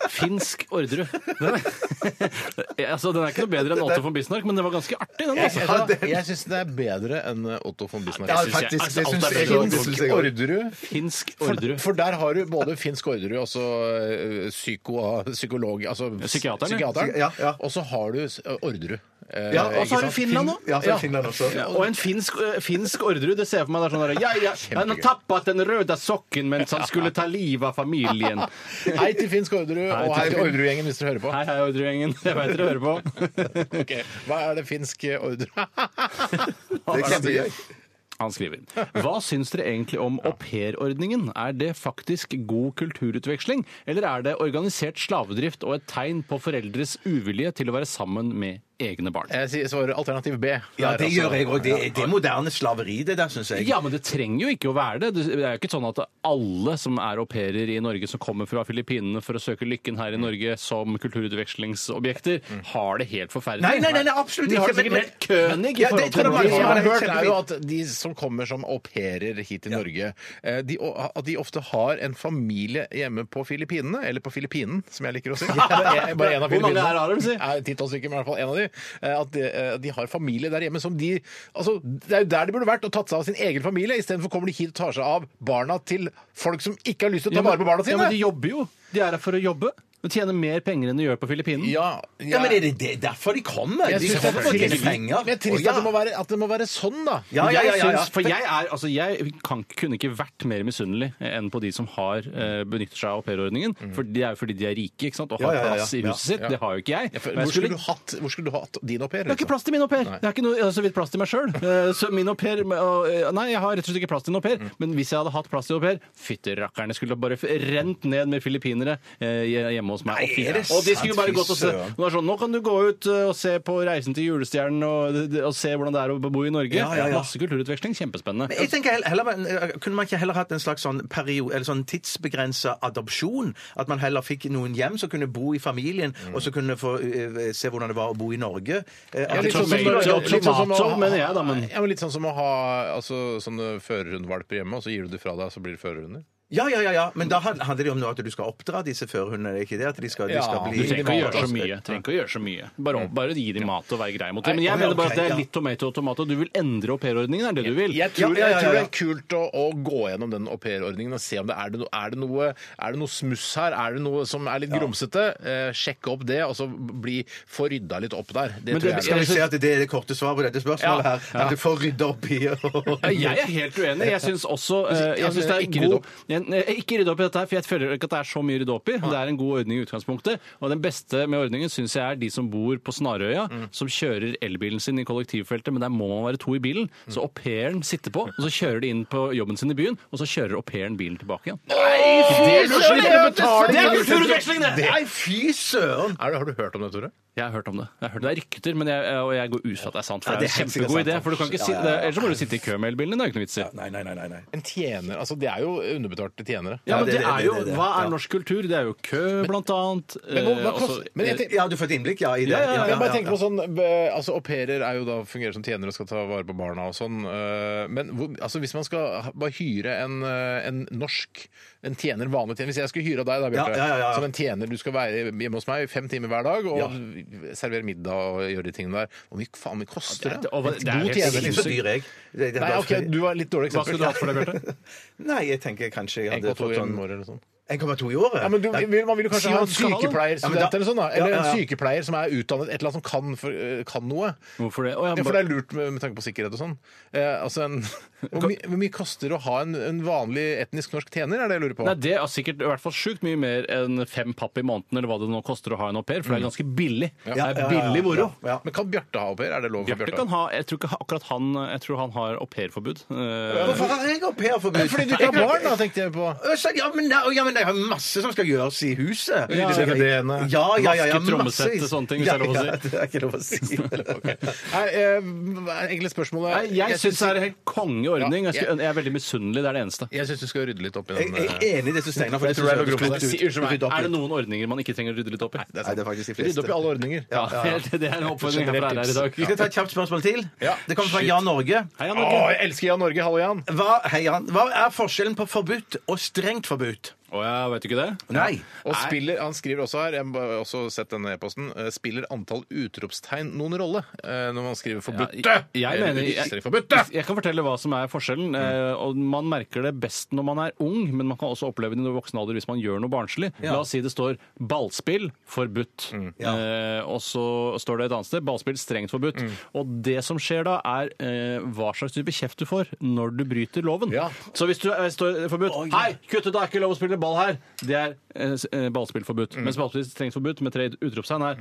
Speaker 5: Finsk Orderud. Den er, altså, den er ikke noe bedre enn Otto von Bismarck, men den var ganske artig, den. altså.
Speaker 4: Jeg, jeg syns det er bedre enn Otto von Bismarck.
Speaker 3: Ja,
Speaker 4: Jeg synes-
Speaker 3: faktisk.
Speaker 5: altså,
Speaker 3: Det
Speaker 5: alt
Speaker 3: syns
Speaker 5: er
Speaker 3: jeg
Speaker 5: bedre
Speaker 3: òg. Det syns jeg òg.
Speaker 4: Orderud
Speaker 5: Finsk
Speaker 4: For,
Speaker 5: Orderud.
Speaker 4: for der har du både finsk Orderud og så eh, psyko, psykolog Altså
Speaker 5: Psykiateren, ja.
Speaker 4: psykiateren.
Speaker 3: Ja, ja.
Speaker 4: Og så har du s- Orderud. Eh,
Speaker 3: Ja, og
Speaker 4: ikke
Speaker 5: så har du
Speaker 4: sant?
Speaker 5: Finland nå.
Speaker 3: Ja, så er det Finland også.
Speaker 5: Ja, og en finsk, eh, finsk Orderud, det ser jeg for meg der sånn der, ja, ja, Han har tappet den røde sokken mens han skulle ta livet av familien.
Speaker 4: Hei til finsk Orderud,
Speaker 5: Hei
Speaker 4: og
Speaker 5: til
Speaker 4: hei til
Speaker 5: Finn.
Speaker 4: Orderud-gjengen hvis dere hører på.
Speaker 5: Hei, hei, Orderud-gjengen. Jeg vet dere hører på.
Speaker 4: Ok, Hva er det finsk eh, Orderud
Speaker 3: Det er kjempegøy.
Speaker 5: Han skriver Hva syns dere egentlig om aupairordningen? Er det faktisk god kulturutveksling, eller er det organisert slavedrift og et tegn på foreldres uvilje til å være sammen med egne barn?
Speaker 4: Jeg sier- svarer alternativ B.
Speaker 3: Ja,
Speaker 4: Der,
Speaker 3: det
Speaker 4: altså.
Speaker 3: gjør jeg òg. Det, er- det er moderne slaveri, det der, syns jeg.
Speaker 5: Ja, men det trenger jo ikke å være det. Det er jo ikke sånn at alle som er au pairer i Norge, som kommer fra Filippinene for å søke lykken
Speaker 3: Mm.
Speaker 5: her i Norge som kulturutvekslingsobjekter, har det helt forferdelig.
Speaker 3: Nei, nei, nei, nei, absolutt
Speaker 5: De har
Speaker 3: ikke,
Speaker 5: det sikkert
Speaker 3: men-
Speaker 5: helt kønig i
Speaker 3: Ja, det tror
Speaker 5: forhold
Speaker 3: jeg
Speaker 5: til
Speaker 4: Det
Speaker 3: mange
Speaker 5: Norge.
Speaker 4: jeg har
Speaker 3: det er
Speaker 4: hørt, er jo at
Speaker 3: kjempefint.
Speaker 4: de som kommer som au pairer hit til Norge, eh, de, at de ofte har en familie hjemme på Filippinene. Eller på Filippinen, som jeg liker å si. Bare en- bare en av
Speaker 5: Hvor mange
Speaker 4: Filippinene.
Speaker 5: her har de, si?
Speaker 4: Nei, Titalls stykker, men i hvert fall en av de. Eh, At de, eh, de har familie der hjemme som de Altså, det er jo der de burde vært og tatt seg av sin egen familie. Istedenfor kommer de hit og tar seg av barna til folk som ikke har lyst til å ta
Speaker 5: Ja,
Speaker 4: vare
Speaker 5: men-
Speaker 4: på barna
Speaker 5: Ja, men de
Speaker 4: sine.
Speaker 5: jobber jo. De er her for å jobbe. De tjener mer penger enn de gjør på Filippinene.
Speaker 4: Ja,
Speaker 3: Ja, men er det, det er derfor de kommer?
Speaker 4: Jeg
Speaker 3: De
Speaker 4: syns det
Speaker 3: kommer
Speaker 4: er
Speaker 3: for å tjene
Speaker 4: trist, men
Speaker 3: penger.
Speaker 4: jeg er trist
Speaker 3: Å, ja.
Speaker 4: at, det må være, at det må være sånn, da.
Speaker 3: Ja, ja, ja, ja, ja.
Speaker 5: Jeg syns, for jeg er, altså jeg kan, kunne ikke vært mer misunnelig enn på de som har eh, benytter seg av aupairordningen.
Speaker 4: Mm.
Speaker 5: For det er jo fordi de er rike ikke sant? og har
Speaker 3: Ja, ja, ja,
Speaker 5: plass i
Speaker 3: ja.
Speaker 5: huset sitt. Det har jo ikke jeg.
Speaker 4: Ja, for
Speaker 5: Men
Speaker 4: Hvor
Speaker 5: jeg
Speaker 4: skulle
Speaker 5: skulle
Speaker 4: du hatt, hvor skulle du hatt din au pair?
Speaker 5: jeg har ikke
Speaker 4: liksom?
Speaker 5: plass til min au pair! Jeg har ikke noe, jeg har så vidt plass til meg sjøl. Så min au pair og, eh, Nei, jeg har rett og slett ikke plass til en au pair. Men hvis jeg hadde hatt plass til au pair, fytterakkerne skulle bare f- rent ned med filippinere eh, hjemme hos meg. og,
Speaker 3: Nei, er det
Speaker 5: fint. og de
Speaker 3: sant?
Speaker 5: skulle bare gått og se.
Speaker 3: Fy søren.
Speaker 5: Det var sånn, Nå kan du gå ut eh, og se på Reisen til julestjernen og, og se hvordan det er å bo i Norge.
Speaker 3: Ja, ja, ja.
Speaker 5: Masse kulturutveksling. Kjempespennende.
Speaker 3: Men jeg tenker heller, heller, Kunne man ikke heller hatt en slags sånn, perio- eller sånn tidsbegrensa adopsjon? At man heller fikk noen hjem som kunne bo i familien, og så kunne få eh, se hvordan det var å bo i Norge. Eh, at-
Speaker 4: Ja, litt sånn
Speaker 5: Tomato,
Speaker 4: som- litt sånn som å
Speaker 5: tomato,
Speaker 4: ha-
Speaker 5: mener jeg da, men-
Speaker 4: Ja, men litt sånn som å ha altså, sånne førerhundvalper hjemme, og så gir du det fra deg, så blir det førerhunder.
Speaker 3: Ja, ja, ja, ja, men da hand- handler det om nå at du skal oppdra disse førhundene. Ikke det at de skal, de skal
Speaker 5: Ja,
Speaker 3: bli
Speaker 5: du trenger ikke å gjøre så
Speaker 3: valpet.
Speaker 5: mye. Trenger ikke å gjøre så mye. Bare, bare gi dem mat og være grei mot dem. Men
Speaker 3: Nei,
Speaker 5: jeg mener bare at det
Speaker 3: ok, ja.
Speaker 5: er litt tomato og tomato. Du vil endre aupairordningen, er det du vil?
Speaker 4: Jeg tror,
Speaker 3: Ja, ja, ja,
Speaker 4: jeg tror det
Speaker 3: ja.
Speaker 4: er kult å, å gå gjennom den aupairordningen og se om det er, det no, er, det noe, er det noe smuss her, er det noe som er litt grumsete. Eh, sjekke opp det, og så bli, få rydda litt opp der. Det
Speaker 5: Men
Speaker 4: tror
Speaker 5: det-
Speaker 4: jeg.
Speaker 3: Skal vi se at det er det korte svaret på dette spørsmålet
Speaker 4: Ja,
Speaker 3: her? At du får rydde opp i
Speaker 5: Ja, Jeg er helt uenig. Jeg syns også eh, jeg synes det er
Speaker 4: Ikke
Speaker 5: ikke
Speaker 4: rydde
Speaker 5: god
Speaker 4: opp.
Speaker 5: Jeg- jeg- Ikke rydde opp i dette her, for jeg føler ikke at det er så mye å rydde opp i. Det er en god ordning i utgangspunktet. Og den beste med ordningen syns jeg er de som bor på Snarøya, som kjører elbilen sin i kollektivfeltet, men der må man være to i bilen. Så au pairen sitter på, og så kjører de inn på jobben sin i byen, og så kjører au pairen bilen tilbake igjen.
Speaker 4: Det er lurt å slippe betaling!
Speaker 3: det! Nei, fy søren!
Speaker 4: Er det, har du hørt om det, Tore?
Speaker 5: Jeg har hørt om det. Jeg har hørt Det er rykter, men jeg, og jeg går ut fra at det er sant. For
Speaker 3: Ja,
Speaker 5: det
Speaker 3: det er
Speaker 5: er en
Speaker 3: helt sikkert
Speaker 5: kjempegod
Speaker 3: sant,
Speaker 5: idé. For du kan ikke
Speaker 3: faktisk.
Speaker 5: si,
Speaker 3: Ja, ja, ja.
Speaker 5: Ellers så må du sitte i kø med elbilene. Det er jo ikke noe vits i.
Speaker 3: Nei, nei, nei. nei, nei.
Speaker 4: En tjener, altså Det er jo underbetalte tjenere.
Speaker 5: Ja, men
Speaker 3: det-
Speaker 5: det
Speaker 3: det-
Speaker 5: er
Speaker 3: det-
Speaker 5: jo,
Speaker 3: det- det-
Speaker 5: Hva er norsk kultur? Det er jo kø, blant annet.
Speaker 4: Men hva- hva
Speaker 5: Eh, og så-
Speaker 4: kost- men jeg tenker-
Speaker 3: Ja, du får et innblikk, ja, i det.
Speaker 5: Ja, ja, ja,
Speaker 4: Men jeg bare tenker
Speaker 3: ja.
Speaker 4: på sånn, eh, altså Au pairer er jo da fungerer som tjenere og skal ta vare på barna og sånn. eh, Men hvor, altså hvis man skal ha- bare hyre en, eh, en norsk en tjener, vanlig tjener Hvis jeg skulle hyre av deg, da, Bjarte,
Speaker 3: Ja, ja, ja, ja.
Speaker 4: som en tjener Du skal være hjemme hos meg fem timer hver dag og servere middag og gjøre de tingene der. Hvor mye faen det koster det?
Speaker 5: det- og det-
Speaker 4: En
Speaker 5: det er
Speaker 4: god
Speaker 5: helt
Speaker 3: Jeg er ikke så
Speaker 4: tjener. liksom.
Speaker 3: dyr, jeg. Det- det-
Speaker 4: Nei, ok, Du var litt dårlig
Speaker 5: Hva
Speaker 4: eksempel.
Speaker 5: skulle du hatt for det, Bjarte?
Speaker 3: Nei, jeg tenker kanskje jeg hadde
Speaker 4: 1,2
Speaker 3: fått
Speaker 4: i
Speaker 3: sånn
Speaker 4: året eller sånn.
Speaker 3: 1,2 i året?
Speaker 4: Ja, men du,
Speaker 3: Nei.
Speaker 4: vil- Man vil jo kanskje
Speaker 5: Si
Speaker 4: ha
Speaker 5: hva
Speaker 4: en
Speaker 5: du skal ha, da.
Speaker 4: sykepleierstudent
Speaker 3: Ja, men da-
Speaker 4: eller sånn. da
Speaker 3: Ja,
Speaker 4: Eller
Speaker 3: ja,
Speaker 4: en
Speaker 3: ja.
Speaker 4: sykepleier som er utdannet, et eller annet som kan, for, eh, kan noe.
Speaker 5: Hvorfor det? Å, ja,
Speaker 4: Ja, for
Speaker 5: bare-
Speaker 4: det er lurt med, med tanke på sikkerhet og sånn. Eh, altså en, hvor, mye- hvor mye koster det å ha en, en vanlig etnisk norsk tjener, er det jeg lurer på?
Speaker 5: Nei, Det er sikkert i hvert fall sjukt mye mer enn fem papp i måneden eller hva det nå koster å ha en au pair, for det er ganske billig. Det
Speaker 3: Ja,
Speaker 5: er
Speaker 3: ja, ja, ja.
Speaker 5: billig moro.
Speaker 3: Ja.
Speaker 4: Men kan Bjarte ha au pair? Er det lov for
Speaker 5: Bjarte
Speaker 4: Bjarte?
Speaker 5: kan ha Jeg tror ikke akkurat han Jeg tror han har aupairforbud. Eh,
Speaker 3: Hvorfor har jeg au pair forbud?
Speaker 4: Fordi du ikke har barn, da, tenkte jeg på.
Speaker 3: Så, ja, men, nei, ja, men jeg har masse som skal gjøres i huset.
Speaker 5: Ja,
Speaker 3: Så-
Speaker 4: det er det ene.
Speaker 3: ja, ja, ja, ja,
Speaker 5: Vaske, trommesett
Speaker 3: massevis.
Speaker 5: og sånne ting, hvis det er lov å
Speaker 3: Ja, ja,
Speaker 5: si.
Speaker 3: det er ikke lov å si.
Speaker 4: Nei, eh, hva er egentlig spørsmålet
Speaker 5: Nei, jeg syns det er en helt kongeordning.
Speaker 4: Ja,
Speaker 5: Jeg, skulle- jeg er veldig misunnelig. Det er det eneste.
Speaker 4: Jeg syns du skal rydde litt opp i
Speaker 3: Jeg,
Speaker 4: den.
Speaker 3: jeg
Speaker 4: eh,
Speaker 3: er enig i det som Steinar for
Speaker 4: Jeg
Speaker 3: det
Speaker 4: tror det er noe
Speaker 3: synes jeg
Speaker 4: grunn
Speaker 3: høres
Speaker 4: til
Speaker 5: Si,
Speaker 3: klokt ut.
Speaker 5: unnskyld meg,
Speaker 3: Rydde opp
Speaker 5: er det
Speaker 3: litt.
Speaker 5: noen ordninger man ikke trenger å rydde litt opp i?
Speaker 4: det er
Speaker 3: Nei,
Speaker 4: sant.
Speaker 3: det er faktisk de
Speaker 4: Rydde opp i
Speaker 3: fleste.
Speaker 4: alle ordninger.
Speaker 5: Ja, Det det er en oppfordring herfra her i dag.
Speaker 3: Vi skal ta et kjapt spørsmål til.
Speaker 4: Ja.
Speaker 3: Det kommer fra
Speaker 4: Shit.
Speaker 3: Jan Norge.
Speaker 5: Hei, Jan
Speaker 4: Å,
Speaker 5: Norge.
Speaker 4: jeg elsker Jan Norge. Hallo, Jan.
Speaker 3: Hva, hei, Jan. Hva er forskjellen på forbudt og strengt forbudt?
Speaker 5: Å ja, vet du ikke det?
Speaker 3: Nei.
Speaker 4: Og spiller, Han skriver også her, jeg har også sett denne e-posten, eh, spiller antall utropstegn noen rolle eh, når man skriver 'forbudte'?
Speaker 5: jeg, jeg
Speaker 4: Eller
Speaker 5: mener
Speaker 4: utstrek
Speaker 5: jeg,
Speaker 4: forbudte.
Speaker 5: jeg kan fortelle hva som er
Speaker 4: Mm.
Speaker 5: forskjellen. eh, Og man merker det best når man er ung, men man kan også oppleve det i voksen alder hvis man gjør noe barnslig. La oss si det står 'ballspill forbudt',
Speaker 4: Mm.
Speaker 5: eh, og så står det et annet sted 'ballspill strengt forbudt'.
Speaker 4: Mm.
Speaker 5: Og det som skjer da, er eh, hva slags type kjeft du får når du bryter loven.
Speaker 4: Ja.
Speaker 5: Så hvis du eh, står forbudt 'Hei, kutte, det er ikke lov å spille ball her', det er eh, s- eh, ballspill forbudt.
Speaker 3: Mm.
Speaker 5: Mens ballspill strengt forbudt med tre utropstegn er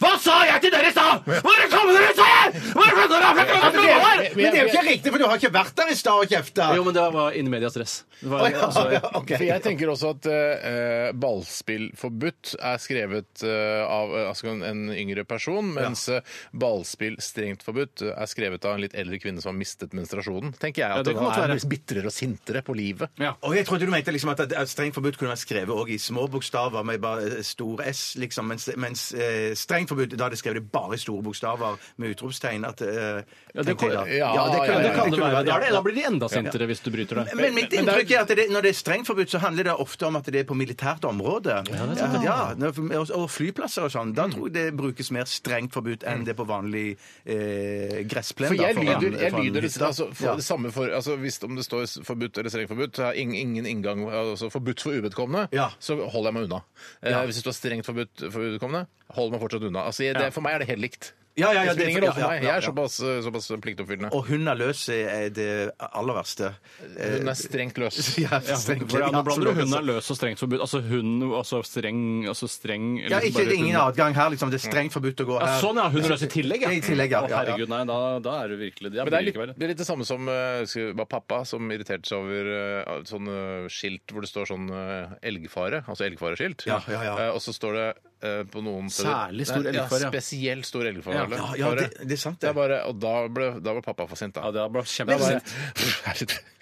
Speaker 5: Hva sa jeg til dere i stad?! Hvor kom dere i stad?! Hvor kom dere fra? Hvor kom dere fra?
Speaker 3: Men det er jo ikke riktig, for du har ikke vært der i stad og kjefta.
Speaker 5: Jo, men det var inni media stress. Det var,
Speaker 3: Å, ja,
Speaker 5: altså,
Speaker 3: ja, ok.
Speaker 4: For jeg tenker også at eh, ballspill forbudt er skrevet eh, av eh, altså en- en yngre person, mens eh, ballspill strengt forbudt eh, er skrevet av en litt eldre kvinne som har mistet menstruasjonen. Tenker jeg
Speaker 5: Ja,
Speaker 4: at
Speaker 5: det
Speaker 4: det
Speaker 5: kan godt
Speaker 4: er
Speaker 5: være.
Speaker 4: litt bitrere og sintere på livet.
Speaker 5: ja.
Speaker 3: Og jeg trodde du mente liksom at, at strengt forbudt kunne være skrevet også i små bokstaver med bare eh, stor S, liksom, mens, mens eh, strengt forbudt, da hadde skrevet det bare i store bokstaver med utropstegn. At, eh, tenkte jeg da.
Speaker 4: kan- ja, ja,
Speaker 5: Ja,
Speaker 4: ja,
Speaker 5: det kan det være.
Speaker 3: være,
Speaker 5: Da, er det,
Speaker 3: ja.
Speaker 5: da blir de enda sintere hvis du bryter det.
Speaker 3: Men mitt inntrykk er at det, når det er strengt forbudt, så handler det ofte om at det er på militært område. Ja, ja, når- og, og flyplasser og sånn. Da tror jeg det brukes mer strengt forbudt enn det på vanlig eh, gressplen.
Speaker 4: For
Speaker 3: da,
Speaker 4: jeg
Speaker 3: foran-
Speaker 4: lyder, jeg
Speaker 3: foran
Speaker 4: lyder
Speaker 3: hytta.
Speaker 4: altså, for
Speaker 3: Ja.
Speaker 4: det samme for altså, Hvis om det står forbudt eller strengt forbudt, så har ingen, ingen inngang altså, Forbudt for uvedkommende,
Speaker 3: Ja.
Speaker 4: så holder jeg meg unna. Eh, hvis det står strengt forbudt for uvedkommende, holder meg fortsatt unna. Altså, jeg, det, for meg er det helt likt.
Speaker 3: Ja, ja, ja,
Speaker 4: det spiller
Speaker 3: det-
Speaker 4: ingen rolle for
Speaker 3: ja,
Speaker 4: meg.
Speaker 3: ja,
Speaker 4: Jeg er
Speaker 3: ja.
Speaker 4: såpass, eh, såpass pliktoppfyllende.
Speaker 3: Og hund er løs eh, er det aller verste. Eh,
Speaker 4: Hun er strengt løs.
Speaker 3: ja,
Speaker 5: Ja, for
Speaker 3: strengt,
Speaker 5: ja, nå blander du
Speaker 3: absolutt.
Speaker 5: hun er løs og strengt forbudt. Altså hun altså streng, altså streng
Speaker 3: Ja,
Speaker 5: liksom
Speaker 3: ikke,
Speaker 5: bare
Speaker 3: det er ingen
Speaker 5: hun-
Speaker 3: adgang her, liksom. Det er strengt forbudt å gå
Speaker 5: ja,
Speaker 3: her.
Speaker 5: Sånn, ja. Hun er løs i tillegg, ja.
Speaker 3: I tillegg, ja,
Speaker 5: Å,
Speaker 3: ja, ja.
Speaker 5: herregud, nei, da, da er du virkelig det.
Speaker 4: Men
Speaker 5: blir
Speaker 4: det er,
Speaker 5: ikke
Speaker 4: litt,
Speaker 5: verre.
Speaker 4: det er litt det samme som eh, husker jeg var pappa som irriterte seg over eh, sånne skilt hvor det står sånn eh, sånn, elgfare, altså elgfareskilt.
Speaker 3: Ja, ja, ja.
Speaker 4: Eh, Og så står det eh, på noen
Speaker 12: Særlig stor
Speaker 4: Nei, Ja,
Speaker 12: elgfare, ja.
Speaker 4: spesielt stor elgfare.
Speaker 12: Ja,
Speaker 4: Arle.
Speaker 12: ja, ja,
Speaker 4: Bare-
Speaker 12: det- det er sant,
Speaker 4: det
Speaker 12: det.
Speaker 4: er bare, og da ble, da ble pappa for sint, da.
Speaker 12: Ja, det
Speaker 4: Da bare-
Speaker 12: ble kjempesint.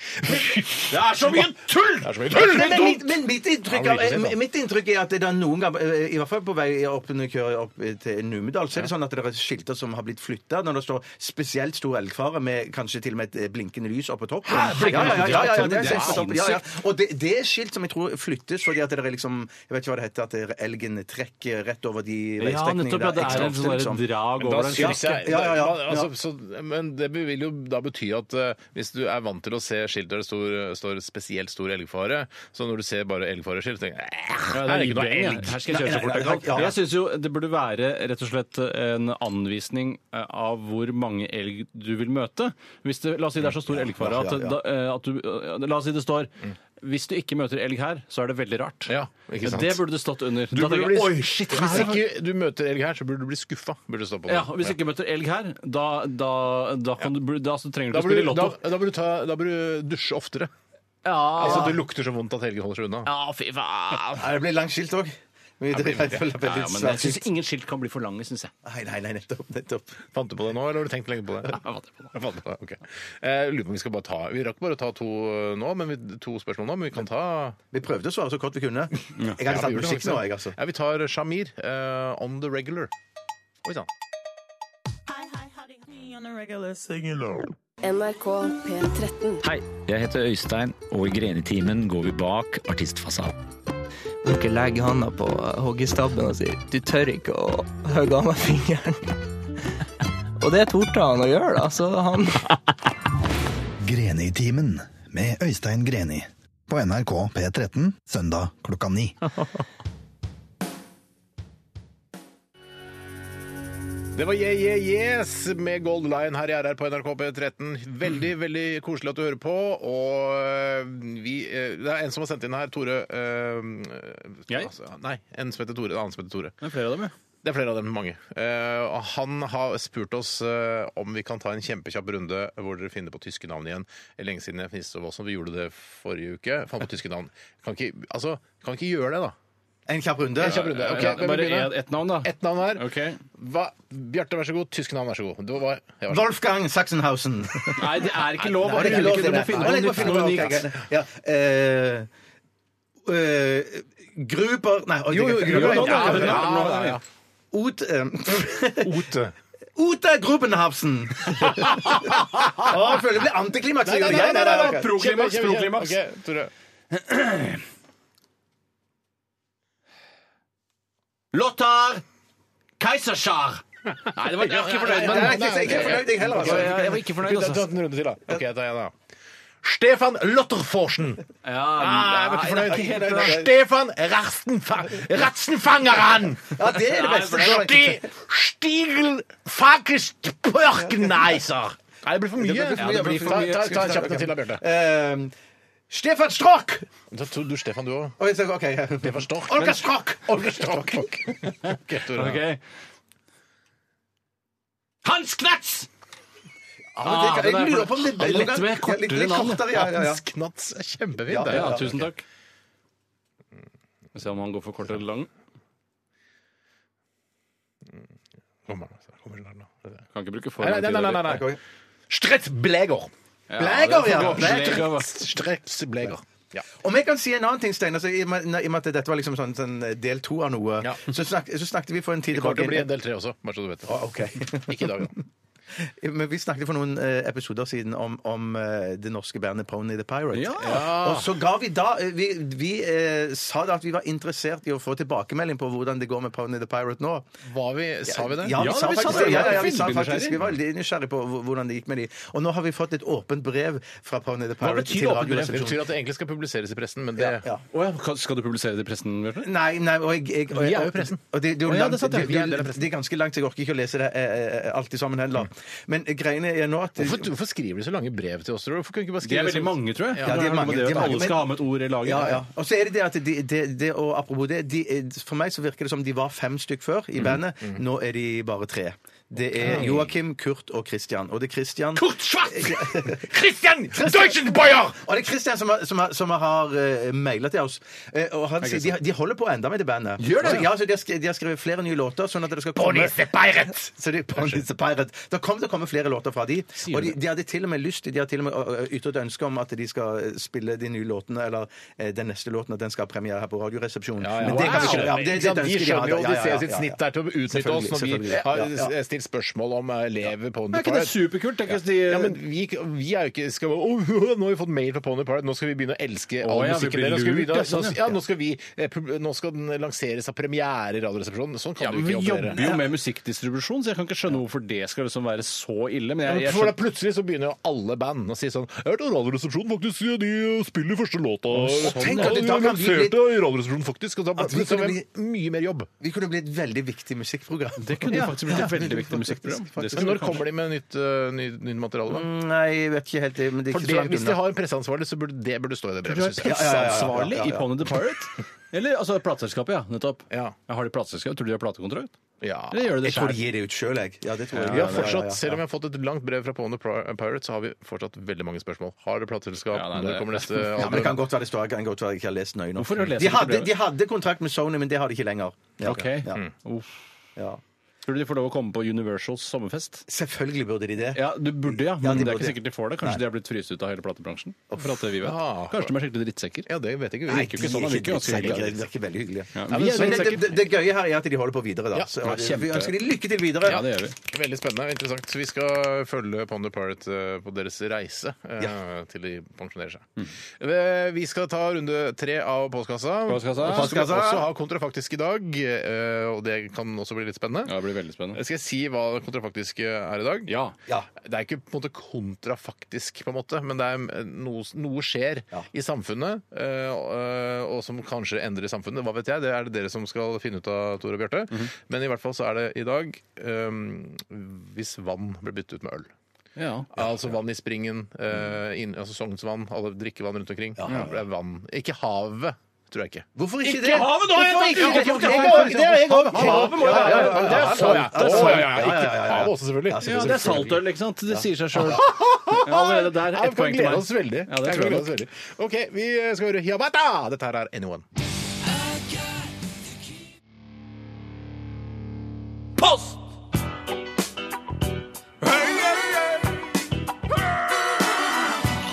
Speaker 4: Det er så mye tull! Det er så mye tull!
Speaker 3: Men, men, mitt, men mitt, inntrykk
Speaker 4: Ja,
Speaker 3: av,
Speaker 4: det blir ikke
Speaker 3: eh,
Speaker 4: sånn.
Speaker 3: mitt inntrykk er at det er noen ganger, eh, i hvert fall på vei opp når jeg kjører opp eh, til Numedal, så er det sånn at det er skilter som har blitt flytta når det står spesielt stor elgfare med kanskje til og med et eh, blinkende lys oppe på toppen. Ja,
Speaker 12: Hæ?
Speaker 3: ja, ja, ja, ja, ja, det
Speaker 12: Det
Speaker 3: er
Speaker 12: er
Speaker 3: helt topp. ja, ja. Og det, det er skilt som jeg tror flyttes fordi at det er liksom Jeg vet ikke hva det heter, at det er elgen trekker rett over de
Speaker 5: Ja,
Speaker 3: veistrekningene. liksom.
Speaker 5: nettopp. Ja, det er en sånn der drag
Speaker 4: Da
Speaker 5: over den.
Speaker 4: synes jeg,
Speaker 3: Ja, ja, ja, ja.
Speaker 4: Altså, så, men det vil jo da bety at eh, hvis du er vant til å se skilt der det står, står spesielt stor elgfare, så når du ser bare elgfareskilt, tenker jeg "Eh,
Speaker 5: Ja,
Speaker 4: her er det ikke noe
Speaker 5: liggende.
Speaker 4: elg.
Speaker 5: Her skal jeg kjøre så fort
Speaker 3: Nei,
Speaker 5: jeg
Speaker 3: nei, nei, ja.
Speaker 5: kan. Jeg syns jo det burde være rett og slett en anvisning eh, av hvor mange elg du vil møte. Hvis det, la oss si det er så stor elgfare at,
Speaker 3: ja, ja.
Speaker 5: da, eh, at du eh, La oss si det står hvis du ikke møter elg her, så er det veldig rart. Eh,
Speaker 4: Ja, ikke sant.
Speaker 5: Det burde det stått under.
Speaker 4: Du
Speaker 5: Da
Speaker 4: burde
Speaker 5: tenker
Speaker 4: bli-
Speaker 5: jeg, Oi, shit!
Speaker 4: Hvis
Speaker 5: her-
Speaker 4: ikke du møter elg her, så burde du bli skuffa. Burde det stå på
Speaker 5: ja, hvis du ikke møter elg her, da, da, da, kan du, da så trenger
Speaker 4: da
Speaker 5: du ikke å
Speaker 4: burde,
Speaker 5: spille
Speaker 4: du-
Speaker 5: lotto.
Speaker 4: da, da, burde du ta, da burde du dusje oftere.
Speaker 5: Ja,
Speaker 4: Altså, Det lukter så vondt at Helge holder seg unna.
Speaker 5: ja, fy faen.
Speaker 3: Nei, det blir langt skilt òg. Nei,
Speaker 5: Ja, ja, men jeg syns ingen skilt kan bli for lange, syns jeg.
Speaker 3: nei, nei, nettopp. nettopp.
Speaker 4: Fant du på det nå, eller har du tenkt lenge på det?
Speaker 5: Jeg vant det på nå.
Speaker 4: Jeg fant på det, ok. Eh, lurer på om Vi skal bare ta Vi rakk bare å ta to, eh, nå, men vi, to spørsmål nå, men vi kan ta
Speaker 3: Vi prøvde å svare så godt vi kunne. Jeg hadde
Speaker 4: Ja,
Speaker 3: satt
Speaker 4: vi gjorde det
Speaker 3: musikk
Speaker 4: faktisk.
Speaker 3: nå, jeg, altså.
Speaker 4: Ja, Vi tar Shamir, eh, 'On The Regular'. Oi sann.
Speaker 13: NRK P13.
Speaker 14: Hei, jeg heter Øystein, og i Grenetimen går vi bak artistfasaden.
Speaker 15: Dere legger handa på uh, hoggestabben og sier 'du tør ikke å hogge av meg fingeren'. Og det torde han å gjøre, da, så han
Speaker 7: Greni-timen med Øystein Greni på NRK P13 søndag klokka ni.
Speaker 4: Det var Yeah Yeah Yes med Gold Line her i RR på NRK P13. Veldig veldig koselig at du hører på. Og øh, vi, øh, det er en som har sendt inn her. Tore øh,
Speaker 5: Jeg?
Speaker 4: altså, Nei, en som heter Tore. En annen som heter Tore.
Speaker 5: Det er flere av dem, ja.
Speaker 4: Det er flere av dem, mange. Eh, og han har spurt oss eh, om vi kan ta en kjempekjapp runde hvor dere finner på tyske navn igjen. Lenge siden jeg fniste over oss, og vi gjorde det forrige uke. Fant på tyske navn. Kan ikke, altså, kan ikke gjøre det, da.
Speaker 3: En kjapp runde.
Speaker 4: En kjapp runde. Ok, hvem vil
Speaker 5: Bare
Speaker 4: begynne?
Speaker 5: ett navn, da.
Speaker 4: Ett navn hver.
Speaker 5: Ok.
Speaker 4: Hva, Bjarte, vær så god. Tysk navn, vær så god. Det var, jeg var-
Speaker 3: Wolfgang Sachsenhausen.
Speaker 5: Nei, det er ikke lov.
Speaker 3: Nei, det er ikke lov til det. Nei, jeg må finne på noe
Speaker 5: unikt.
Speaker 3: annet. Ja, eh, eh, Gruber Nei,
Speaker 4: Jo, jo, Gruber.
Speaker 3: Ja, ja, ja.
Speaker 4: Ja, ja, ja.
Speaker 3: Ot, eh,
Speaker 4: Ote.
Speaker 3: Ota Grubenhavsen! Å, jeg føler det blir antiklimaks.
Speaker 4: Nei, nei, nei,
Speaker 3: Ja,
Speaker 4: nei, nei,
Speaker 3: ok.
Speaker 4: nei.
Speaker 5: Proklimaks,
Speaker 4: Kjempe, kjempe, kjempe.
Speaker 5: proklimaks.
Speaker 4: Ok, Tore.
Speaker 2: Lothar Keiserschar.
Speaker 5: Nei, det var jeg var ikke fornøyd
Speaker 3: Nei,
Speaker 5: med
Speaker 3: jeg er ikke- jeg er ikke fornøyd, jeg heller.
Speaker 5: Jeg
Speaker 3: altså.
Speaker 5: jeg var ikke fornøyd,
Speaker 4: Gud,
Speaker 5: altså.
Speaker 4: Ta en runde til, da. Ok, jeg tar en, da. Stefan Lotterforsen. Ah,
Speaker 5: Ja,
Speaker 4: jeg var ikke
Speaker 5: nei,
Speaker 4: fornøyd.
Speaker 5: det er helt-
Speaker 4: Stefan Rastenfa- Ratzenfangeren!
Speaker 3: Ja, det er det beste.
Speaker 4: Sti- Stigel Fakest Pørkeneiser! Nei, det blir for mye.
Speaker 3: blir for mye, det blir for mye.
Speaker 4: Ta, ta, ta en kjapp en til, da, Bjarte.
Speaker 3: Eh, Stefan Strock!
Speaker 4: Da tror du Stefan, du òg.
Speaker 3: eh, Oi, så- ok.
Speaker 4: Stefan Stork.
Speaker 3: Olga Strock!
Speaker 4: Olga Stork. Ok, Tore.
Speaker 5: Ok.
Speaker 2: Hans Knats!
Speaker 3: Ah,
Speaker 5: det
Speaker 3: jeg
Speaker 5: er for-
Speaker 3: lurer på om det
Speaker 5: det er litt mer kortere
Speaker 3: litt- litt
Speaker 5: navn, ja.
Speaker 3: kortere, ja, ja, ja.
Speaker 4: Hans Knats er kjempefint.
Speaker 3: Ja,
Speaker 4: det.
Speaker 5: Ja, tusen takk. Vi ser om han går for kort eller lang.
Speaker 4: Kommer han, altså. Kommer han nå.
Speaker 5: Kan ikke bruke for
Speaker 4: Nei,
Speaker 5: lang
Speaker 4: nei,
Speaker 5: tid.
Speaker 4: nei, nei, nei. nei. Stretz Bleger.
Speaker 3: Bleger, ja.
Speaker 5: Bleger.
Speaker 4: Stretz Bleger. Ja.
Speaker 3: Om jeg kan si en annen ting, Steinar, så i og med i og med at dette var liksom sånn, sånn del to av noe,
Speaker 4: Ja.
Speaker 3: så, snakket, så snakket vi for en tid
Speaker 4: Det kommer til å bli
Speaker 3: tilbake
Speaker 4: en del tre også, bare så du vet det.
Speaker 3: Å, ok.
Speaker 4: Ikke i dag, da.
Speaker 3: Men vi snakket for noen eh, episoder siden om, om eh, det norske bandet Pony the Pirate.
Speaker 5: Ja.
Speaker 3: Og så ga vi da eh, Vi, vi eh, sa da at vi var interessert i å få tilbakemelding på hvordan det går med Pony the Pirate nå.
Speaker 4: Var vi, sa vi det?
Speaker 3: Ja, vi sa faktisk det. Ja, ja, ja, vi, sa faktisk, vi
Speaker 4: Nysgjerrig.
Speaker 3: var veldig nysgjerrig på hvor- hvordan det gikk med de. Og nå har vi fått et åpent brev fra Pony the Pirate
Speaker 5: betyr
Speaker 3: til
Speaker 5: åpent
Speaker 4: Det
Speaker 5: brev?
Speaker 4: betyr
Speaker 3: Radioresepsjonen.
Speaker 4: at det egentlig skal publiseres i pressen, men det
Speaker 3: Ja.
Speaker 5: Å ja, kan- Skal du publisere det i pressen? Bjarte?
Speaker 3: Nei, nei, og jeg, jeg, og
Speaker 4: Vi
Speaker 3: jeg
Speaker 4: er jo pressen.
Speaker 3: Og det, det, er jo
Speaker 4: Å ja,
Speaker 3: langt,
Speaker 4: det er sant, ja.
Speaker 3: det-
Speaker 4: Vi er en del av pressen. Mm.
Speaker 3: det er ganske langt, så jeg orker ikke å lese det eh, eh, alt i sammen heller. Men greiene er nå at
Speaker 4: Hvorfor, hvorfor skriver de så lange brev til oss, tror du? Hvorfor kan de ikke bare
Speaker 5: De er
Speaker 4: skrive
Speaker 5: veldig mange, tror jeg.
Speaker 3: Ja, de er mange,
Speaker 5: Det
Speaker 3: de er
Speaker 5: at
Speaker 3: mange,
Speaker 5: alle skal ha med et ord i laget.
Speaker 3: Ja, ja. Og så er det det at de, de, de, eh, og
Speaker 4: Mm,
Speaker 3: apropos det, de, for meg så virker det som de var fem stykk før i bandet. Nå er de bare tre. Det er Joakim, Kurt og Christian. Og det er Christian Kurt
Speaker 2: Schwartz! Christian Deutschenbeuer!
Speaker 3: Og det er Christian som, har- som, har- som har uh, mailet til oss. Eh, og han
Speaker 2: Ok,
Speaker 3: sier, de,
Speaker 2: sant.
Speaker 3: de holder på enda med det bandet.
Speaker 2: Gjør det?
Speaker 3: Så- Ja, så de, har skrevet, de har skrevet flere nye låter. Sånn at det skal komme
Speaker 2: Bonnie the Pirate!
Speaker 3: Så det, Bonnie the Pirate. Det kommer til å komme flere låter fra de. Og de, de hadde til og med lyst De har til og med ø, ø, ytret ønske om at de skal spille de nye låtene, eller eh, den neste låten, at den skal ha premiere her på Radioresepsjonen. Men det kan vi ikke. Ja, det, det, er et
Speaker 4: de
Speaker 3: ønske
Speaker 4: skjønner jo
Speaker 3: de har. Ja, ja, ja,
Speaker 4: Odysseus
Speaker 3: ja,
Speaker 4: sitt
Speaker 3: ja.
Speaker 4: snitt der til å utnytte oss når vi
Speaker 3: Selvfølgelig,
Speaker 4: har
Speaker 3: selvfølgelig. Ja, ja.
Speaker 4: s- stilt spørsmål om eh, lever Pony
Speaker 3: Men er ikke det
Speaker 11: superkult?
Speaker 4: Ja. ja, men vi, vi er jo ikke skal, «Åh, Nå har vi fått mail fra Pony Pirate, nå skal vi begynne å elske all
Speaker 11: Å, ja, vi
Speaker 4: musikken
Speaker 11: blir
Speaker 4: deres.
Speaker 11: lurt, ja,
Speaker 4: Nå skal vi begynne-
Speaker 11: sånn,
Speaker 4: nå-
Speaker 11: ja.
Speaker 4: Ja, nå skal vi eh, pub- Nå skal den lanseres av premiere i Radioresepsjonen. Sånn kan
Speaker 11: Ja,
Speaker 4: du
Speaker 11: men
Speaker 4: ikke
Speaker 11: vi
Speaker 4: jobbe.
Speaker 11: jobber jo med musikkdistribusjon, så jeg kan ikke skjønne hvorfor det skal liksom være så ille. Men
Speaker 4: Ja,
Speaker 11: jeg,
Speaker 4: men
Speaker 11: jeg
Speaker 4: for da
Speaker 11: skjønner-
Speaker 4: plutselig så begynner jo alle band å si sånn Jeg hørte Radioresepsjonen faktisk, de eh, spiller første låta
Speaker 3: Og tenk at
Speaker 4: Ja,
Speaker 3: det da
Speaker 4: de
Speaker 3: kan bli litt-
Speaker 4: lanserte Radioresepsjonen faktisk. Og da
Speaker 3: At vi
Speaker 4: plutselig
Speaker 3: kunne
Speaker 4: er
Speaker 3: bli-
Speaker 4: det mye mer jobb.
Speaker 3: Vi kunne bli et veldig viktig musikkprogram.
Speaker 4: Det
Speaker 11: kunne faktisk blitt et veldig viktig musikkprogram. Det
Speaker 4: Men når kommer de med nytt, eh, ny- nytt materiale, da?
Speaker 3: Mm, Nei, jeg vet ikke helt det. Men det er
Speaker 4: For
Speaker 3: ikke
Speaker 4: det,
Speaker 3: så langt
Speaker 4: hvis de
Speaker 3: unna.
Speaker 4: har en presseansvarlig, så burde det burde stå i det
Speaker 3: Tror du de har
Speaker 4: brevet.
Speaker 3: presse- Ja, ja, ja, ja, ja, ja, ja.
Speaker 4: i
Speaker 11: Pony the Pirate? Eller altså plateselskapet, ja. Nettopp. Jeg har de plateselskap? Tror du de har platekontrakt? Eller gjør de det
Speaker 3: Jeg tror
Speaker 11: selv?
Speaker 3: de gir det ut sjøl, jeg. Ja, det tror jeg.
Speaker 4: Vi
Speaker 3: Ja, ja,
Speaker 4: har
Speaker 3: ja,
Speaker 4: fortsatt,
Speaker 3: ja, ja.
Speaker 4: Selv om jeg har fått et langt brev fra Pony Pirate, så har vi fortsatt veldig mange spørsmål. Har dere plateselskap?
Speaker 3: Ja, nei,
Speaker 4: Når
Speaker 3: det-
Speaker 4: kommer neste
Speaker 3: Ja, men Det kan
Speaker 4: album?
Speaker 3: godt være det står. Det kan godt være jeg ikke har lest nøye nok.
Speaker 4: Hvorfor har du lest
Speaker 3: de,
Speaker 4: ikke
Speaker 3: hadde,
Speaker 4: brevet?
Speaker 3: de hadde kontrakt med Sony, men det har de ikke lenger. Ja.
Speaker 11: Ok.
Speaker 3: Ja.
Speaker 4: Hmm.
Speaker 11: Mm.
Speaker 3: Uff. Ja.
Speaker 11: Tror du de får lov å komme på Universals sommerfest?
Speaker 3: Selvfølgelig burde de det.
Speaker 11: Ja, du burde, ja. Men
Speaker 3: Ja, de
Speaker 11: det er
Speaker 3: burde.
Speaker 11: ikke sikkert de får det. Kanskje de har blitt fryst ut av hele platebransjen? For alt det vi vet.
Speaker 4: Ah.
Speaker 11: Kanskje de er skikkelig drittsekker?
Speaker 4: Ja, det vet jeg
Speaker 11: Det virker jo ikke sånn. Det virker ganske
Speaker 3: Det
Speaker 11: hyggelig.
Speaker 3: virker veldig hyggelig.
Speaker 11: Ja,
Speaker 3: men
Speaker 11: vi er
Speaker 3: så- det,
Speaker 11: drittsekker.
Speaker 3: det, det gøye her er at de holder på videre, da.
Speaker 4: Ja,
Speaker 3: Så
Speaker 4: ja,
Speaker 3: vi
Speaker 4: kjempe.
Speaker 3: ønsker de lykke til videre.
Speaker 4: Ja, det gjør vi. Veldig spennende og interessant. Så vi skal følge Ponder Pirate eh, på deres reise eh, til de pensjonerer seg.
Speaker 3: Mm.
Speaker 4: Eh, Vi skal ta runde tre av Postkassa.
Speaker 11: Postkassa.
Speaker 4: Og så skal vi
Speaker 11: Postkassa.
Speaker 4: også ha kontrafaktisk i dag, eh, og det kan også bli litt spennende.
Speaker 11: Ja, det blir veldig spennende.
Speaker 4: Skal jeg si hva kontrafaktisk eh, er i dag?
Speaker 11: Ja.
Speaker 4: Det er ikke på en måte kontrafaktisk, på en måte, men det er noe, noe skjer i samfunnet, eh, og- og som kanskje endrer samfunnet. Hva vet jeg? Det er det dere som skal finne ut av, Tore og Bjarte. Men i hvert fall så er det i dag eh, hvis vann blir byttet ut med øl.
Speaker 11: Ja.
Speaker 4: altså vann i springen, eh, inn, altså Sognsvann, alle drikkevann rundt omkring.
Speaker 11: ja.
Speaker 4: Det er vann. Ikke havet, tror jeg ikke.
Speaker 3: Hvorfor
Speaker 11: ikke Ikke det? havet, da, Hvorfor jeg ikke tenker- det? Jeg- jeg- jeg- jeg- jeg- jeg- jeg- Havet må jo være- Det er salt, det er salt. Havet også,
Speaker 4: selvfølgelig.
Speaker 11: Ja, det er saltøl, ikke sant? Det sier seg sjøl. Allerede der.
Speaker 4: Ja,
Speaker 11: Ett
Speaker 4: vi kan
Speaker 11: poeng til
Speaker 4: glede
Speaker 11: meg.
Speaker 4: oss veldig.
Speaker 11: Ja, det
Speaker 4: Jeg
Speaker 11: tror jeg
Speaker 4: kan glede oss
Speaker 11: nok.
Speaker 4: veldig. OK, vi skal høre Hiabata! Dette her er Anyone.
Speaker 2: Post!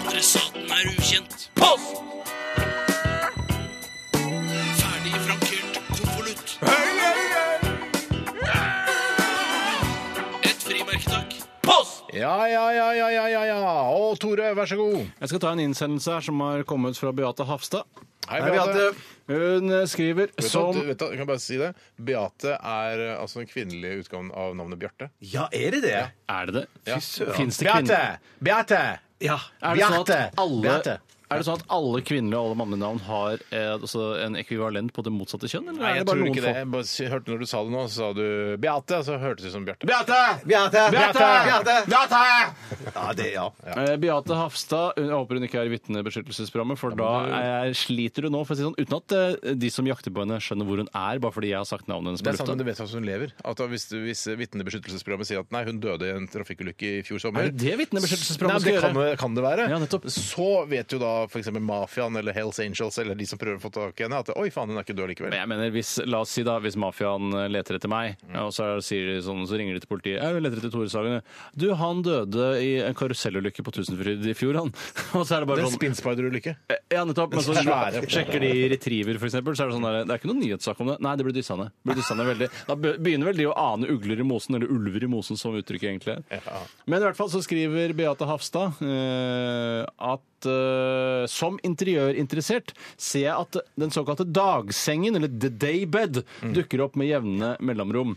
Speaker 12: Adressaten er ukjent.
Speaker 2: Post!
Speaker 12: Ferdig frankert konvolutt. Et frimerke, takk.
Speaker 2: Post!
Speaker 4: Ja, ja, ja, ja, ja, ja, ja. Å, Tore, vær så god.
Speaker 5: Jeg skal ta en innsendelse her som har kommet fra Beate Hafstad.
Speaker 4: Hei, Hei, Beate. Beate.
Speaker 5: Hun eh, skriver
Speaker 4: Vet du,
Speaker 5: som
Speaker 4: at- vet du, at- jeg kan bare si det. Beate er eh, altså den kvinnelige utgaven av navnet Bjarte.
Speaker 3: Ja, er det det?
Speaker 5: Er det det?
Speaker 4: Ja.
Speaker 5: Fy søren. Finnes det
Speaker 4: Beate!
Speaker 5: kvinner-
Speaker 4: Beate!
Speaker 5: Er det, sånn
Speaker 4: Bjarte!
Speaker 5: at alle,
Speaker 4: Bjarte.
Speaker 5: er det sånn at alle kvinnelige og alle mannlige navn har eh, altså en ekvivalent på det motsatte kjønn? Eller
Speaker 4: Nei,
Speaker 5: er
Speaker 4: jeg
Speaker 5: det bare
Speaker 4: tror
Speaker 5: noen
Speaker 4: ikke det.
Speaker 5: få?
Speaker 4: Jeg bare sy- hørte når du sa det nå, så sa du Beate, og så hørtes det ut som Bjarte.
Speaker 3: Beate!
Speaker 4: Beate!
Speaker 3: Ja, det, ja.
Speaker 5: Eh, Beate Hafstad, hun- jeg håper hun ikke er i vitnebeskyttelsesprogrammet, for da er, sliter hun nå, for å si det sånn, uten at eh, de som jakter på henne, skjønner hvor hun er, bare fordi jeg har sagt navnet hennes
Speaker 4: Det
Speaker 5: på
Speaker 4: er sånn sant,
Speaker 5: lufta.
Speaker 4: men du vet at hun lever. At da hvis, hvis vitnebeskyttelsesprogrammet sier at nei, hun døde i en trafikkulykke i fjor sommer
Speaker 5: Er det det vitnebeskyttelsesprogrammet
Speaker 4: Nei, det
Speaker 5: skal
Speaker 4: kan,
Speaker 5: gjøre?
Speaker 4: kan det være. så vet jo da f.eks. mafiaen eller Hells Angels eller de som prøver å få tak i henne, at oi faen, hun er ikke død likevel. Mm.
Speaker 5: Men jeg mener, hvis, la oss si da, hvis mafiaen eh, leter etter meg, og så, er- sier de sånn, så ringer de til politiet Jeg leter etter Tore Sagen. Du, han døde i en karusellulykke på Tusenfryd i fjor, han. Og så er
Speaker 4: Det
Speaker 5: det bare
Speaker 4: er en
Speaker 5: sånn
Speaker 4: spinnspeiderulykke.
Speaker 5: Eh, Ja, nettopp. Men så
Speaker 4: Svære.
Speaker 5: sjekker de Retriever, for eksempel, så er det sånn der, det er ikke noen nyhetssak om det. Nei, det blir dyssa ned. Det blir dyssa ned veldig. Da be- begynner vel de å ane ugler i mosen, eller ulver i mosen, som uttrykket egentlig er. Men i hvert fall så skriver Beate Hafstad eh, at eh, som interiørinteressert ser jeg at den såkalte dagsengen, eller the daybed,
Speaker 4: Mm.
Speaker 5: dukker opp med jevne mellomrom.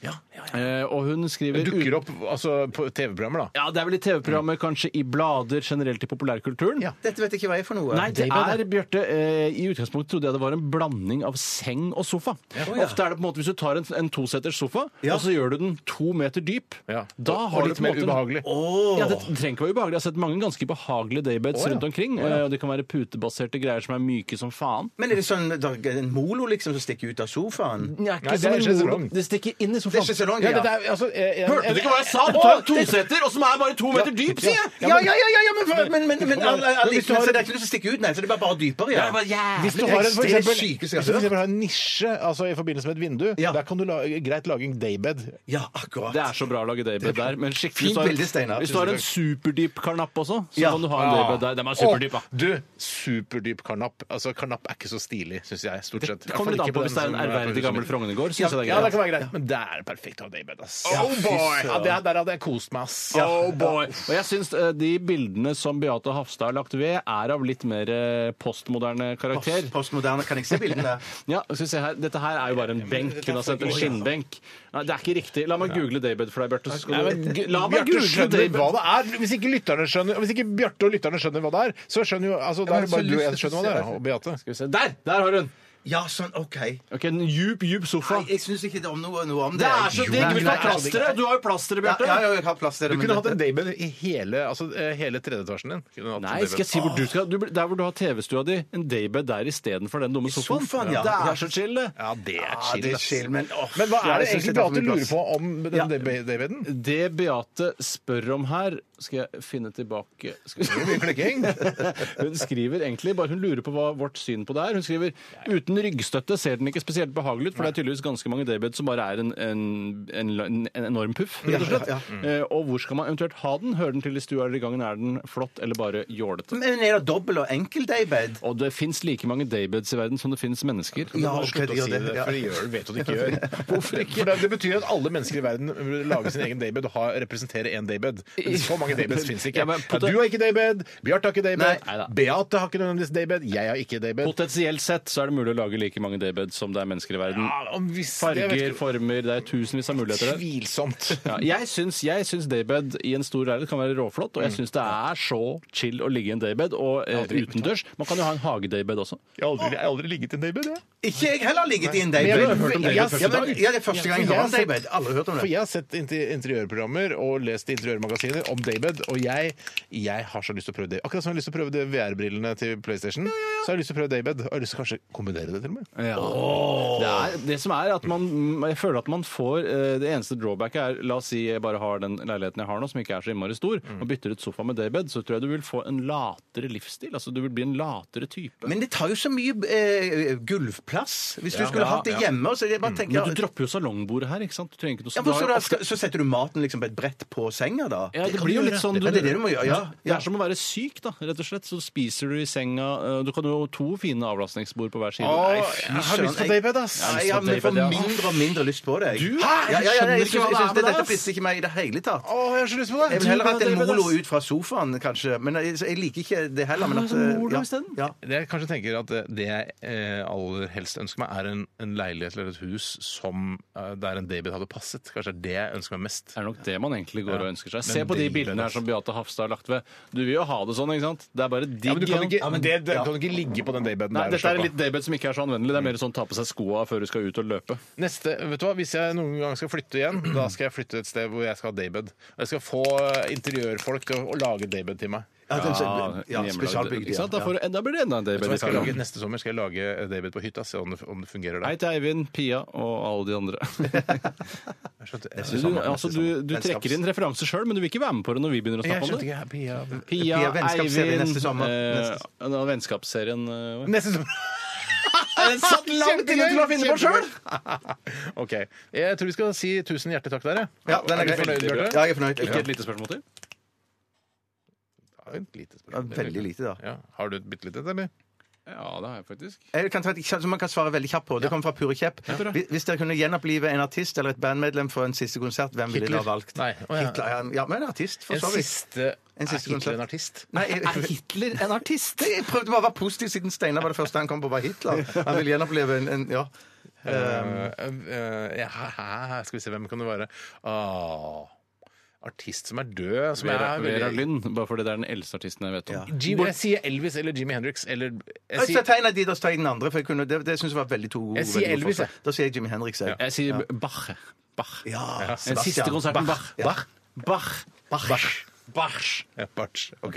Speaker 5: Eh, og hun skriver
Speaker 4: Dukker opp Mm. altså, på TV-programmer, da.
Speaker 5: Ja, det er vel i TV-programmer, kanskje i blader generelt i populærkulturen.
Speaker 3: Dette vet jeg ikke hva jeg er for noe.
Speaker 5: Nei, det er, Bjarte, eh, i utgangspunktet trodde jeg det var en blanding av seng og sofa.
Speaker 3: Å, ja.
Speaker 5: Ofte er det på en måte hvis du tar en, en toseters sofa,
Speaker 3: Ja.
Speaker 5: og så gjør du den to meter dyp,
Speaker 4: Ja.
Speaker 5: da
Speaker 4: Og-
Speaker 5: har
Speaker 4: og
Speaker 5: du
Speaker 4: litt
Speaker 5: på en
Speaker 4: mer
Speaker 5: måte...
Speaker 4: ubehagelig.
Speaker 5: Ja, det trenger ikke være ubehagelig. Jeg har sett mange ganske behagelige daybeds
Speaker 4: Å, ja.
Speaker 5: rundt omkring, ting. eh, Og det kan være putebaserte greier som er myke som faen.
Speaker 3: Men er det sånn da, en molo liksom som stikker ut av sofaen?
Speaker 5: Nei, ikke som en molo. Det stikker inn i sofaen.
Speaker 3: Det er sjeselong,
Speaker 4: Ja,
Speaker 3: ja.
Speaker 4: dette er, altså, jeg- jeg-
Speaker 5: Hørte du ikke hva jeg sa? Du
Speaker 4: Å,
Speaker 5: tar en
Speaker 4: det-
Speaker 5: toseter, og som er bare to meter dyp, sier jeg!
Speaker 3: Ja, ja, ja, ja, ja, men, men, men, men,
Speaker 4: Men
Speaker 3: alle- alle-
Speaker 4: hvis du
Speaker 3: men
Speaker 4: har-
Speaker 3: så det er ikke noe som stikker ut, nei. Så det er bare, bare dypere, ja.
Speaker 4: Ja, det er bare jævlig Hvis du
Speaker 3: Det er
Speaker 4: har en, for
Speaker 3: det
Speaker 4: eksempel,
Speaker 3: sykeste
Speaker 4: hvis
Speaker 3: jeg har
Speaker 4: du for
Speaker 3: hørt.
Speaker 4: eksempel har en nisje altså i forbindelse med et vindu, der kan du la, greit lage en daybed.
Speaker 3: Ja, akkurat.
Speaker 5: Det er så bra å lage daybed der. Men skikkelig
Speaker 4: Fint
Speaker 5: så er-
Speaker 4: bilde, Steinar.
Speaker 5: Hvis du har en superdyp karnapp også, så kan du ha en daybed der. Den er superdyp, da.
Speaker 4: Å, Ah. Du, superdyp karnapp. Altså, karnapp er ikke så stilig, syns jeg, stort sett.
Speaker 5: kommer litt an på hvis det er
Speaker 4: eh,
Speaker 5: en ærverdig gammel Frognergård, synes jeg det er
Speaker 4: Ja,
Speaker 5: greit.
Speaker 4: det kan være greit. Men der er det perfekt å ha daybed, ass.
Speaker 5: Ja, fy søren.
Speaker 4: Ja, det, der hadde jeg kost meg, ass.
Speaker 5: Oh boy! Og jeg syns eh, de bildene som Beate Hafstad har lagt ved, er av litt mer eh, postmoderne karakter.
Speaker 3: Post- postmoderne, kan jeg se bildene?
Speaker 5: ja, skal vi se her. Dette her er jo bare en benk. Hun har sett en skinnbenk. Nei, det er ikke riktig. La meg google Daybed for deg, Bjarte. så skal
Speaker 4: Nei,
Speaker 5: du-
Speaker 4: men,
Speaker 5: Gu- La meg
Speaker 4: Bjarte
Speaker 5: google
Speaker 4: skjønner
Speaker 5: Daybed!
Speaker 4: hva det er. Hvis ikke lytterne skjønner Hvis ikke Bjarte og lytterne skjønner hva det er, så skjønner jo altså, Da
Speaker 5: Ja,
Speaker 4: er
Speaker 5: men
Speaker 4: det bare
Speaker 5: så
Speaker 4: du og jeg som
Speaker 5: lyst til å
Speaker 4: skjønner hva det
Speaker 5: se
Speaker 4: er. Og Beate.
Speaker 5: Skal vi se. Der! Der har hun!
Speaker 3: Ja, sånn, OK.
Speaker 5: Ok, En djup, djup sofa.
Speaker 3: Jeg syns ikke det om noe, noe om
Speaker 5: Det
Speaker 3: det. altså,
Speaker 5: er så digg! Vil du ha plasteret? Du har jo plasteret, Bjarte.
Speaker 3: Ja, ja, ja, jeg har plasteret,
Speaker 4: Du
Speaker 3: men
Speaker 4: kunne
Speaker 3: det-
Speaker 4: hatt en daybed i hele, altså, eh, hele tredje etasjen din. Kunne hatt en
Speaker 5: Nei,
Speaker 4: daybed.
Speaker 5: skal jeg si hvor du skal? Du, blir- der hvor du har TV-stua di. En daybed der istedenfor den dumme sofaen.
Speaker 3: sofaen, ja.
Speaker 5: Det
Speaker 3: Ja.
Speaker 5: er så chill, det.
Speaker 4: Ja, det er
Speaker 3: Ja, det er chill, men, åh,
Speaker 4: Men hva
Speaker 3: ja,
Speaker 4: er det
Speaker 3: jeg synes
Speaker 4: egentlig
Speaker 3: tar for
Speaker 4: Beate
Speaker 3: mye
Speaker 4: lurer
Speaker 3: plass.
Speaker 4: på om den
Speaker 3: Ja.
Speaker 4: day- daybeden?
Speaker 5: Det Beate spør om her, skal jeg finne tilbake skal
Speaker 4: Mye klikking.
Speaker 5: Hun skriver egentlig bare, hun lurer på hva vårt syn på det er. Hun skriver uten ryggstøtte ser den ikke spesielt behagelig ut, for det er tydeligvis ganske mange daybeds som bare er en, en, en, en enorm puff, rett og slett.
Speaker 3: Ja,
Speaker 5: Eh, Og hvor skal man eventuelt ha den? Hører den til i stua eller i gangen? Er den flott eller bare jålete?
Speaker 3: Men er det dobbel og enkel daybed?
Speaker 5: Og det fins like mange daybeds i verden som det fins mennesker.
Speaker 3: Ja,
Speaker 4: Bare
Speaker 3: ok,
Speaker 4: slutt
Speaker 3: de
Speaker 4: å
Speaker 3: gjør
Speaker 4: si
Speaker 3: det,
Speaker 4: det,
Speaker 3: ja.
Speaker 4: for de gjør det, vet du det ikke gjør. Hvorfor ikke? For det, det betyr at alle mennesker i verden burde lage sin egen daybed og ha, representere én daybed. Men Så mange daybeds fins ikke.
Speaker 5: Ja, men
Speaker 4: Ja,
Speaker 5: poten-
Speaker 4: du har ikke daybed, Bjarte har ikke daybed,
Speaker 5: Nei. Neida.
Speaker 4: Beate har ikke nødvendigvis daybed, jeg har ikke daybed.
Speaker 5: Potensielt sett så er det mulig å lage like mange daybeds som det er mennesker i verden.
Speaker 4: Ja, om hvis- jeg vet
Speaker 5: Farger,
Speaker 4: ikke-
Speaker 5: former, det er tusenvis av muligheter der.
Speaker 4: Tvilsomt.
Speaker 5: Ja, jeg, syns, jeg syns daybed i en stor leilighet kan være råflott, og jeg syns det er så chill å ligge i en daybed, og eh, utendørs. Man kan jo ha en hagedaybed også.
Speaker 4: Jeg har aldri, jeg har aldri ligget i en daybed, jeg.
Speaker 3: Ikke jeg heller har ligget i en
Speaker 4: Men jeg
Speaker 3: daybed.
Speaker 4: har hørt om daybed
Speaker 3: Ja,
Speaker 4: første
Speaker 3: ja, men-
Speaker 4: dag.
Speaker 3: Ja, det er første gang jeg
Speaker 4: For
Speaker 3: har
Speaker 4: jeg
Speaker 3: en
Speaker 4: har sett-
Speaker 3: daybed. Alle har hørt om
Speaker 4: For
Speaker 3: det.
Speaker 4: jeg har sett inter- interiørprogrammer og lest interiørmagasiner om Daybed, og jeg, jeg har så lyst til å prøve det. Akkurat som jeg har lyst til å prøve de VR-brillene til PlayStation, så har jeg lyst til å prøve Daybed. Og jeg har lyst til å kanskje kombinere det til og med.
Speaker 5: Det, er, det som er at man mm, Jeg føler at man får eh, Det eneste drawbacket er La oss si jeg bare har den leiligheten jeg har nå, som ikke er så innmari stor, og bytter ut sofa med daybed, så tror jeg du vil få en latere livsstil. Altså du vil bli en latere type.
Speaker 3: Men det tar jo så mye eh, gulvplass. Hvis du
Speaker 5: Ja.
Speaker 3: skulle
Speaker 5: Ja,
Speaker 3: hatt det
Speaker 5: ja. Mm.
Speaker 3: hjemme så jeg bare tenker,
Speaker 5: Men du dropper jo salongbordet her, ikke sant? Du trenger ikke noe Altså,
Speaker 3: ja,
Speaker 5: du har
Speaker 3: for så,
Speaker 5: jo
Speaker 3: da,
Speaker 5: ofte-
Speaker 3: skal, så setter du maten liksom på et brett på senga, da?
Speaker 5: Ja, det,
Speaker 3: kan
Speaker 5: blir
Speaker 3: du
Speaker 5: jo
Speaker 3: gjøre.
Speaker 5: litt sånn du-
Speaker 3: ja, Det er det du må gjøre. Ja,
Speaker 5: Det
Speaker 3: ja.
Speaker 5: er som å være syk, da, rett og slett. Så spiser du i senga eh, Du kan jo ha to fine avlastningsbord på hver side.
Speaker 3: Å,
Speaker 5: Nei,
Speaker 3: fy
Speaker 5: fy
Speaker 4: Jeg har
Speaker 3: søren,
Speaker 4: lyst på Daybed, ass!
Speaker 3: Nei,
Speaker 5: lyst
Speaker 3: ja,
Speaker 5: på
Speaker 3: men jeg får
Speaker 5: Daybed, ja.
Speaker 3: mindre og mindre lyst på det. jeg.
Speaker 5: Du?
Speaker 3: Hæ? Ja, ja, ja,
Speaker 5: Skjønner
Speaker 3: jeg
Speaker 5: ikke hva
Speaker 3: syns- jeg syns
Speaker 5: det er
Speaker 3: det-
Speaker 5: med deg,
Speaker 3: Dette
Speaker 5: ass.
Speaker 3: pisser ikke meg i det hele tatt.
Speaker 4: Å, jeg har så lyst på
Speaker 3: Jeg
Speaker 4: det!
Speaker 3: vil heller altså. hatt en
Speaker 5: Daybed, ass.
Speaker 3: molo ut fra sofaen, kanskje. Men jeg, jeg liker ikke det heller. Men
Speaker 5: Ja,
Speaker 3: at, eh,
Speaker 5: så molo
Speaker 3: ja,
Speaker 5: isteden.
Speaker 3: ja.
Speaker 4: Det jeg kanskje tenker at eh, det jeg eh, aller helst ønsker meg, er en, en leilighet eller et hus som, eh, der en Daybed hadde passet. Kanskje det er det jeg ønsker meg mest.
Speaker 5: Det er nok det man egentlig går og ønsker seg.
Speaker 4: Men
Speaker 5: Se på de
Speaker 4: det-
Speaker 5: bildene her som Beate Hafstad har lagt ved. Du vil jo ha det sånn, ikke sant? Det er bare digg.
Speaker 4: Ja, men du kan
Speaker 5: igjen.
Speaker 4: ikke,
Speaker 5: Ja, men-
Speaker 4: det, det, kan ikke ligge på den Daybeden
Speaker 5: Nei,
Speaker 4: der. og
Speaker 5: dette er
Speaker 4: slappe av.
Speaker 5: litt daybed som ikke er så anvendelig. Det er mer sånn ta på seg skoa før du skal ut og løpe.
Speaker 4: Neste, vet du hva, Hvis jeg noen gang skal flytte igjen, da skal jeg flytte et sted hvor jeg skal ha daybed. Og Jeg skal få eh, interiørfolk til å, å lage daybed til meg.
Speaker 3: Ja, den- Ah, ja,
Speaker 5: en hjemmelagd-
Speaker 3: spesialbygd.
Speaker 5: Ikke sant? Da,
Speaker 3: ja.
Speaker 5: får, du- da blir det enda en
Speaker 4: Vet du hva
Speaker 5: daybed. i
Speaker 4: jeg skal lage,
Speaker 5: Thailand.
Speaker 4: neste sommer skal jeg lage eh, daybed på hytta, se om det, om det fungerer
Speaker 5: Hei
Speaker 4: der.
Speaker 5: til Eivind, Pia og alle de andre.
Speaker 4: Jeg skjønte, jeg
Speaker 5: Du,
Speaker 4: skjønte-
Speaker 5: altså, du, du trekker inn referanser sjøl, men du vil ikke være med på det når vi begynner å
Speaker 4: jeg
Speaker 5: snakke om
Speaker 4: skjønte
Speaker 5: det.
Speaker 4: ikke Pia
Speaker 5: Pia,
Speaker 3: Pia vennskapsserie
Speaker 5: Eivind
Speaker 3: neste sommer.
Speaker 5: eh,
Speaker 3: Neste
Speaker 5: da, Vennskapsserien eh,
Speaker 4: Neste sommer!
Speaker 5: Den satt langt inne til å finne på sjøl!
Speaker 4: OK. Jeg tror vi skal si tusen hjertelig takk der, jeg.
Speaker 3: Ja, den er
Speaker 4: du
Speaker 3: grei.
Speaker 4: fornøyd, Bjarte?
Speaker 3: Ja, jeg er fornøyd.
Speaker 5: Ikke et lite spørsmål til?
Speaker 4: Ja, et lite
Speaker 3: Ja,
Speaker 4: spørsmål.
Speaker 3: Veldig lite, da.
Speaker 4: Ja. Har du et bitte lite, eller?
Speaker 5: Ja, det har jeg faktisk.
Speaker 3: Jeg kan ta et eksempel som man kan svare veldig kjapt på. Det kommer fra Pure Kjepp. Hvis- Hvis dere kunne gjenopplive en artist eller et bandmedlem for en siste konsert, hvem ville dere ha valgt?
Speaker 4: Nei. å, ja.
Speaker 3: Hitler, ja, ja, men en artist, for
Speaker 4: En
Speaker 3: så vidt.
Speaker 4: siste,
Speaker 3: En siste
Speaker 4: Er Hitler
Speaker 3: konsert.
Speaker 4: en artist?
Speaker 3: Nei, jeg,
Speaker 5: Hitler en artist?
Speaker 3: jeg prøvde bare å være positiv siden Steinar var det første han kom på, var Hitler. Han ville gjenoppleve en, en ja.
Speaker 4: Eh, eh, ja, hæ, skal vi se, hvem kan det være? Ah, artist som er død som
Speaker 5: Vera,
Speaker 4: er
Speaker 5: Vera Lynn, bare fordi det er den eldste artisten jeg vet om.
Speaker 4: Jim, Jeg sier Elvis eller Jimi Hendrix eller
Speaker 3: Jeg
Speaker 4: jeg
Speaker 3: skal
Speaker 4: sier,
Speaker 3: ta en av de, da tar jeg den andre. For jeg kunne, det det syns jeg var veldig to gode
Speaker 4: Jeg sier
Speaker 3: veldig gode
Speaker 4: Elvis,
Speaker 3: forslag.
Speaker 4: jeg.
Speaker 3: Da sier jeg Jimi Hendrix. Jeg.
Speaker 5: Jeg sier Bach. Bach.
Speaker 3: Ja,
Speaker 5: Den siste konserten Bach.
Speaker 3: Bach.
Speaker 5: Bach. Bach. Bach.
Speaker 4: Ja, Bartsch. OK.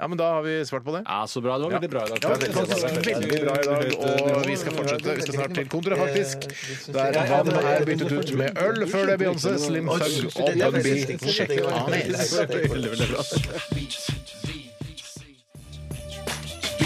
Speaker 4: Ja, men da har vi svart på det.
Speaker 5: Ja, Så bra. Det var veldig bra i dag.
Speaker 4: Ja, det var veldig bra i dag, og vi skal fortsette. Vi skal snart til kontoret, faktisk. Der vann er byttet ut med øl. Før det Beyoncé, Slim Thug og Bun B. Sjekk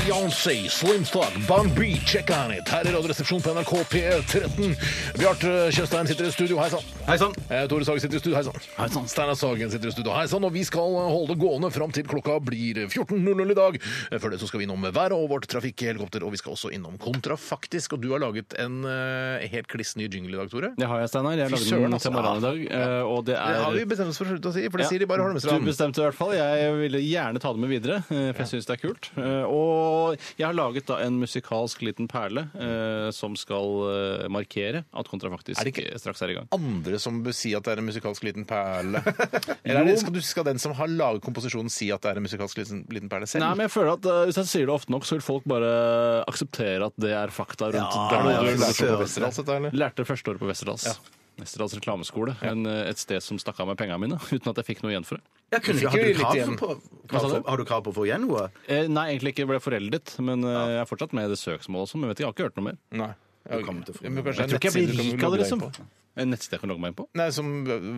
Speaker 4: Beyoncé, Slim Thug, Bun B, check on it. Her i Radioresepsjonen på NRK P13. Bjarte Tjøstheim sitter i studio. Hei sann.
Speaker 3: sånn.
Speaker 4: Eh, Tore Sagen sitter i studio. Hei sann. Steinar Sagen sitter i studio. Hei sann. Og vi skal holde det gående fram til klokka blir 14.00 i dag. Eh, Før det så skal vi innom været og vårt trafikkhelikopter, og vi skal også innom kontrafaktisk. Og du har laget en eh, helt kliss ny jingle i dag, Tore.
Speaker 5: Det har jeg, Steinar. Jeg
Speaker 4: Fy
Speaker 5: lagde
Speaker 4: søren,
Speaker 5: den
Speaker 4: altså.
Speaker 5: til morgenen i dag. eh, Og det
Speaker 4: Det har
Speaker 5: er
Speaker 4: vi bestemt oss for å slutte å si, for det
Speaker 5: Ja.
Speaker 4: sier de bare i
Speaker 5: Du
Speaker 4: Holmestrand.
Speaker 5: bestemte i hvert fall. Jeg ville gjerne ta det med videre, eh, for jeg syns det er kult. Eh, Og jeg har laget da en musikalsk liten perle eh, som skal eh, markere at kontrafaktisk
Speaker 4: Er det ikke-
Speaker 5: eh, straks er i gang.
Speaker 4: Andre som bør si at det er en musikalsk liten perle. Eller er det, skal, du, skal den som har laget komposisjonen, si at det er en musikalsk liten, liten perle selv?
Speaker 5: Nei, men jeg føler at eh, Hvis jeg sier det ofte nok, så vil folk bare akseptere at det er fakta rundt
Speaker 4: Ja,
Speaker 5: det. er noe
Speaker 4: ja,
Speaker 5: du
Speaker 4: ja,
Speaker 5: lærte
Speaker 4: søren.
Speaker 5: på Westerdals,
Speaker 4: altså,
Speaker 5: dette, eller? Lærte første året på Westerdals. Westerdals reklameskole. En, eh, et sted som stakk av meg penga mine, uten at jeg fikk noe igjen for det.
Speaker 3: Ja, kunne du, har, du krav på, krav for, har du krav på å få igjen noe?
Speaker 5: Eh, nei, egentlig ikke ble foreldet, men eh, jeg er fortsatt med i det søksmålet også. Men jeg vet ikke, jeg har ikke hørt noe mer.
Speaker 4: Du kommer til å få- Ja, men kanskje det er
Speaker 5: jeg tror ikke jeg
Speaker 4: nettsider
Speaker 5: blir
Speaker 4: du kan
Speaker 5: rik av det,
Speaker 4: logge
Speaker 5: liksom.
Speaker 4: deg
Speaker 5: En nettsted jeg kan logge meg inn på?
Speaker 4: Nei, som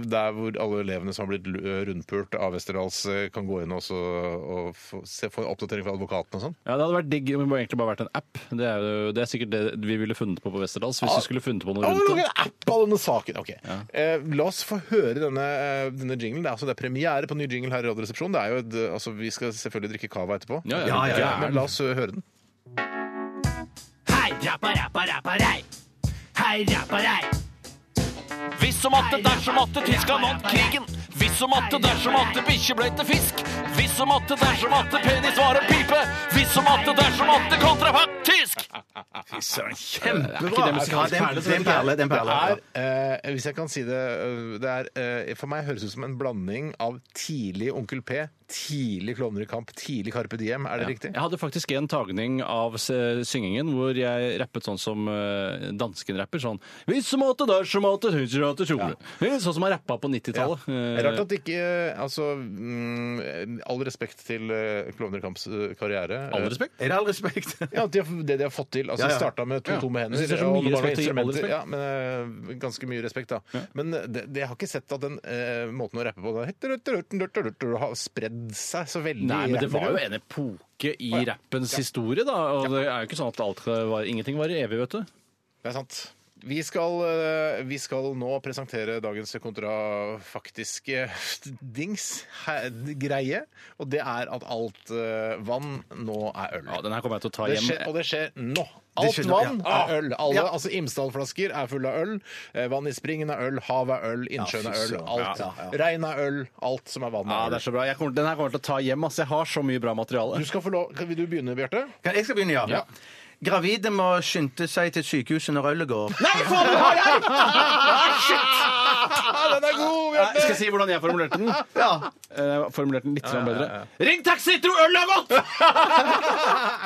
Speaker 4: der hvor alle elevene som har blitt lu- eh, rundpult av Westerdals, eh, kan gå inn også, og få, se, få en oppdatering fra advokaten og sånn.
Speaker 5: Ja, Det hadde vært digg om det egentlig bare vært en app. Det er, jo, det er sikkert det vi ville funnet på på Westerdals. Hvis
Speaker 4: Ah.
Speaker 5: vi skulle funnet
Speaker 4: Å,
Speaker 5: på
Speaker 4: vi
Speaker 5: noe
Speaker 4: lager
Speaker 5: rundt det.
Speaker 4: en app av denne saken! Ok.
Speaker 5: Ja.
Speaker 4: Eh, la oss få høre denne, eh, denne jinglen. Det er, altså, det er premiere på ny jingle her i Radioresepsjonen. Det er jo et, eh, altså, vi skal selvfølgelig drikke cava etterpå.
Speaker 5: Ja, ja, ja, ja.
Speaker 4: Men la oss eh, høre den.
Speaker 12: Hei, rappa, rappa, rappa, rei. Hei, rappa, rei. Hvis som atte, dersom atte, tyska vant krigen. Hvis som atte, dersom atte, bikkje ble til fisk. Hvis som atte, dersom atte, penis var en pipe. Hvis som atte, dersom atte, kontrafaktisk.
Speaker 3: Fy søren,
Speaker 4: Det er
Speaker 3: kjempebra!
Speaker 4: ikke det musikalske
Speaker 3: Ja, det er en- det er en perle. Det er en perle.
Speaker 4: Det er, eh, hvis jeg kan si det, eh, det er, eh, for meg høres det ut som en blanding av tidlig Onkel P, tidlig Klovner i kamp, tidlig Carpe Diem. Er det
Speaker 5: Ja.
Speaker 4: riktig?
Speaker 5: Jeg hadde faktisk en tagning av s- syngingen hvor jeg rappet sånn som eh, dansken rapper. Sånn Hvis som åtte, der som åtte, huser åtte, tjore». Sånn som han rappa på 90-tallet.
Speaker 4: Det er
Speaker 5: Eh,
Speaker 4: Rart at ikke eh, Altså, mm, all respekt til eh, Klovner i kamps eh, karriere.
Speaker 5: All respekt?
Speaker 3: Er det all respekt?
Speaker 4: Ja, de har, det de har fått til. Altså,
Speaker 3: Ja, ja.
Speaker 4: De starta med to
Speaker 3: Ja.
Speaker 4: tomme hender.
Speaker 5: Jeg synes det er så
Speaker 4: og
Speaker 5: mye
Speaker 4: bare
Speaker 5: respekt å gi all
Speaker 4: instrumenter.
Speaker 5: respekt.
Speaker 4: Ja, men eh, Ganske mye respekt, da. Men eh, det, det, jeg har ikke sett at den eh, måten å rappe på da, har spredd seg så veldig.
Speaker 5: Nei,
Speaker 4: i
Speaker 5: men det var jo
Speaker 4: rappmiljøet.
Speaker 5: en epoke i rappens historie, da. Og det er jo ikke sånn at alt var, ingenting var evig, vet du.
Speaker 4: Det er sant. Vi skal, eh, vi skal nå presentere dagens kontrafaktiske dings, he- greie. Og det er at alt eh, vann nå er øl.
Speaker 5: Ja, Den her kommer jeg til å ta
Speaker 4: Det
Speaker 5: hjem.
Speaker 4: skjer, og det skjer nå. Alt
Speaker 5: skjer nå,
Speaker 4: vann
Speaker 5: ja.
Speaker 4: er øl. Alle,
Speaker 5: Ja.
Speaker 4: altså Imsdal-flasker er fulle av øl. Eh, Vann i springen er øl, havet er øl, innsjøen
Speaker 5: Ja,
Speaker 4: er
Speaker 5: fy
Speaker 4: øl.
Speaker 5: søren.
Speaker 4: Alt.
Speaker 5: Ja, ja, ja.
Speaker 4: Regn er øl. Alt som er vann,
Speaker 5: Ja,
Speaker 4: er
Speaker 5: det
Speaker 4: øl.
Speaker 5: er så bra. Jeg kommer, den her kommer jeg til å ta hjem. ass. Jeg har så mye bra materiale.
Speaker 4: Du skal få lov, kan- vil du begynne, Bjarte?
Speaker 3: Kan- Jeg skal begynne, ja. Gravide må skynde seg til sykehuset når ølet går.
Speaker 12: Nei, faen, du har den! Ah, shit!
Speaker 4: Den er god,
Speaker 5: Bjarte! Skal jeg si hvordan jeg formulerte den? Eh, Jeg formulerte den litt sånn bedre. Ring taxi, tror øl er godt!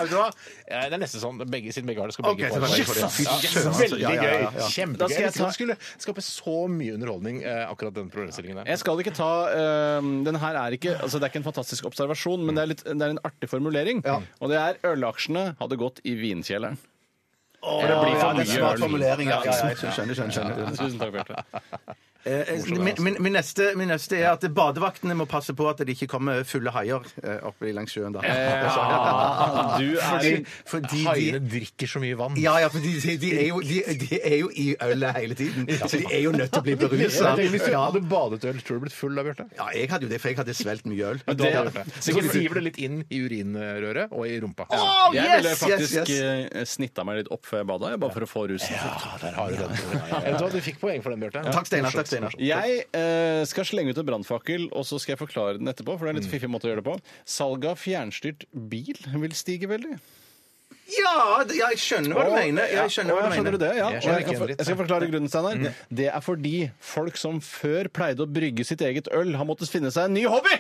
Speaker 4: Vet du hva? Eh, Det er nesten sånn begge, siden begge har det, skal
Speaker 5: Ok,
Speaker 4: begge
Speaker 5: så kan jeg få det. Fy
Speaker 4: Ja,
Speaker 5: søren, altså.
Speaker 4: Veldig
Speaker 5: Ja, ja, ja, ja.
Speaker 4: gøy. Kjempegøy.
Speaker 5: Da
Speaker 4: Jeg
Speaker 5: skal jeg ta-
Speaker 4: visste det skulle skape så mye underholdning, eh, akkurat den problemstillingen der.
Speaker 5: Jeg skal ikke ta øhm, Den her er ikke altså Det er ikke en fantastisk observasjon, men det er, litt, det er en artig formulering. Og det er ølaksjene hadde gått i vinkjelleren.
Speaker 3: Åh,
Speaker 5: For det blir for
Speaker 3: ja, det er
Speaker 5: mye
Speaker 3: smart
Speaker 5: øl.
Speaker 3: formulering, ja.
Speaker 5: Ja, ja, ja.
Speaker 3: Skjønner, skjønner, skjønner.
Speaker 5: Ja, Tusen takk, Bjarte.
Speaker 3: Eh, eh, Min, min, min, neste, min neste er at badevaktene må passe på at det ikke kommer fulle haier eh, oppe i langs sjøen. Da. Eh,
Speaker 4: Ja, du er-
Speaker 3: fordi, fordi
Speaker 4: Haiene
Speaker 3: de,
Speaker 4: drikker så mye vann.
Speaker 3: ja, ja, for de, de, de, er jo, de, de er jo i ølet hele tiden, så de er jo nødt til å bli berusa.
Speaker 4: Hvis du
Speaker 3: Ja.
Speaker 4: hadde badet øl, tror du du blitt full da, Bjarte?
Speaker 3: ja, jeg hadde jo det, for jeg hadde svelget mye øl.
Speaker 4: Det, så siver det litt inn i urinrøret og i rumpa.
Speaker 3: Åh,
Speaker 5: Jeg
Speaker 3: yes,
Speaker 5: ville faktisk
Speaker 3: yes,
Speaker 5: eh, snitta meg litt opp før jeg bada, jeg, bare for å få rusen.
Speaker 4: Vet du hva, du fikk poeng for den, Bjarte.
Speaker 3: Takk, Steinar. Takk, Steinar.
Speaker 5: Jeg eh, skal slenge ut en brannfakkel, og så skal jeg forklare den etterpå. For det er en litt fiffig måte å gjøre det på. Salget av fjernstyrt bil vil stige veldig.
Speaker 3: Ja, det- ja, jeg skjønner hva du
Speaker 5: Å,
Speaker 3: mener. Ja, jeg skjønner
Speaker 5: ja,
Speaker 3: hva du mener.
Speaker 5: skjønner du det? Ja.
Speaker 3: Jeg skjønner
Speaker 5: Jeg, jeg,
Speaker 3: ikke en
Speaker 5: kan,
Speaker 3: dritt,
Speaker 5: jeg skal forklare grunnen, Steinar. Det er fordi folk som før pleide å brygge sitt eget øl, har måttet finne seg en ny hobby!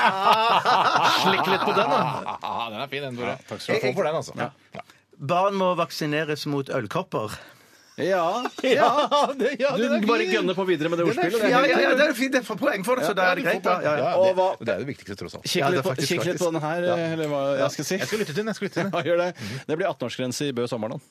Speaker 5: Slikk litt på den, da.
Speaker 4: Den er fin, den, Tore.
Speaker 5: takk
Speaker 4: skal du ha. Få for den, altså.
Speaker 3: Barn må vaksineres mot ølkopper.
Speaker 11: Ja. det- ja,
Speaker 5: Du
Speaker 11: den er
Speaker 5: bare
Speaker 11: fin.
Speaker 5: gønner på videre med det
Speaker 11: Den er
Speaker 5: ordspillet.
Speaker 11: fin.
Speaker 3: Ja, ja, ja, det er fint. Jeg får poeng for det, så da er det greit, da. Ja, ja.
Speaker 11: Og hva-
Speaker 4: Det er jo det viktigste, tross alt.
Speaker 11: Kikk litt, på, kikk litt på den her, eh, eller hva jeg skal si.
Speaker 4: Jeg skal lytte til den. jeg skal lytte til den.
Speaker 11: Ja, gjør det.
Speaker 5: Mhm.
Speaker 11: Det blir 18-årsgrense i Bø Sammerland.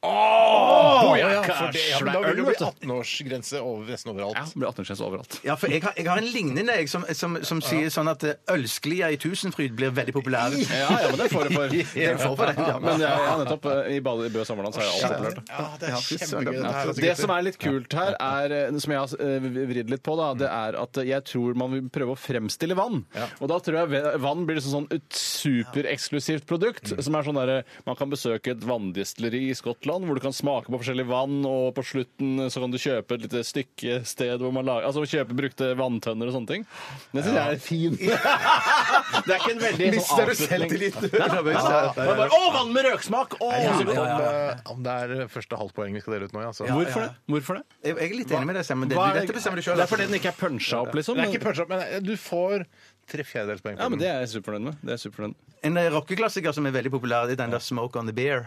Speaker 4: Åh, ja,
Speaker 11: Bojakker,
Speaker 4: for det, ja, men da
Speaker 11: øl,
Speaker 4: vil det
Speaker 11: vet
Speaker 4: bli
Speaker 11: du.
Speaker 4: 18-årsgrense over- nesten overalt.
Speaker 5: Ja, det blir 18-årsgrense overalt.
Speaker 3: Ja, for jeg har, jeg har en lignende jeg, som, som, som sier sånn at eh, ølsklia i Tusenfryd blir veldig populær.
Speaker 11: Ja, ja, men det får du for.
Speaker 3: Den får for den, ja.
Speaker 11: Men ja, ja, nettopp. eh, I Bade- i Bø Sammerland så er jeg alt opplørt.
Speaker 4: Ja, det er kjempegøy.
Speaker 11: Ja.
Speaker 4: dette her, altså,
Speaker 11: Det
Speaker 4: gutter.
Speaker 11: som er litt kult her, er, eh, som jeg har eh, vridd litt på, da, det er at jeg tror man vil prøve å fremstille vann. Og da tror jeg ve- vann blir liksom sånn et supereksklusivt produkt.
Speaker 5: Mm.
Speaker 11: Som er sånn derre Man kan besøke et vanndestilleri i Skottland hvor du kan smake på forskjellig vann, og på slutten eh, så kan du kjøpe et lite stykke sted hvor man lager Altså kjøpe brukte vanntønner og sånne ting. Det syns jeg er fint. Det er ikke en veldig sånn
Speaker 3: Mister du
Speaker 11: avslutning.
Speaker 3: selvtilliten?
Speaker 11: Nei, nei, nei, nei. Man bare, Å, vann med røksmak! Å,
Speaker 4: Jeg
Speaker 11: så
Speaker 4: lurer på
Speaker 11: godt!
Speaker 4: om, eh, om det er første halvpoeng vi skal dele ut nå. ja, Altså.
Speaker 5: Hvorfor det? Hvorfor det?
Speaker 3: Jeg, jeg er litt enig med deg, Sam, men det,
Speaker 4: Hva er-
Speaker 3: dette bestemmer du sjøl.
Speaker 5: Det er fordi den ikke er punsja opp, liksom.
Speaker 4: Det er ikke punch up, men eh, du får tre fjerdedelspoeng.
Speaker 5: Ja, men det er jeg superfornøyd med. Det er jeg superfornøyd med.
Speaker 3: En eh, rockeklassiker som er veldig populær, det er den der 'Smoke on the Beer'.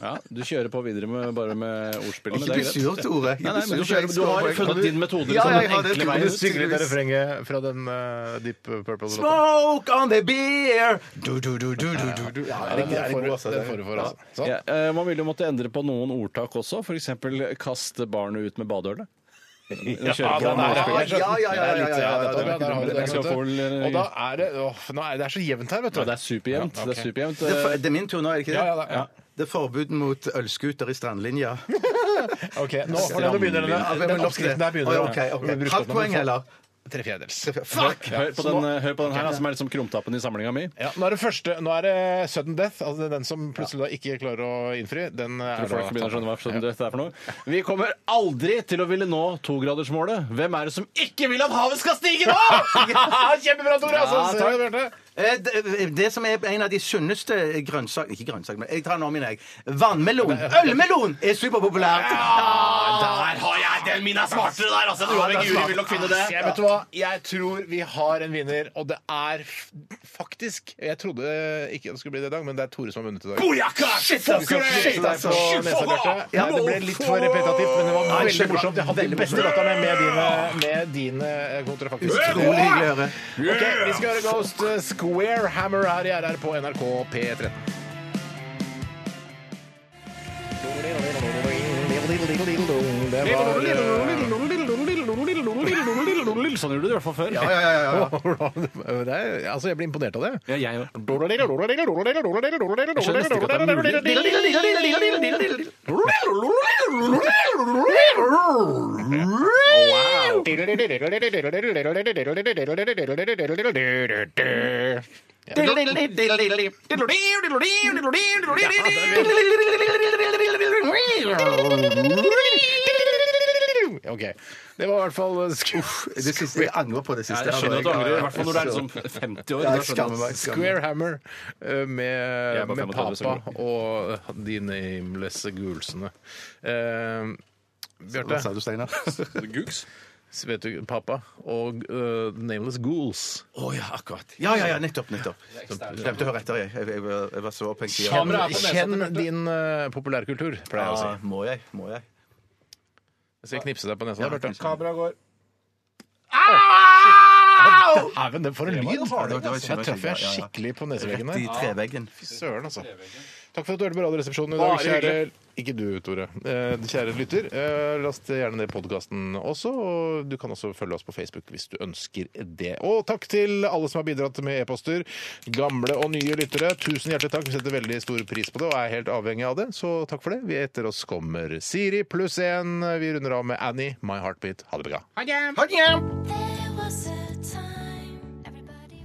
Speaker 5: Ja, du kjører på videre med, bare med ordspillene.
Speaker 3: Ikke
Speaker 5: det
Speaker 3: bli
Speaker 5: er greit.
Speaker 3: sur, Tore. Ikke
Speaker 5: Nei, nei,
Speaker 3: bli
Speaker 5: men du,
Speaker 3: sur,
Speaker 5: kjører,
Speaker 3: jeg
Speaker 5: du
Speaker 3: skal
Speaker 5: har
Speaker 3: ha poeng.
Speaker 5: funnet din metode
Speaker 3: Ja,
Speaker 5: liksom,
Speaker 3: ja, jeg
Speaker 5: den
Speaker 3: har det.
Speaker 4: Du
Speaker 5: enkle veien.
Speaker 4: synger det refrenget fra den eh, Deep Purple-låta.
Speaker 3: Smoke on the beer! Du, du, du, du, du, du, du. Ja,
Speaker 4: Den
Speaker 3: det er
Speaker 4: får
Speaker 3: god,
Speaker 4: du
Speaker 3: altså.
Speaker 4: den får du for, altså. Sånn.
Speaker 5: Ja, eh, man ville jo måtte endre på noen ordtak også, f.eks. kaste barnet ut med badeølet. Ja,
Speaker 4: den er- jeg skjønner.
Speaker 3: Ja, ja, ja, ja, ja, ja,
Speaker 4: Det er litt-
Speaker 3: ja,
Speaker 4: der har du det,
Speaker 5: Jeg skal
Speaker 4: vet du.
Speaker 5: få l-
Speaker 4: Og da er det åh, nå er, Det er så jevnt her, vet du.
Speaker 5: Ja, det er superjevnt.
Speaker 4: Ja,
Speaker 5: Det er
Speaker 4: ok.
Speaker 5: superjevnt.
Speaker 3: Det er, for-
Speaker 5: Eh,
Speaker 3: det er min tur nå, er det ikke det?
Speaker 4: Ja, ja, ja.
Speaker 3: Det er forbud mot ølskuter i strandlinja.
Speaker 4: OK, nå, for nå
Speaker 3: Ja,
Speaker 4: begynner
Speaker 3: hvem
Speaker 4: den,
Speaker 3: har
Speaker 4: den
Speaker 3: lagt det?
Speaker 4: oppskriften her
Speaker 3: Å,
Speaker 4: begynner
Speaker 3: ja, ok, ok.
Speaker 4: Vi bruker
Speaker 3: Halvt
Speaker 4: opp nå, men
Speaker 3: poeng,
Speaker 4: få-
Speaker 3: eller?
Speaker 4: Tre fjerdedels.
Speaker 3: Fuck!
Speaker 5: Hør på den, eh, hør på den her, da, som er liksom krumtappen i samlinga mi.
Speaker 4: Ja, nå er det første, nå er det sudden death, altså den som plutselig da ikke klarer å innfri. Den er
Speaker 5: Tror folk
Speaker 4: da
Speaker 5: begynner å skjønne hva som dette er for noe. Vi kommer aldri til å ville nå togradersmålet. Hvem er det som ikke vil at havet skal stige nå?!
Speaker 4: Kjempebra, Tore! Altså,
Speaker 5: Ja,
Speaker 4: Se
Speaker 5: takk.
Speaker 4: det, Bjarte.
Speaker 3: Eh, Det, det som er en av de sunneste grønnsakene Ikke grønnsak, men jeg tar den om igjen, jeg. Vannmelon! Ølmelon er superpopulært!
Speaker 5: Der har jeg den! Min er smartere der, altså! Jeg tror alle Guri vil nok finne det.
Speaker 4: Jeg, vet du hva? jeg tror vi har en vinner, og det er f- faktisk Jeg trodde ikke det skulle bli det i dag, men det er Tore som har vunnet i dag.
Speaker 3: Shit,
Speaker 4: Vi skal
Speaker 3: altså!
Speaker 4: knipse
Speaker 3: Shit,
Speaker 4: deg
Speaker 3: altså!
Speaker 4: på nesa, Bjarte. Nei, Det ble litt for repetitivt, men det var veldig morsomt. Jeg hadde de beste latterne med dine, med dine kontrafaktiske.
Speaker 3: Utrolig hyggelig å høre.
Speaker 4: Ok, vi skal høre Ghost eh, Square Hammer her i RR på NRK P13. Det
Speaker 5: Sånn gjorde du det i hvert fall før.
Speaker 4: Ja, ja, ja, ja. Det er, altså, jeg blir imponert av det.
Speaker 5: Ja, jeg òg.
Speaker 4: OK. Det var i hvert fall
Speaker 3: Det siste, jeg angrer på det siste.
Speaker 5: Jeg skjønner at du angrer, i hvert fall når du er liksom 50 år.
Speaker 3: Ja,
Speaker 5: Da
Speaker 3: sånn- jeg skammer
Speaker 5: skjønner jeg at-
Speaker 3: meg.
Speaker 4: Square Hammer eh,
Speaker 5: Jeg er
Speaker 4: med,
Speaker 5: bare
Speaker 4: med
Speaker 5: 35
Speaker 4: Papa
Speaker 5: sekunder.
Speaker 4: og de namelesse gulsene. Eh,
Speaker 3: Hva sa
Speaker 4: Bjarte,
Speaker 3: du, Steinar?
Speaker 4: vet du Papa og eh, Nameless Ghouls?
Speaker 3: Å ja, akkurat. Ja, ja, ja, nettopp. nettopp. Glemte å høre etter, jeg. Jeg, jeg, var- jeg var så opphengt i
Speaker 4: Kjenn, kjenn din eh, populærkultur, pleier jeg å si.
Speaker 3: Ja, må jeg? Må jeg?
Speaker 4: Så jeg knipser deg på nesa.
Speaker 3: Ja,
Speaker 4: der, Bjarte.
Speaker 3: knipser. Kamera
Speaker 4: går. Dæven, det for en lyd!
Speaker 3: det var- det var
Speaker 4: Der traff jeg
Speaker 3: kjempe- ja, ja.
Speaker 4: skikkelig på
Speaker 3: Rett
Speaker 4: neseveggen
Speaker 3: i
Speaker 4: der.
Speaker 3: treveggen.
Speaker 4: Fy søren, altså. Takk for at du hørte på Radioresepsjonen i dag,
Speaker 5: Bare
Speaker 4: kjære Ikke du, Tore. Eh, kjære lytter, eh, last gjerne ned podkasten også. Og du kan også følge oss på Facebook hvis du ønsker det. Og takk til alle som har bidratt med e-poster. Gamle og nye lyttere, tusen hjertelig takk. Vi setter veldig stor pris på det og er helt avhengig av det, så takk for det. Vi etter oss kommer Siri pluss én. Vi runder av med Annie, My Heartbeat. Ha det bra.
Speaker 3: Ha det! ja.
Speaker 6: There was a time everybody